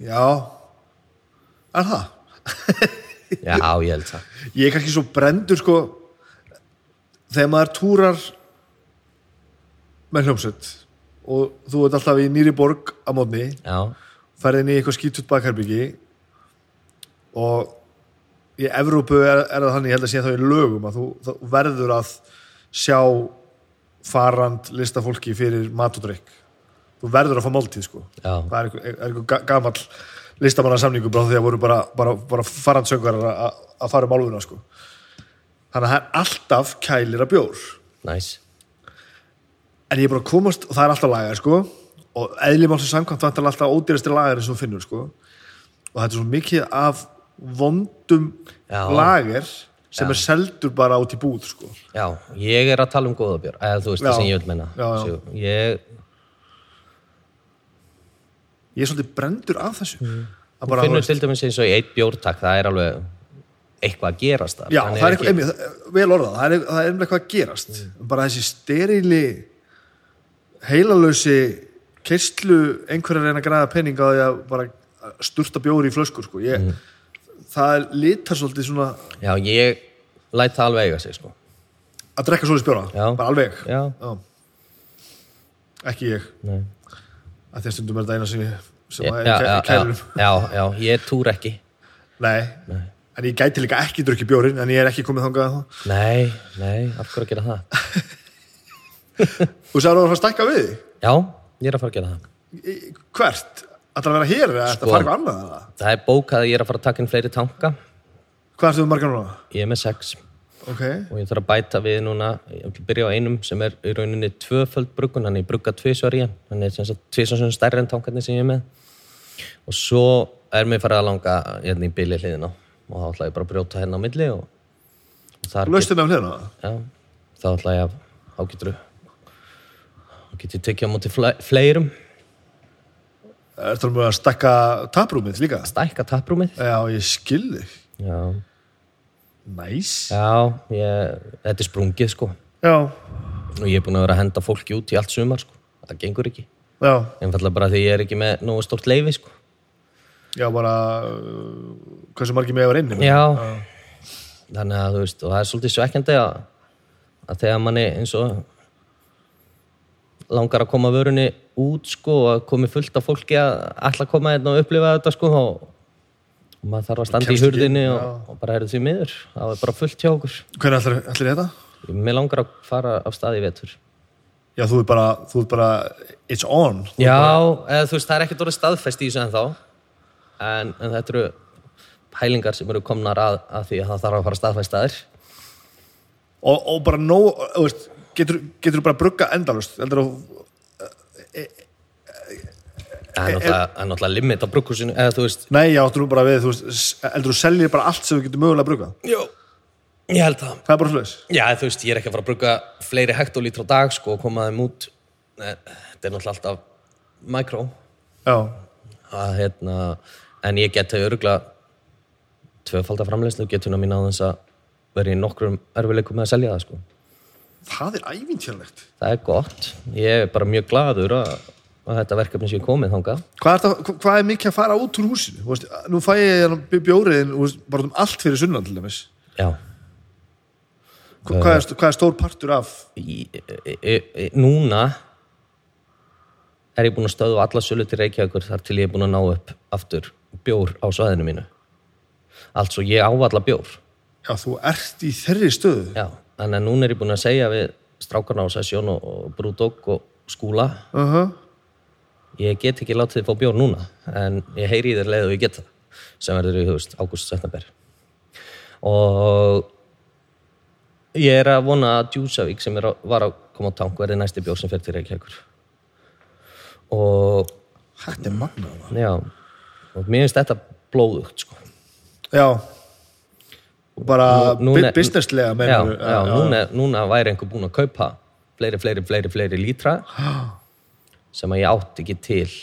Speaker 1: já er það?
Speaker 2: Já, ég held það.
Speaker 1: ég er kannski svo brendur sko, þegar maður túrar með hljómsveit og þú ert alltaf í nýri borg að mótni,
Speaker 2: Já,
Speaker 1: ferðin í eitthvað skítut bakherbyggi og í Evrópu er, er það þannig, ég held að sé það í lögum að þú, þú verður að sjá farand listafólki fyrir mat og drikk þú verður að fá máltíð sko
Speaker 2: Já.
Speaker 1: það er einhver- er einhver ga- gamall listamanna samningu bara því að voru bara, bara, bara farandsöngar að að fara um álfuna sko þannig að það er alltaf kælir að bjór
Speaker 2: næs.
Speaker 1: en ég er bara að komast og það er alltaf lagar sko og eðli málsins samkvæmt það er alltaf ódýrasti lagar eins og þú finnur sko og þetta er svo mikið af vondum
Speaker 2: Já.
Speaker 1: lagar sem er seldur bara út í búð sko
Speaker 2: Já, ég er að tala um góðabjór, eða þú veist það
Speaker 1: Já.
Speaker 2: sem ég vil menna.
Speaker 1: Já, já.
Speaker 2: Sigur. Ég,
Speaker 1: ég er svolítið brendur af þessu mm.
Speaker 2: Þú finnur til dæmis eins og í eitt bjórtak, það er alveg eitthvað að gerast þar.
Speaker 1: Já,
Speaker 2: Hann
Speaker 1: það er
Speaker 2: ekki- Mm.
Speaker 1: eitthvað, einmitt, það- vel orðað, það er, það er einmitt eitthvað að gerast. Bara þessi sterili, heilalösi, keistlu, einhverja reyna að græða pening á því að bara sturta bjóri í flöskur, sko. Ég,
Speaker 2: Mm.
Speaker 1: Það er litar svolítið svona
Speaker 2: Já, ég læt það alveg eiga sig, sko.
Speaker 1: að drekka svolítið spjóra,
Speaker 2: Já.
Speaker 1: bara alveg.
Speaker 2: Já,
Speaker 1: Ekki ég,
Speaker 2: nei.
Speaker 1: að því að stundum er þetta eina sem, ég- sem
Speaker 2: Já,
Speaker 1: að
Speaker 2: já,
Speaker 1: er í
Speaker 2: já, já,
Speaker 1: kælunum.
Speaker 2: já, já, ég túr ekki.
Speaker 1: Nei. en ég gæti líka ekki drukkið bjórin, en ég er ekki komið þangað að það.
Speaker 2: Nei, nei, af hverju að gera það?
Speaker 1: Og sér að það var að stækka við því.
Speaker 2: Já, ég er að fara að gera það.
Speaker 1: Í- Hvert? Ætlar að vera hér eða ætlar að
Speaker 2: Sko.
Speaker 1: fara eitthvað annað? eða?
Speaker 2: Það er bókað að ég er að fara að taka inn fleiri tanka.
Speaker 1: Hvað ertu með margar núna?
Speaker 2: Ég er með sex
Speaker 1: Ok.
Speaker 2: og ég þarf að bæta við núna, ég ætla að byrja á einum sem er í rauninni tvöföld bruggun, hann er brugga tvisvar í hann, hann er sem sagt tvisvar sem stærri en tankarnir sem ég er með og svo er mér farið að langa hérna í bíli hliðina og þá ætla ég bara að brjóta hérna á milli og, og þar
Speaker 1: Laustin af um hliðina?
Speaker 2: get, já, þá ætla ég að þá getur þá get ég tekið á móti fle- fleirum
Speaker 1: Er það alveg að stakka taprúmið líka?
Speaker 2: stækka taprúmið
Speaker 1: Já, ég skil þig.
Speaker 2: já,
Speaker 1: Næs.
Speaker 2: já ég, þetta er sprungið sko
Speaker 1: Já,
Speaker 2: og ég er búin að vera að henda fólki út í allt sumar sko, það gengur ekki
Speaker 1: já,
Speaker 2: einfallega bara því ég er ekki með nógu stort leifi sko.
Speaker 1: já, bara uh, hversu margir með var inn?
Speaker 2: já þannig að þú veist og það er svolítið svekkjandi að, að þegar manni eins og langar að koma vörunni út sko og að komi fullt af fólki að ætla að koma hérna og upplifa þetta sko og, og maður þarf að standa í
Speaker 1: Kemst ekki,
Speaker 2: hurðinni og, og bara eru því miður það er bara fullt hjá okkur
Speaker 1: Hvernig ætlar, ætlar þetta?
Speaker 2: mér langar að fara af stað í vetur
Speaker 1: Já, þú er bara, þú er bara, it's on.
Speaker 2: Já, eða, þú veist, það er ekkert orðið staðfest í þessu ennþá en, en þetta eru pælingar sem eru komnar að, að því að það þarf að fara staðfestaðir
Speaker 1: Og, og bara nóg, þú veist, getur, getur bara brugga endalust. Heldur þú,
Speaker 2: Það er náttúrulega, það er náttúrulega limit á brugghúsinu eða þú veist
Speaker 1: nei, já, áttu nú bara við, þú veist, s- heldur þú seljir bara allt sem þú getur mögulega að brugga.
Speaker 2: Jó, ég held það
Speaker 1: Það er bara slags.
Speaker 2: Já, þú veist, ég er ekki að fara að brugga fleiri hektolítra á dag sko og koma þeim út Eh, þetta er náttúrulega alltaf mikró
Speaker 1: Já,
Speaker 2: að hérna en ég geti örugla tvöfaldar framleiðslu getuna mín á þess að vera í nokkrum erfileikum með að selja það sko
Speaker 1: það er ævintjarlegt
Speaker 2: Það er gott. Ég er bara mjög gladur að, að þetta verkefni sé komið þangað.
Speaker 1: hvað er, það, hva- hvað er mikið að fara út úr húsinu Þú veist, nú fæ ég hérna bjóriðin bara um allt fyrir sunnan til dæmis
Speaker 2: Já. Eh.
Speaker 1: Hva- hvað er, hvað er stór partur af
Speaker 2: Í- í- í- í- Núna er ég búinn að stöðu alla sölu til Reykjavíkur þar til ég er búinn að ná upp aftur bjór á svæðinu mínu. Altså, ég ávalla bjór.
Speaker 1: já, þú ert í þeirri stöðu
Speaker 2: Já, þannig að núna er ég búinn að segja við strákarna á Sessjón og, og Brúdók og Skúla,
Speaker 1: uh
Speaker 2: ég get ekki látið þið fá bjór núna, en ég heyri í þér leið og ég get það, sem verður í, þú veist, ágúst september. Og ég er að vona að Djúsavík sem er á, var að koma á tank verði næsti bjór sem fer til Reykjavíkur. Og,
Speaker 1: þetta er magnað
Speaker 2: já, og mér finnst þetta blóðugt, sko.
Speaker 1: já bara
Speaker 2: Nú- núna-
Speaker 1: bu- businesslega
Speaker 2: já,
Speaker 1: meinarðu?
Speaker 2: já, núna, núna væri einhver búinn að kaupa fleiri, fleiri, fleiri, fleiri lítra sem að ég átti ekki til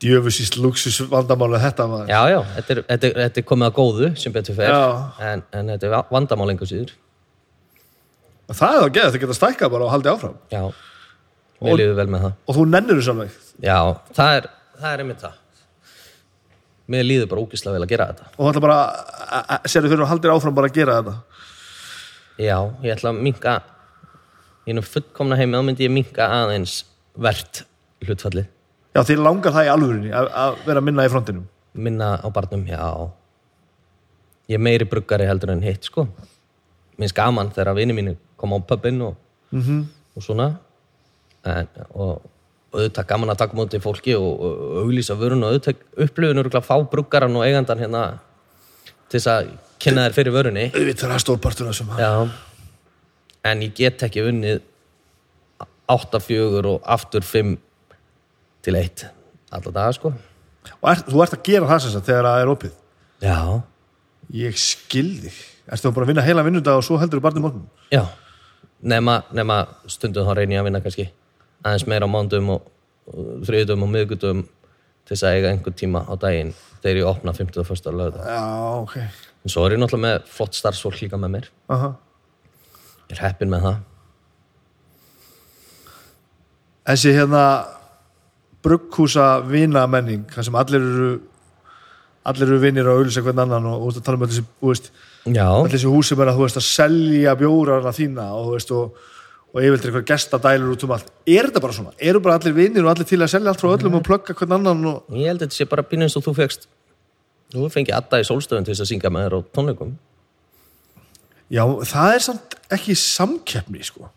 Speaker 1: djöfusist luxus vandamála þetta var
Speaker 2: já, já, þetta er, þetta er, þetta er komið að góðu sem betur fer
Speaker 1: Já.
Speaker 2: en, en þetta er va- vandamál engu síður
Speaker 1: það er það að geða, það geta stækkað bara og haldið áfram
Speaker 2: já, við liðum vel með það
Speaker 1: og þú nennir þessu alveg
Speaker 2: já, það er, það er einmitt það mér líður bara ógislega vel að gera þetta
Speaker 1: og þú ætla bara, að- að- sérðu fyrir og haldir áfram bara að gera þetta
Speaker 2: já, ég ætla að minka í nú fullkomna heimi þá myndi ég minka aðeins verðt hlutfallið
Speaker 1: já, þið langar það í alvörinni að, að vera minna í frontinum
Speaker 2: minna á barnum, já ég er meiri bruggari heldur en hitt sko minnst gaman þegar vini mínu koma á pubin og, og svona en, og og auðvitað gaman að taka mútið fólki og, og, og auglýsa vörun og auðvitað upplifun eru fá bruggaran og eigandan hérna til þess að kynna þér fyrir vörunni
Speaker 1: auðvitað er það stórpartur af þessum
Speaker 2: já en ég get ekki unnið 8-4 og aftur 5 til 1 alla daga sko
Speaker 1: og er, þú ert að gera það sem sagt þegar það er opið
Speaker 2: já,
Speaker 1: ég skil þig ertu bara að vinna heila vinnudag og svo heldur þú barnið morgun
Speaker 2: Já, nema, nema stundum þá reyni ég að vinna kannski aðeins meira á mándum og, og þriðutum og miðgutum til þess að eiga einhver tíma á daginn þegar ég opna 50 og 1. lögðu.
Speaker 1: já, ok
Speaker 2: En svo er ég náttúrulega með flott starfsfólk líka með mér.
Speaker 1: Aha.
Speaker 2: Ég er heppin með það.
Speaker 1: þessi hérna brugghúsa vina menning þar sem allir eru allir eru vinnir að auðvitað hvern annan og, og þú veist að tala um öll þessi, þú veist, öll
Speaker 2: Já,
Speaker 1: þessi hús sem er að þú veist að selja bjórarna þína og þú veist og, og yfirleitt eitthvað gestadælur út um allt er þetta bara svona? Eru bara allir vinnir og allir til að selja allt frá öllum og plugga hvern annan og
Speaker 2: ég held að þetta sé bara pínu eins og þú fegst. Þú fengið Adda í sólstöðun til þess að syngja með þér á tónleikum.
Speaker 1: já, það er samt ekki samkeppni sko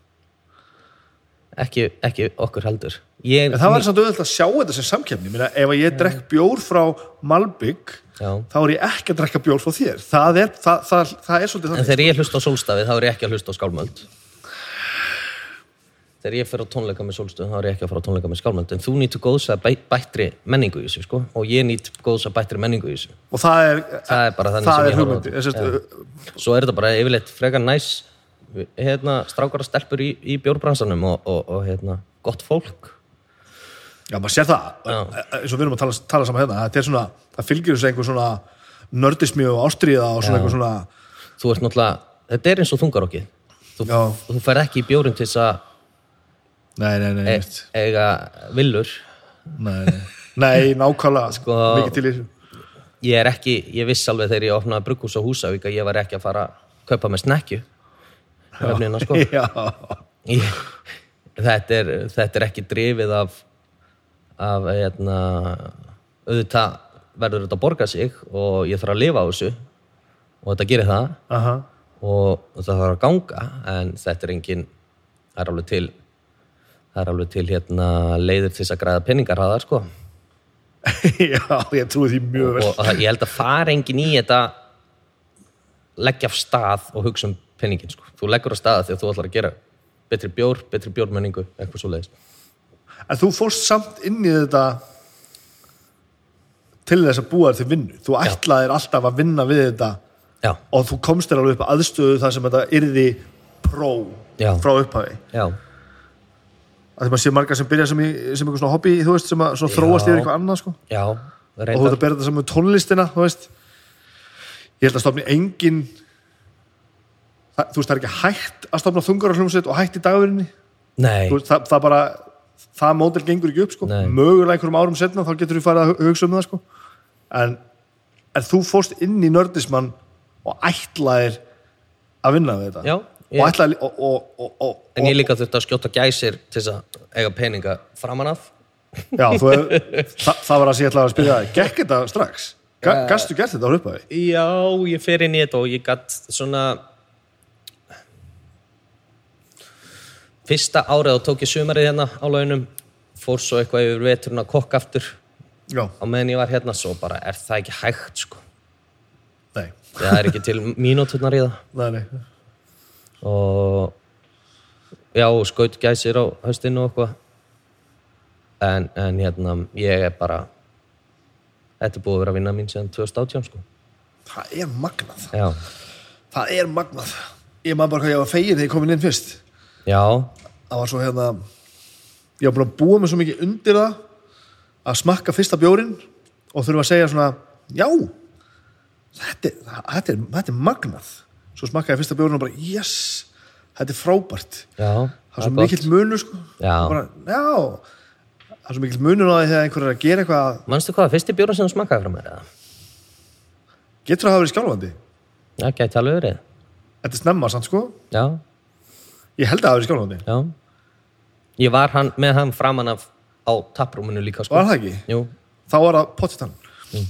Speaker 2: Ekki, ekki okkur heldur. Ég,
Speaker 1: En það var samt auðvitað að sjá þetta sem samkefni Minna, ef að ég drekk bjór frá Malbygg
Speaker 2: Já.
Speaker 1: þá er ég ekki að drekka bjór frá þér það er, það, það, það er
Speaker 2: En
Speaker 1: svolítið þannig
Speaker 2: þegar ég hlusta á sólstafið, þá er ég ekki að hlusta á skálmöld. Þegar ég fer á tónleika með sólstafið, þá er ég ekki að fara á tónleika með skálmöld. En þú nýtur góðs að bæ, bættri menningu í þessu, sko. Og ég nýt góðs að bættri menningu í þessu.
Speaker 1: og það er,
Speaker 2: Það er bara þannig
Speaker 1: það
Speaker 2: sem
Speaker 1: er
Speaker 2: ég horfi á
Speaker 1: hugmyndi
Speaker 2: þetta.
Speaker 1: En sem sagt,
Speaker 2: Svo er þetta bara yfirleitt frekar næs, hérna, strákar og stelpur í, í bjórbransanum og, og, og, hérna, gott fólk.
Speaker 1: já, maður sér það Eh,
Speaker 2: Já.
Speaker 1: eins og við erum að tala, tala saman hérna þetta er svona, það fylgir þessu einhver svona nördismi og ástriða og svona einhver svona
Speaker 2: Þú ert náttúrulega, þetta er eins og þungarokkið. Þú,
Speaker 1: Já.
Speaker 2: þú fer ekki í bjórinn til þess að
Speaker 1: nei, nei, nei,
Speaker 2: e,
Speaker 1: e
Speaker 2: eiga villur.
Speaker 1: nei, nei. nei nákvæmlega,
Speaker 2: Sko,
Speaker 1: mikið til í þessu
Speaker 2: ég er ekki, ég viss alveg þegar ég opnaði brugghús á Húsavík að ég var ekki að fara að kaupa með snekju Öfnina, sko.
Speaker 1: já,
Speaker 2: ég, þetta, er, þetta er ekki drifið af, af hérna, auðvitað verður þetta að borga sig og ég þarf að lifa á þessu og þetta gerir það
Speaker 1: aha
Speaker 2: og, og það þarf að ganga en þetta er engin það er alveg til það er alveg til hérna, leiðir til þess að græða peningar hraðar sko
Speaker 1: já, ég trúi því mjög vel
Speaker 2: og, og það- ég held að fara engin í þetta leggja af stað og hugsa um penningin sko. þú leggur af stað þegar þú ætlar að gera betri bjór, betri bjórmenningu, eitthvað svo leiðis
Speaker 1: En þú fórst samt inn í þetta til þess að búa þér til vinnu. Þú ætlaðir alltaf að vinna við þetta
Speaker 2: já,
Speaker 1: og þú komst þér alveg upp aðstöðu þar sem þetta yrði pró
Speaker 2: Já.
Speaker 1: frá upphafi.
Speaker 2: já,
Speaker 1: Að því maður sé margar sem byrja sem, í, sem eitthvað svona hobby, þú veist, sem að svona þróast
Speaker 2: Já.
Speaker 1: yfir eitthvað annað, sko.
Speaker 2: já
Speaker 1: Og þú
Speaker 2: reyndar,
Speaker 1: ert að bera þetta saman með tónlistina, þú veist. Ég held að stofni engin það, þú veist, það er ekki hægt að stofna þungar hljómsveit og hægt í dagverðinni
Speaker 2: Nei,
Speaker 1: Þú veist, það, það bara, það módel gengur ekki upp sko.
Speaker 2: Nei.
Speaker 1: mögulega einhverjum árum setna þá getur við farið að hu- hugsa um það sko. en, en þú fórst inn í nördismann og ætlaðir að vinna við þetta
Speaker 2: Já,
Speaker 1: og
Speaker 2: ég-
Speaker 1: ætlaðir og, og, og, og,
Speaker 2: en ég líka þurfti að skjóta gæsir til þess að eiga peninga framan af.
Speaker 1: já, þú hef, það, það var að ég ætlaði að spyrja það gekk þetta strax? Ga, gastu gert þetta á hlupaði?
Speaker 2: Já, ég fer inn í þetta og ég gatt svona... Fyrsta árið þá tók ég sumarið hérna á launum, fór svo eitthvað yfir veturinn að kokka aftur
Speaker 1: já,
Speaker 2: á meðan ég var hérna, svo bara er það ekki hægt, sko.
Speaker 1: nei,
Speaker 2: Það er ekki til mínúturnar í það.
Speaker 1: nei, nei.
Speaker 2: og já, og skaut gæsir á höstinu og eitthvað en, en hérna, ég er bara þetta er búið að vera að vinna mín síðan 2018 sko
Speaker 1: það er magnað
Speaker 2: já,
Speaker 1: það er magnað ég maður bara hvað ég var fegin þegar ég komin inn fyrst
Speaker 2: já,
Speaker 1: það var svo hérna ég var búin að búa mig svo mikið undir það að smakka fyrsta bjórin og þurfa að segja svona já, þetta er, þetta er, þetta er magnað svo smakka ég fyrsta bjórin og bara yes, þetta er frábært
Speaker 2: já
Speaker 1: það er svo mikill munur sko
Speaker 2: Já.
Speaker 1: Og bara, já það er svo mikill munur á því þegar einhver er að gera eitthvað
Speaker 2: manstu hvað, fyrsti bjóra sem þú smakkaði frá mér eða?
Speaker 1: getur það að hafa verið skjálfandi
Speaker 2: já, gæti alveg verið
Speaker 1: þetta er snemma samt sko
Speaker 2: já,
Speaker 1: ég held að það hafi verið skjálfandi
Speaker 2: já ég var hann, með hann framan af á taprúminu líka sko
Speaker 1: var það ekki?
Speaker 2: Jú,
Speaker 1: þá var það pottitann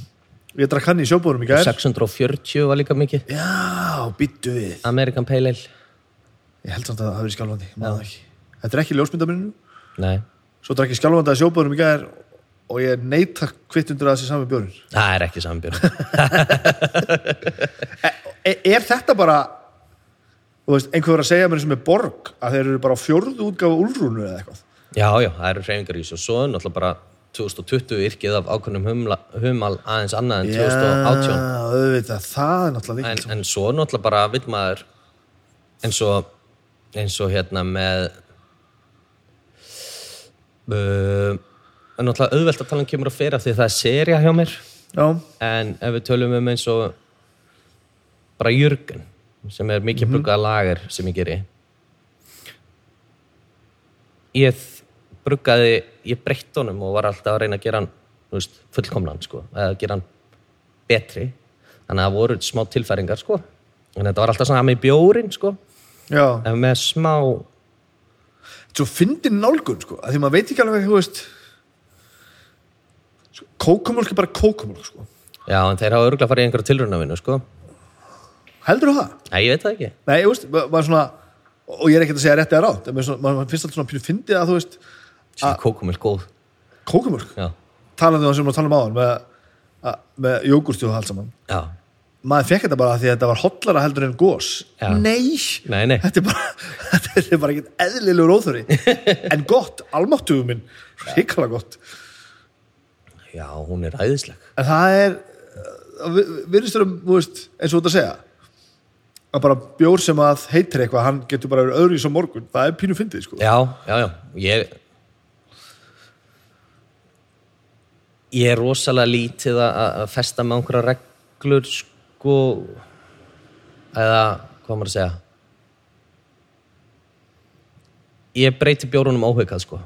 Speaker 1: ég drakk hann í sjóbúrum í gær
Speaker 2: 640 var líka mikið
Speaker 1: já, býttu við
Speaker 2: American Pale Ale
Speaker 1: Ég held samt að það hafi verið skjálfandi, maður það ekki. Þetta er ekki ljósmyndaminnum,
Speaker 2: nei,
Speaker 1: svo drakk ég skjálfandi að sjóbóðurum í gæðir og ég neita kvitt undir að þessi sami björn.
Speaker 2: það er ekki sambjörn
Speaker 1: E er þetta bara, þú veist, einhver er að segja mér sem er borg, að þeir eru bara á fjórðu útgáfa úlrúnu eða eitthvað?
Speaker 2: Já, já, það eru hreyfingar í þessu og svo er náttúrulega bara 2020 yrkið af ákveðnum humla, humal aðeins annað en 2018
Speaker 1: Já, auðvitað, það er náttúrulega
Speaker 2: en,
Speaker 1: vikil.
Speaker 2: en svo er náttúrulega bara vill maður eins og eins og hérna með uh, en náttúrulega auðvelt að tala um kemur og fyrir af því að það er seria hjá mér
Speaker 1: Já,
Speaker 2: en ef við tölum um eins og bara Jörgen sem er mikið mm lager sem ég geri ég þ- bruggaði ég breytt honum og var alltaf að reyna að gera hann þú veist, fullkomlan sko eða gera hann betri þannig að það voru smá tilfæringar sko en þetta var alltaf svona að með bjórin sko
Speaker 1: já.
Speaker 2: en með smá
Speaker 1: Svo fyndi nálgun, sko, að því maður veit ekki alveg, þú veist, sko, kókumólk er bara kókumólk, sko.
Speaker 2: já en þeir hafa örgulega farið í einhverja tilraunavinu sko
Speaker 1: Heldur þú það?
Speaker 2: Nei, ég veit það ekki
Speaker 1: Nei, ég veist, ma- maður svona og ég er ekkert að segja rétt eða rátt en maður svona- maður maður finnst alltaf svona pínu fyndið að þú veist
Speaker 2: sem kókumil góð
Speaker 1: kókumörk,
Speaker 2: já,
Speaker 1: talandi um það sem maður tala um áðan með, að- með jógurti og allt saman
Speaker 2: já
Speaker 1: maður fekk þetta bara af því að þetta var hotlara heldur en gós
Speaker 2: Já.
Speaker 1: Nei,
Speaker 2: Nei, nei.
Speaker 1: þetta er bara þetta er bara ekkert eðlilegur óþöri en gott, almáttugum minn hrikalega gott,
Speaker 2: já, hún er æðisleg
Speaker 1: en það er uh, vi- virðist þurfum, þú veist, eins og þú ert að segja að bara bjór sem að heitir eitthvað, hann getur bara verið öðru í svo morgun, það er pínu fyndið, sko
Speaker 2: Já, já, já, ég ég er rosalega lítið að að festa með einhverja reglur sko eða, hvað á maður að segja ég breyti bjórunum áhugað sko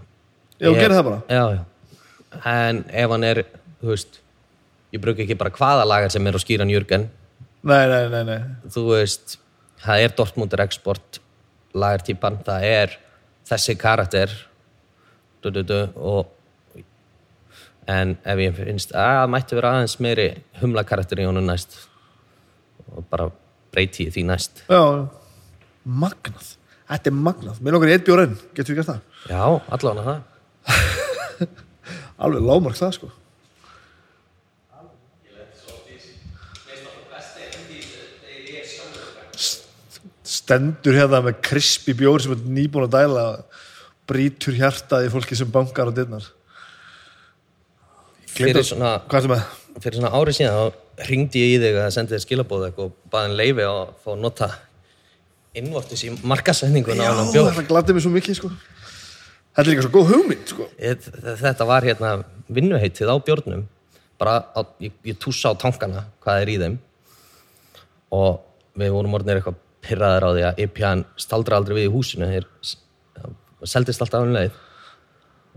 Speaker 1: Já, þú
Speaker 2: Ég-
Speaker 1: gerir það bara.
Speaker 2: Já, já, en ef hann er þú veist, ég bruki ekki bara hvaða lagar sem er á skýran Jürgen
Speaker 1: Nei, nei, nei, nei
Speaker 2: þú veist, það er Dortmundur export lagartýpan, það er þessi karakter du, du, du, og en ef ég finnst að það mætti vera aðeins meiri humla karakter í honum næst og bara breyti ég því næst
Speaker 1: Já, magnað. Þetta er magnað. Mér langar í eitt bjór enn, getur við gert það?
Speaker 2: já, allavega það
Speaker 1: Alveg lágmark það, sko. Stendur hérna með krispi bjór sem er nýbúin að dæla brýtur hjartað í fólki sem bankar á dyrnar. Gleymdi-
Speaker 2: Fyrir svona-
Speaker 1: Hvað er það?
Speaker 2: fyrir svona ári síðan þá ringdi ég í þig að sendi þér skilabóð eitthvað og baðin leifi að fá að nota innvortis í markasendinguna á
Speaker 1: Já,
Speaker 2: hann bjóð
Speaker 1: það gladdi mér svo mikið, sko. Þetta er líka svo góð hugmynd, sko.
Speaker 2: Ég- þetta var hérna vinnuheitið á bjórnum bara á, ég, ég tússa á tankana hvað er í þeim og við vorum orðinir eitthvað pyrraðar á því að IPA-n staldra aldrei við í húsinu þeir s- það seldist alltaf án leið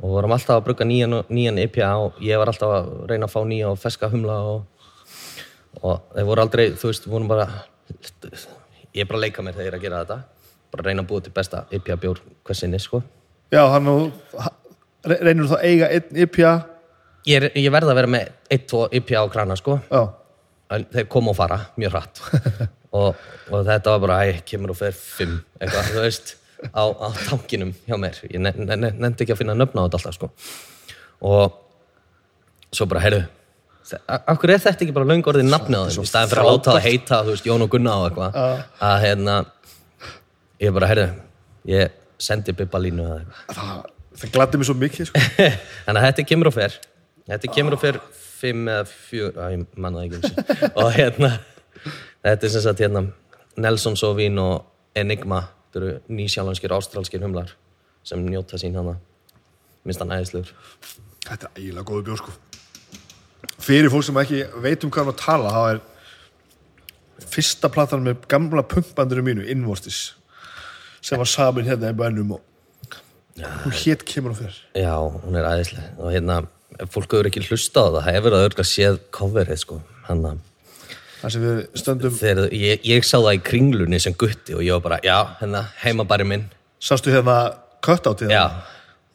Speaker 2: og vorum alltaf að brugga nýjan, og- nýjan IPA og ég var alltaf að reyna að fá nýja og feska humla og, og þeir voru aldrei, þú veist, vorum bara ég er bara að leika mér þegar ég er að gera þetta bara að reyna að búa til besta IPA bjór hversinni, sko
Speaker 1: Já, hann og ha- re- reynir þá að eiga einn E IPA
Speaker 2: ég, er- ég verð að vera með 1-2 IPA á krana, sko
Speaker 1: Já,
Speaker 2: en þeir koma og fara mjög hratt og, og þetta var bara, æ, kemur og fer fimm, eitthvað, þú veist á, á tankinum hjá mér ég ne- ne- ne- nefndi ekki að finna nöfna á þetta alltaf sko. og svo bara, heyrðu þe- a- af hverju er þetta ekki bara löng orðið nafni á þeim í staðan fyrir að láta það heita, þú veist, Jón og Gunna og eitthvað, að hérna ég bara, heyrðu, ég sendi Bibba línu eða eitthvað
Speaker 1: það, það gladdi mig svo mikið sko.
Speaker 2: Þannig að þetta kemur og fer Þetta kemur og fer fimm eða fjör Æ, ég manna það ekki eins og- Og hérna, þetta er sem sagt hérna Nelson Sovin og Enigma Þetta eru nýsjálfanskir ástralskir humlar sem njóta sín hana minnst hann æðislegur
Speaker 1: Þetta er eiginlega góðu bjór sko. Fyrir fólk sem ekki veit um hvað hann að tala þá er fyrsta platan með gamla pumpbandur mínu, Invorstis sem var samin hérna í bænum og hún hét kemur og fer
Speaker 2: Já, hún er æðisleg og hérna, ef fólk hefur ekki hlustað á það það hefur það örgla séð coverið sko hann að
Speaker 1: þar sem við stöndum,
Speaker 2: þegar ég, ég sá það í kringlunni sem gutti og ég var bara, já, hérna, heimabæri minn
Speaker 1: sástu hérna kött átti það
Speaker 2: Já,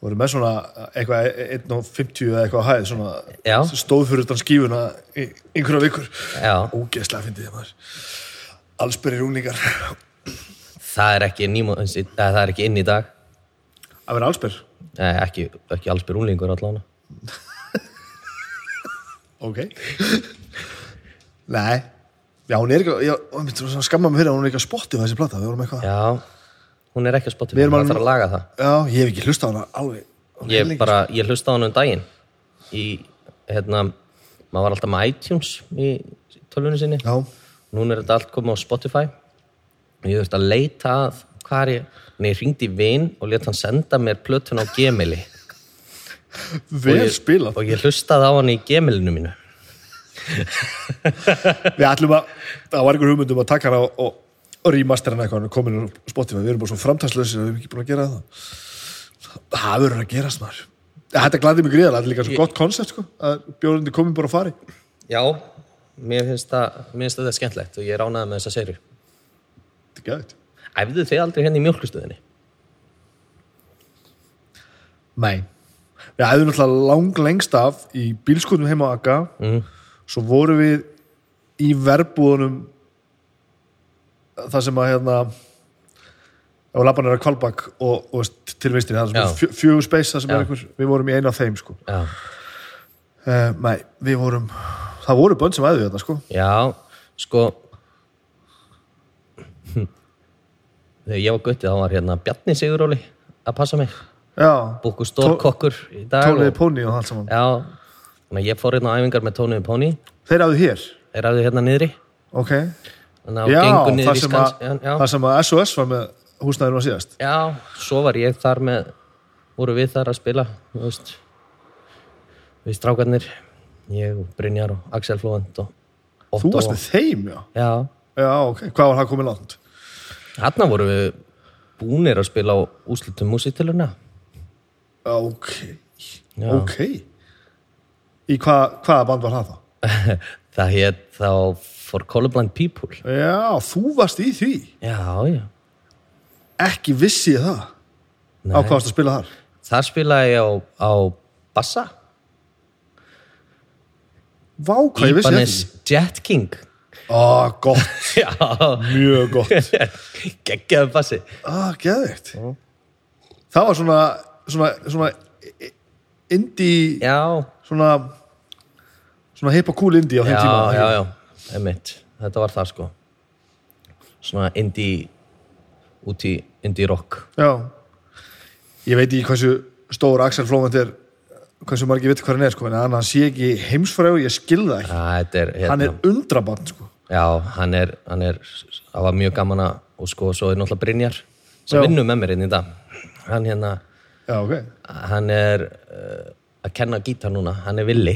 Speaker 1: voru með svona eitthvað 1.50 eða eitthvað á hæð svona
Speaker 2: Já.
Speaker 1: sem stóð fyrir utan skífuna í einhverja vikur
Speaker 2: Já.
Speaker 1: ógeðslega fyndið þið maður allsbyrri rúningar að
Speaker 2: það er ekki, nýmo, eða, það er ekki inn í dag
Speaker 1: vera allsbyrr
Speaker 2: Nei, ekki, ekki allsbyr úlingur allavega.
Speaker 1: ok nei já hún er ekki já, hún myndi svona skamma mig fyrir að hún er ekki að spotti þessi plata við vorum eitthvað já,
Speaker 2: Já, hún er ekki að spotta
Speaker 1: Við erum
Speaker 2: það
Speaker 1: alveg-
Speaker 2: þarf að laga það.
Speaker 1: ég hef ekki hlustað á hana alveg hún er
Speaker 2: Ég
Speaker 1: lengi.
Speaker 2: bara, ég hlusta á hann um daginn í, hérna, maður var alltaf með iTunes í tölvunni sinni.
Speaker 1: já
Speaker 2: Núna er þetta allt komið á Spotify. Og Ég þurfti að leita að hvað er ég, en ég ringdi í vin og let hann senda mér plötun á Gmaili. Og
Speaker 1: vel
Speaker 2: ég-
Speaker 1: spilað
Speaker 2: Og ég hlustaði á hann í Gmailinu mínu.
Speaker 1: við ætlum að það var einhver hugmyndum að taka hana og, og remaster hana eitthvað hann er komin á Spotify við erum bara svo framtagslausir að við erum ekki búin að gera það það verður að gerast maður þetta glæði mig gríðarlega, þetta er líka svo gott koncept sko, að bjórnandi komin bara að fari
Speaker 2: Já, mér finnst, það, mér finnst þetta skemmtlegt og ég ránaði með þessa serið.
Speaker 1: þetta er gæðið
Speaker 2: Æfðu þið aldrei henni í mjölkustöðinni?
Speaker 1: Nei. Við æfðum náttúrulega lang lengst af í bílskotum heima á Akka
Speaker 2: Mm.
Speaker 1: svo vorum við í verbúðunum þar sem að hérna og labban er að kvalbak og, og veist, til vinstri, það
Speaker 2: Já.
Speaker 1: er svona fjögur space það sem
Speaker 2: Já.
Speaker 1: er einhver, við vorum í einu af þeim sko.
Speaker 2: Já.
Speaker 1: uh, nei, við vorum það voru bönn sem æðu þetta sko
Speaker 2: Já, sko hm. Þegar ég var guttið þá var hérna Bjarni Siguróli að passa mig
Speaker 1: já,
Speaker 2: Búku stór kokkur í dag
Speaker 1: tóliði póni og allt saman
Speaker 2: Já, þannig að ég fór hérna á æfingar með Tóniði Póni
Speaker 1: þeir æðu hér,
Speaker 2: Er að þið hérna niðri
Speaker 1: ok
Speaker 2: Þannig að
Speaker 1: já,
Speaker 2: gengur niður
Speaker 1: það
Speaker 2: í
Speaker 1: sem,
Speaker 2: skans
Speaker 1: að,
Speaker 2: já,
Speaker 1: það sem að SOS var með húsnæðinu að síðast
Speaker 2: já, svo var ég þar með voru við þar að spila þú veist, Við strákarnir Ég og Brynjar og Axel Flóvent og Otto
Speaker 1: þú varst með þeim, já
Speaker 2: og- Já,
Speaker 1: Já, ok. Hvað var það komið langt?
Speaker 2: Þarna voru við búnir að spila á úslutum músitiluna.
Speaker 1: Já, ok. Ok. Í hva, hvaða band var það þá?
Speaker 2: það hétt þá For Colorblind People.
Speaker 1: Já, þú varst í því.
Speaker 2: Já, já.
Speaker 1: Ekki vissi ég það. Á hvað varst að spila þar?
Speaker 2: Þar spilaði ég á, á bassa.
Speaker 1: Vá, hvað ég vissi
Speaker 2: Ibanez
Speaker 1: þetta.
Speaker 2: Jet King.
Speaker 1: Á, gott.
Speaker 2: Já,
Speaker 1: Mjög gott.
Speaker 2: geggjaðu bassi.
Speaker 1: Á, geðvikt. Það var svona, svona, svona i- indie,
Speaker 2: Já,
Speaker 1: svona, svona hip og cool indie á þeim
Speaker 2: já,
Speaker 1: tíma.
Speaker 2: já, já. Emitt, þetta var það sko. Svona indie, úti indie rock.
Speaker 1: Já. Ég veit ekki hversu stór Axel Flóment er, hversu margir viti hvað hann er, sko, en hann hann sé ekki heimsfrægur, ég skil það ekki.
Speaker 2: Æ, þetta er,
Speaker 1: Hann
Speaker 2: hérna,
Speaker 1: er undrabann, sko.
Speaker 2: Já, hann er, hann er, það var mjög gaman að, og sko, svo er náttúrulega Brynjar sem
Speaker 1: Já.
Speaker 2: vinnur með mér inn í dag. Hann hérna,
Speaker 1: Já, ok.
Speaker 2: hann eh, er uh, að kenna gítar núna, hann er villi.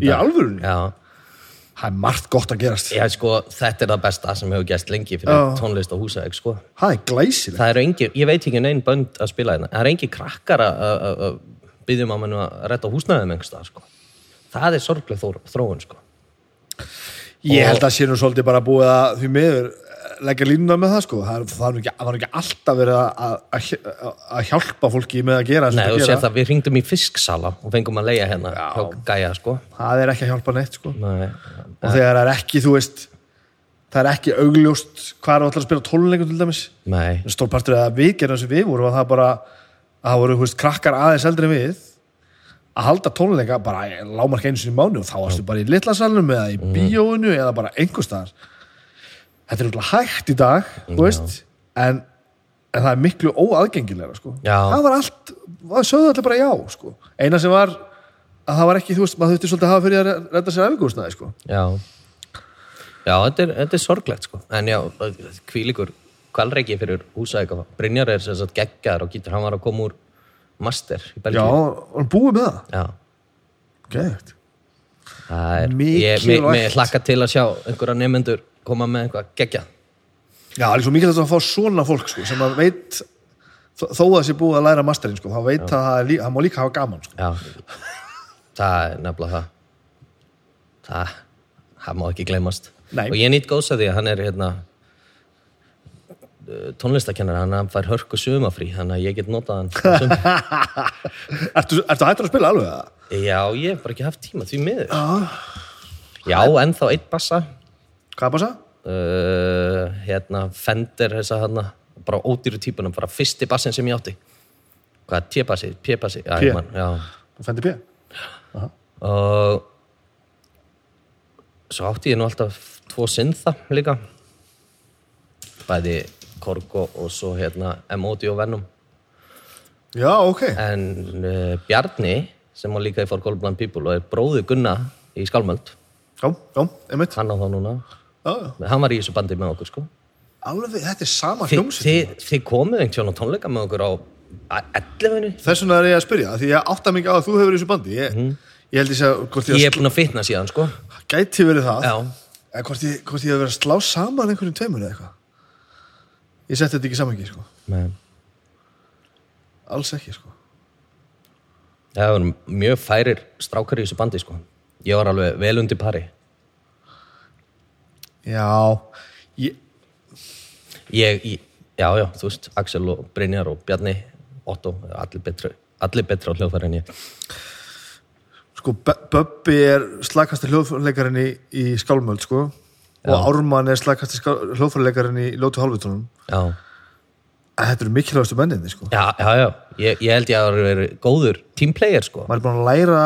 Speaker 1: Í alvörunni?
Speaker 2: Já,
Speaker 1: það er margt gott að gerast
Speaker 2: Já, sko, þetta er það besta sem hefur gæst lengi fyrir
Speaker 1: Já.
Speaker 2: tónlist á húsæk, sko.
Speaker 1: það er glæsilegt
Speaker 2: Það eru engin, ég veit ekki neinn bönd að spila hérna, það eru engin krakkar að- að að- að biðja um að mann að retta húsnæðum engsta, sko. Það er sorgleg þór, þróun, sko.
Speaker 1: ég held að sé nú svolítið bara búið að því miður eh, leggja línuna með það sko það, er- það, er nú ekki, það var nú ekki alltaf verið að- að, að, að hjálpa fólki með að gera, sem
Speaker 2: Nei,
Speaker 1: það
Speaker 2: þú sér
Speaker 1: gera.
Speaker 2: það, við ringdum í fisksala og fengum að leia hérna,
Speaker 1: Já.
Speaker 2: hjá gæja, sko.
Speaker 1: það er ekki að hjálpa neitt sko
Speaker 2: Nei,
Speaker 1: og þegar það er ekki, þú veist það er ekki augljóst hvað er alltaf að spila tónleikum til dæmis
Speaker 2: nei,
Speaker 1: stórpartur að við gerum sem við vorum að það bara að það voru þú veist, krakkar aðeins eldri en við að halda tónleika bara í lámark einu sinni í mánu og þá varstu bara í litla salnum eða í bíóinu eða bara einhvers staðar þetta er útla hægt í dag þú veist, en, en það er miklu óaðgengilega sko.
Speaker 2: Já.
Speaker 1: það var allt, það sögðu allir bara já sko. eina sem var að það var ekki, þú veist, maður þurfti svolítið að hafa fyrir að redda sér afingúsnaði sko.
Speaker 2: já. Já, þetta er, þetta er sorglegt, sko. En já, kvílíkur, kvalreiki fyrir húsæk og Brynjar er sem sagt geggar og getur, hann var að koma úr master í
Speaker 1: já,
Speaker 2: Belgíu.
Speaker 1: og hann búið með það
Speaker 2: Já.
Speaker 1: Gægt.
Speaker 2: Það er,
Speaker 1: Mikilvægt.
Speaker 2: ég, mig, mig hlakka til að sjá einhverja nefnendur koma með eitthvað geggja.
Speaker 1: Já, það er svo mikilvægt að fá svona fólk sko, sem að veit þó þó að það sé búið að læra masterinn sko, þá veit að það, er lí- það má líka hafa gaman sko.
Speaker 2: Já. það er nefnilega það. Það, það má ekki gleymast.
Speaker 1: Nei.
Speaker 2: Og ég nýtt góðs að því að hann er hérna tónlistakennar, hann fær hörku sumafrí, þannig að ég get notað hann. á sumrin.
Speaker 1: Ertu, ertu hættur að spila alveg það?
Speaker 2: Já, ég hef bara ekki haft tíma því miður. Já. Já, ennþá eitt bassa.
Speaker 1: Hvað bara það?
Speaker 2: Uh, hérna, Fender, þessa hérna, bara ódýru típunum, bara fyrsti bassin sem ég átti. Hvað, T-bassi, P-bassi, já,
Speaker 1: P.
Speaker 2: ég man, já.
Speaker 1: Fendi P?
Speaker 2: og svo átti ég nú alltaf tvo syntha líka bæði Korgo og svo hérna M.O.D. og Venom
Speaker 1: Já, ok.
Speaker 2: en uh, Bjarni sem var líka í For Cold Blind People og er bróði Gunna í Skálmöld
Speaker 1: Já, já, einmitt.
Speaker 2: hann á þá núna,
Speaker 1: Já, já.
Speaker 2: hann var í þessu bandi með okkur sko
Speaker 1: Alveg, þetta er sama
Speaker 2: Þi,
Speaker 1: hljómsið.
Speaker 2: þið, þið komuð einhvern tjónu tónleika með okkur á 11.
Speaker 1: Þess vegna er ég að spyrja, því ég átta mig ekki á að þú hefur verið í þessu bandi. Ég, ég held ég sé að hvort
Speaker 2: Mhm. Ég
Speaker 1: ég,
Speaker 2: er búinn að fitna síðan sko
Speaker 1: gæti verið það,
Speaker 2: Já,
Speaker 1: en hvort ég, hvort ég hef verið að slá saman einhverjum tveimur eða eitthvað. Ég setti þetta ekki í samangi, sko.
Speaker 2: með
Speaker 1: Alls ekki, sko.
Speaker 2: Það voru mjög færir strákar í þessu bandi sko. Ég var alveg vel undir pari.
Speaker 1: Já, ég,
Speaker 2: Ég, ég, já, já, þú veist, Axel og Brynjar og Bjarni, Otto, allir betri, allir betri á hljóðfæri en ég.
Speaker 1: sko, B- Böbbi er slagkastir hljóðfærileikarinn í, í skálmöld, sko og Ármann er slagkastir hljóðfærileikarinn í lótu hálfutónum
Speaker 2: Já,
Speaker 1: þetta eru mikilvægastu menninni, sko
Speaker 2: já, já, já. Ég, ég held ég að það verið góður teamplayer sko.
Speaker 1: maður er búin að læra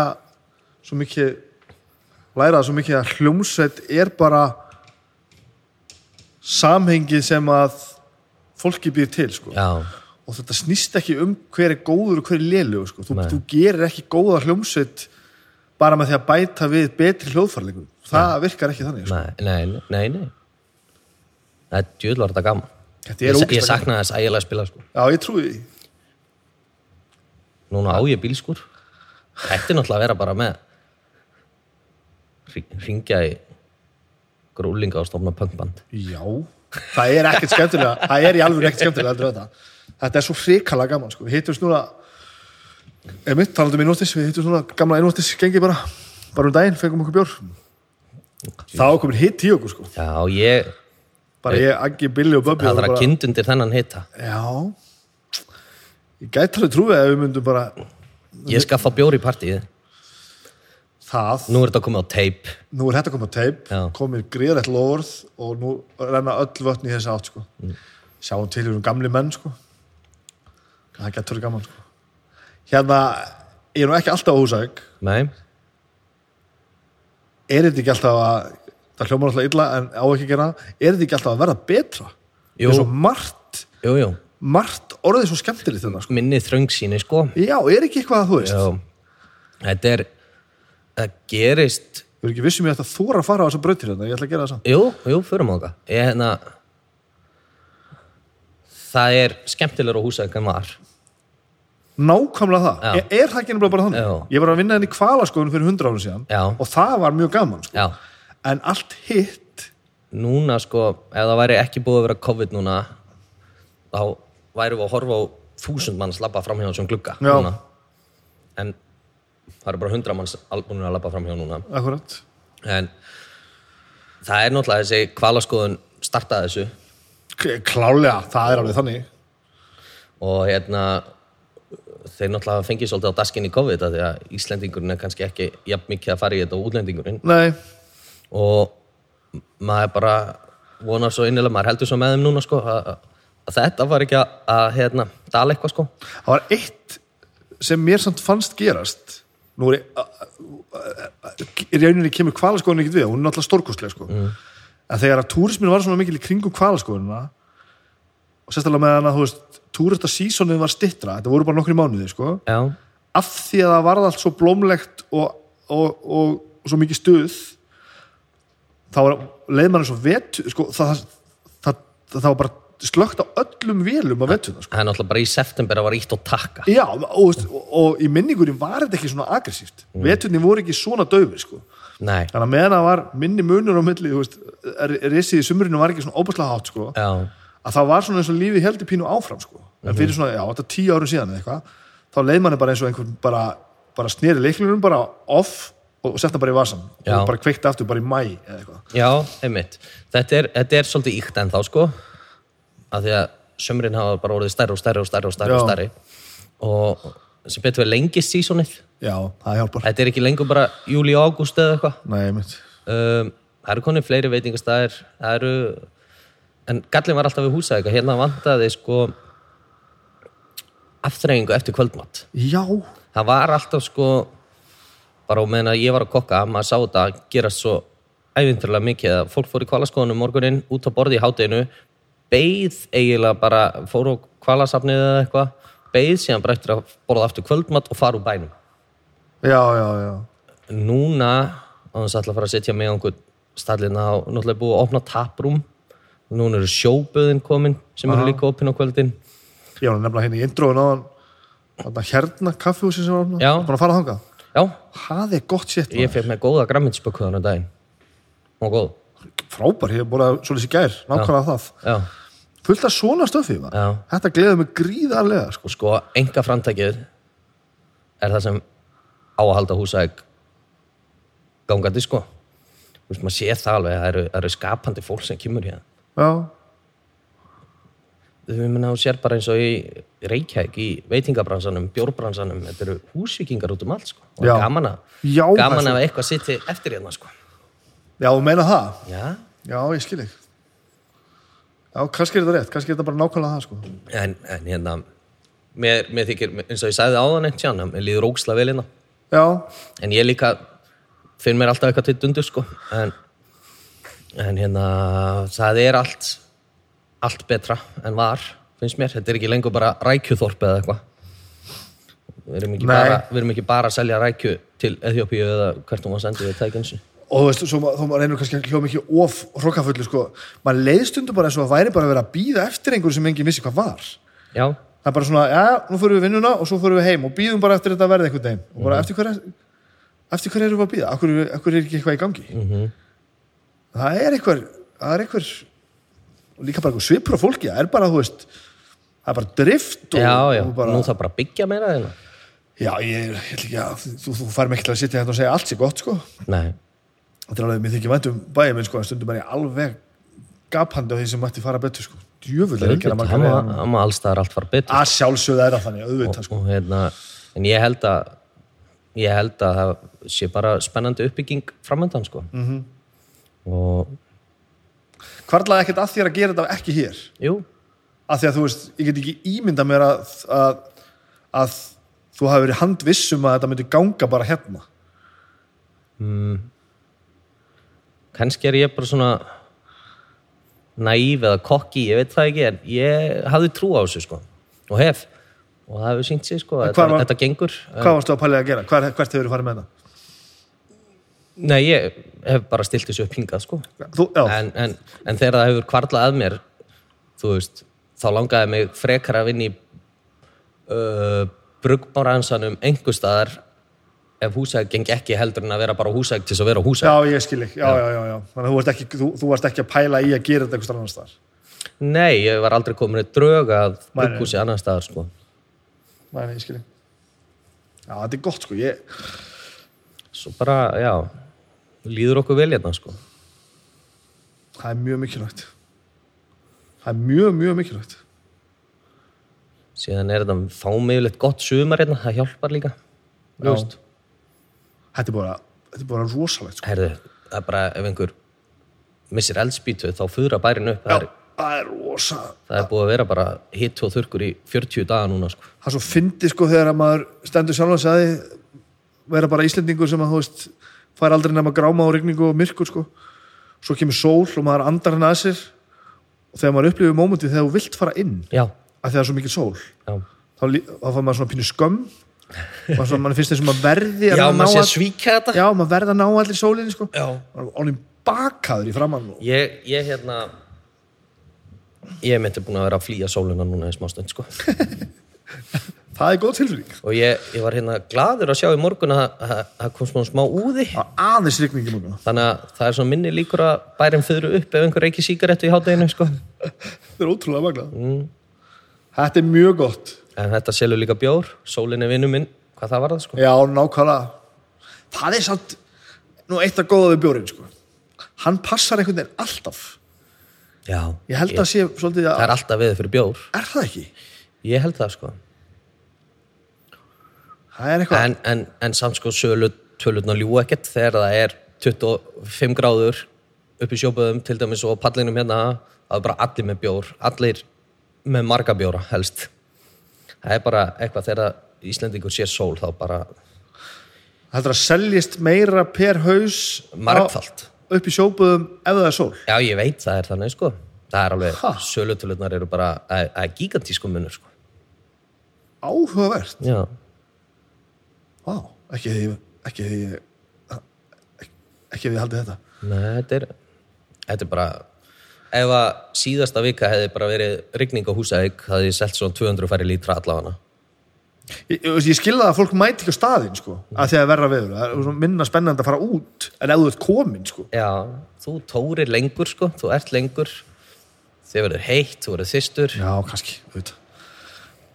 Speaker 1: svo mikið læra það svo mikið að hljómsveit er bara samhengið sem að fólki býr til, sko
Speaker 2: Já,
Speaker 1: og þetta snýst ekki um hver er góður og hver er lélugur, sko þú, þú gerir ekki góða hljómsveit bara með því að bæta við betri hljóðfærileikum það virkar ekki þannig, sko
Speaker 2: nei, nei, nei, nei, nei. Það er djúðl var þetta gaman.
Speaker 1: Þetta er
Speaker 2: Ég, ég
Speaker 1: ógeðslega
Speaker 2: saknaði þess ægilega að spila sko.
Speaker 1: Já, ég trúi því.
Speaker 2: Núna á ég bílskur. Þetta er náttúrulega að vera bara með ringja í grúlinga og stofna punkband.
Speaker 1: Já. Það er ekkert skemmtilega, það er í alveg ekkert skemmtilega heldur en þetta. Þetta er svo hrikalega gaman, sko. Við hittum núna, einmitt, talandum innvortis, um við hittum núna gamla innvortis gengi bara, bara um daginn, fengum okkur bjór. Þá er komin hitt í okkur, sko.
Speaker 2: Já, ég,
Speaker 1: Bara ég, Aggi, Billi og Böbbi.
Speaker 2: það
Speaker 1: vorum
Speaker 2: þarf að
Speaker 1: bara-
Speaker 2: kynnt undir þennan hitta.
Speaker 1: Já. Ég gæti alveg trúið að við myndum bara
Speaker 2: Ég skaffa bjór í partíið.
Speaker 1: það.
Speaker 2: Nú er þetta komið á teip.
Speaker 1: Nú er þetta komið á teip,
Speaker 2: Já.
Speaker 1: komið gríðrætt loforð og nú renna öll vötn í þess átt, sko.
Speaker 2: Mm.
Speaker 1: Sjáum til um gamli menn, sko. Það getur verið gaman, sko. Hérna, ég er nú ekki alltaf á húsæk.
Speaker 2: Nei,
Speaker 1: Er þetta ekki alltaf að, það hljómar alltaf illa en á ekki að gera, það. er þetta ekki alltaf að verða betra?
Speaker 2: Jú.
Speaker 1: Er svo margt,
Speaker 2: jú, jú.
Speaker 1: margt orðið svo skemmtilegt þetta, sko.
Speaker 2: Minni þröngsýni, sko.
Speaker 1: Já, er ekki eitthvað að þú veist?
Speaker 2: Já. Þetta er, það gerist,
Speaker 1: Ég er ekki vissum ég ætti að þóra að fara á þessa brautir hérna, ég ætla að gera það samt.
Speaker 2: jú, jú, förum á það. Ég, hérna, það er skemmtilegur á húsæk en var.
Speaker 1: Nákvæmlega það.
Speaker 2: Já.
Speaker 1: Er, er það ekki nefnilega bara þannig?
Speaker 2: Já.
Speaker 1: Ég var að vinna henni í kvalaskoðun fyrir 100 árum síðan
Speaker 2: Já.
Speaker 1: og það var mjög gaman, sko.
Speaker 2: Já,
Speaker 1: en allt hitt
Speaker 2: núna sko, ef það væri ekki búið að vera COVID núna þá værum við að horfa á þúsund manns labba framhjá þessum glugga
Speaker 1: Já.
Speaker 2: núna en það eru bara hundra manns albúinir að labba framhjá núna
Speaker 1: akkurat,
Speaker 2: en það er náttúrulega þessi kvalaskoðun startaði þessu
Speaker 1: K- klálega, það er alveg þannig
Speaker 2: og hérna þeir náttúrulega fengið svolítið á daskinni COVID af því að Íslendingurinn er kannski ekki jafn mikið að fara í þetta og útlendingurinn
Speaker 1: nei,
Speaker 2: og maður bara vonar svo innilega, maður heldur svo með þeim núna sko, að, að þetta var ekki að, að hérna, dala eitthvað sko
Speaker 1: það var eitt sem mér samt fannst gerast nú er ég- a- a- a- í rauninni kemur kvalaskoðun ekkert við hún er náttúrulega stórkostlega sko
Speaker 2: Mm.
Speaker 1: að þegar að túrismin var svona mikil í kringum kvalaskoðunina og sérstaklega með hann að þú veist túristasísonin var stittra, þetta voru bara nokkri mánuði sko
Speaker 2: já,
Speaker 1: af því að það varð allt svo blómlegt og, og, og, og svo mikið stuð þá var, leið mann svo vetu sko, það, það, það, það var bara slögt á öllum vélum að vetuna sko.
Speaker 2: það er náttúrulega bara í september að var ítt og takka
Speaker 1: Já, og, og, og í minningunni var þetta ekki svona aggressíft mm. veturni voru ekki svona döfur sko.
Speaker 2: nei,
Speaker 1: þannig að meðan það var minni munur á milli, þú veist, r- risið í sumrinu var ekki svona óbærslega hátt sko,
Speaker 2: já,
Speaker 1: að það var svona eins og lífið heldur pínu áfram sko.
Speaker 2: Mhm.
Speaker 1: en fyrir svona, já, þetta er tíu árum síðan eða eitthvað, þá leið manni bara eins og einhvern bara, bara sneri leiklurum bara off og sett hann bara í vasan
Speaker 2: Já.
Speaker 1: og bara kveikt aftur bara í mæ eða eitthvað
Speaker 2: já, einmitt þetta er, þetta er svolítið íkt en þá sko að því að sömurinn hafa bara orðið stærri og stærri og stærri og stærri og
Speaker 1: Já.
Speaker 2: stærri og sem betur við lengist sísonið
Speaker 1: Já, það hjálpar
Speaker 2: þetta er ekki lengur bara júli og ágúst eða eitthvað
Speaker 1: Nei, mitt
Speaker 2: um, það eru konið fleiri veitingastæðir það eru en gallin var alltaf við húsæk og hérna vantaði sko aftreyingu eftir kvöldmatt
Speaker 1: Já,
Speaker 2: það var alltaf sko bara á meðan að ég var að kokka maður sá þetta gerast svo ævinturlega mikið að fólk fór í kvalaskoðunum morguninn út á borði í hátinu beið eiginlega bara fór á kvalasafnið eða eitthvað beið síðan bara eftir að borða aftur kvöldmatt og fara úr bænum
Speaker 1: já, já, já
Speaker 2: núna á þess að ætla að fara að setja mig á einhvern stallina og náttúrulega búið að opna taprúm núna eru sjóböðin komin sem eru líka opin á kvöldin
Speaker 1: Ég var nefnilega hérna í indróin á hann hérna kaffihúsin sem var opnað.
Speaker 2: Já.
Speaker 1: Búin að fara þangað
Speaker 2: já,
Speaker 1: Það er gott sétt
Speaker 2: ég fekk með góða gramminsbökuðan á daginn og góð,
Speaker 1: Frábær, ég hef búin að svolítið í gær Nákvæmlega það
Speaker 2: já
Speaker 1: Fullt af svona stöfi
Speaker 2: Já.
Speaker 1: Þetta gleður mig gríðarlega sko.
Speaker 2: og sko, enga framtækið er það sem á að halda húsæk gangandi sko þú veist, maður sér það alveg, það eru, það eru skapandi fólk sem kemur hérna
Speaker 1: Já,
Speaker 2: við minna hún sér bara eins og í Reykjavík í veitingabransanum, bjórbransanum þetta eru húsvíkingar út um allt sko. og
Speaker 1: Já.
Speaker 2: gaman að,
Speaker 1: Já, það
Speaker 2: gaman
Speaker 1: er
Speaker 2: að eitthvað sitti eftir hérna sko.
Speaker 1: já þú meina það
Speaker 2: Já.
Speaker 1: Já, ég skil ekki Já, kannski er þetta rétt, kannski er þetta bara nákvæmlega það sko.
Speaker 2: en, en hérna mér, mér þykir, eins og ég sagði áðan eitt tjána, mér líður óksla vel hérna
Speaker 1: Já,
Speaker 2: en ég líka finn mér alltaf eitthvað til dundu sko. en, en hérna það er allt allt betra en var finnst mér, þetta er ekki lengur bara rækjuþorp eða eitthvað við erum, ekki
Speaker 1: Nei.
Speaker 2: bara, við erum ekki bara að selja rækju til Eþjópíu eða hvert hún var sendið við tækinsu
Speaker 1: og þú veist, svo ma- þó maður reynir kannski að hljóma ekki of hrokkafullu, sko, maður leiðstundu bara eins og að væri bara að vera að býða eftir einhverju sem enginn vissi hvað var.
Speaker 2: já,
Speaker 1: það er bara svona, já, nú fyrir við vinnuna og svo fyrir við heim og býðum bara eftir þetta verði einhvern veginn og
Speaker 2: Mhm.
Speaker 1: bara eftir hverja eftir hverja erum við að býða, akkur, akkur er ekki eitthvað í gangi
Speaker 2: Mhm.
Speaker 1: það er eitthvað það er eitthvað og líka bara eitthvað svipur á fólki, það er bara þú veist, það er bara drift og,
Speaker 2: já, já.
Speaker 1: og bara,
Speaker 2: nú þarf bara að byggja meira hérna. þeirna
Speaker 1: já, ég er ég ætla ekki að þú, þú fær mig ekki til að sitja hérna og segja allt sér gott, sko
Speaker 2: nei,
Speaker 1: þetta er alveg, mér þykir vænt um bæja minn, sko en stundum er ég alveg gapandi á því sem mætti fara betur, sko, djöfull er ekki að marga
Speaker 2: það
Speaker 1: leiðanum.
Speaker 2: má allstaðar allt fara betur
Speaker 1: að sjálfsögða er að þannig, auðvitað, sko
Speaker 2: og hérna, en ég held að ég held að það sé bara spennandi uppbygging framöndan sko -hmm.
Speaker 1: Mhm.
Speaker 2: og
Speaker 1: hvarlaði ekkert að þér að gera þetta ekki hér
Speaker 2: jú,
Speaker 1: af því að þú veist, ég get ekki ímynda mér að, að, að þú hafi verið handvissum að þetta myndi ganga bara hérna
Speaker 2: kannski er ég bara svona naíf eða kokki, ég veit það ekki en ég hafði trú á þessu sko og hef, og það hefur sínt sig sko
Speaker 1: hvað
Speaker 2: þetta,
Speaker 1: var-
Speaker 2: þetta gengur
Speaker 1: hvað varstu að pælið að gera, Hver, hvert hefur þú farið með það
Speaker 2: Nei, ég hef bara stilt þessu upp hingað sko
Speaker 1: þú, já,
Speaker 2: en, en, en þegar það hefur kvarlað að mér þú veist, þá langaði mig frekar að vinna í uh, brugbáransanum einhver staðar ef húsæk geng ekki heldur en að vera bara á húsæk til þess að vera á húsæk
Speaker 1: Já, ég skil ekki, já, já, já, já. Þannig að þú varst, ekki, þú, þú varst ekki að pæla í að gera þetta eitthvað annars þar.
Speaker 2: Nei, ég var aldrei komin í drög að
Speaker 1: Nei, nei.
Speaker 2: bukkhúsi annar staðar sko.
Speaker 1: Nei, nei, ég skil ekki. Já, þetta er gott, sko. Ég,
Speaker 2: Svo bara, já, líður okkur vel hérna sko.
Speaker 1: það er mjög mikilvægt. Það er mjög, mjög mikilvægt.
Speaker 2: Síðan er þetta fámiðulegt gott sumar hérna, það hjálpar líka. Þú
Speaker 1: Já.
Speaker 2: veist,
Speaker 1: Þetta er bara, þetta er bara rosalegt, sko.
Speaker 2: herðu, það er bara ef einhver missir eldspýtu þá fyrra bærin upp. Það er,
Speaker 1: Það er rosa,
Speaker 2: það er búið að vera bara hitt og þurrkur í 40 daga núna sko.
Speaker 1: það er svo fyndi sko þegar að maður stendur sjálf að segði vera bara Íslendingur sem að þú veist fær aldrei nema gráma og rigningu og myrkur sko svo kemur sól og maður andar hann að sér og þegar maður upplifir mómentið þegar þú vilt fara inn
Speaker 2: Já,
Speaker 1: af því það er svo mikið sól
Speaker 2: já.
Speaker 1: þá, lí- þá fær maður svona pínu skömm maður, svona, maður finnst þess að maður verði að
Speaker 2: Já,
Speaker 1: ná
Speaker 2: maður sé að
Speaker 1: all-
Speaker 2: svíka þetta.
Speaker 1: já, maður verði að ná allir sólinni sko
Speaker 2: Já.
Speaker 1: maður er alveg bakaður í framann og...
Speaker 2: Ég, ég hérna ég myndi búin að vera að flýja sóluna núna í smá stund sko.
Speaker 1: það er góð tilfinning
Speaker 2: og ég, ég var hérna gladur að sjá í morgun að að- að það kom svona smá úði
Speaker 1: Það er aðeins rigningi múlum
Speaker 2: þannig að það er svona minni líkur að bærin fyrir upp ef einhver reykir sígarettu í hátæginu sko.
Speaker 1: þetta er ótrúlega magnað
Speaker 2: Mm.
Speaker 1: þetta er mjög gott
Speaker 2: en þetta selur líka bjór, sólin er vinnu minn hvað það var það sko.
Speaker 1: Já, nákvæmlega. Það er samt, nú eitt að góða við bjórinn, sko. Hann passar einhvern veginn alltaf.
Speaker 2: Já,
Speaker 1: Ég held að sé svolítið
Speaker 2: það
Speaker 1: að,
Speaker 2: er alltaf veður fyrir bjór
Speaker 1: er það ekki?
Speaker 2: ég held það sko
Speaker 1: Það er eitthvað,
Speaker 2: en, en, en samt sko sölu tölutna ljú ekkert þegar það er 25 gráður upp í sjópaðum til dæmis og á pallinum hérna það er bara allir með bjór, allir með marga bjóra helst það er bara eitthvað þegar Íslendingur sér sól þá bara
Speaker 1: það er að seljist meira per haus á-
Speaker 2: margfalt
Speaker 1: upp í sjópuðum ef það er sól.
Speaker 2: já ég veit það er þannig sko það er alveg,
Speaker 1: Ha?
Speaker 2: sölutölutnar eru bara að, að gigantísku munur sko
Speaker 1: Áhugavert.
Speaker 2: já,
Speaker 1: Vá, ekki því, ekki því, ekki því haldið þetta.
Speaker 2: Nei, þetta er þetta er bara ef að síðasta vika hefði bara verið rigning á húsæk, það hefði ég selt svona 200 færi lítra allavega
Speaker 1: Ég, ég, veist, ég skilða að fólk mæti ekki á staðinn, sko, að því að verra veður. Það er svona minna spennandi að fara út en ef þú ert komin, sko.
Speaker 2: Já, þú tórir lengur sko, þú ert lengur þið verður heitt, þú verður þystur
Speaker 1: Já, kannski, auðvitað.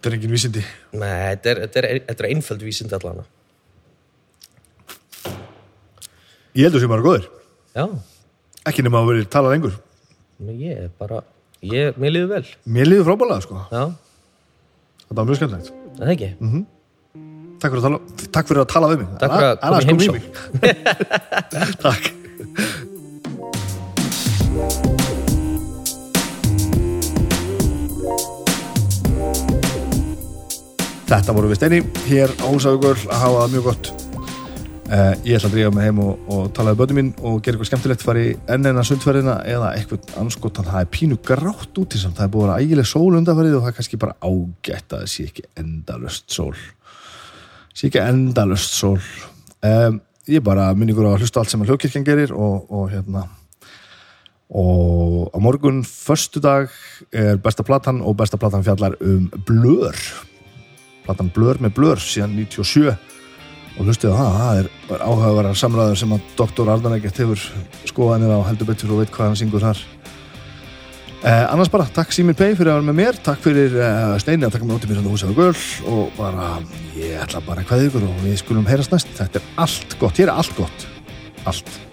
Speaker 1: Þetta er engin vísindi.
Speaker 2: Nei, þetta er, þetta er, þetta er einföld vísind allana
Speaker 1: Ég heldur sem bara góður.
Speaker 2: Já,
Speaker 1: ekki nema að verið tala lengur
Speaker 2: nú ég er bara ég, mér líður vel
Speaker 1: mér líður frábælega sko,
Speaker 2: Já,
Speaker 1: þetta var mjög skemmtilegt
Speaker 2: er það ekki
Speaker 1: takk fyrir að tala, takk fyrir að, tala við mig
Speaker 2: Takk fyrir að
Speaker 1: Annars
Speaker 2: koma í
Speaker 1: kom
Speaker 2: heimsókn.
Speaker 1: mig. takk Þetta voru við Steini hér á Húsavíkur að hafa það mjög gott uh, Ég ætla að drífa mig heim og, og tala við bönnum mín og gera eitthvað skemmtilegt fara í enn enna sundferðina eða eitthvað anskotan það er pínu grátt út í samt það er búin að vera ægileg sól undanfarið og það er kannski bara ágætt að það sé ekki endalöst sól sé ekki endalöst sól um, Ég bara minni ykkur á að hlusta allt sem að hljókirkjan gerir og, og hérna og á morgun föstudag er besta platan og besta platan fjallar um blör platan Blur með Blur síðan 97 og hlustið á það, það er, er áhugaverðar samræður sem að doktor Ardan ekkert hefur skoðanir á heldur betur og veit hvað hann syngur þar eh, annars bara, takk Sýmir Pei fyrir að vera með mér takk fyrir eh, Steini að taka mig út í mér hann á húsið á göl og bara, ég ætla bara að kveðja ykkur og við skulum heyrast næst þetta er allt gott, hér er allt gott allt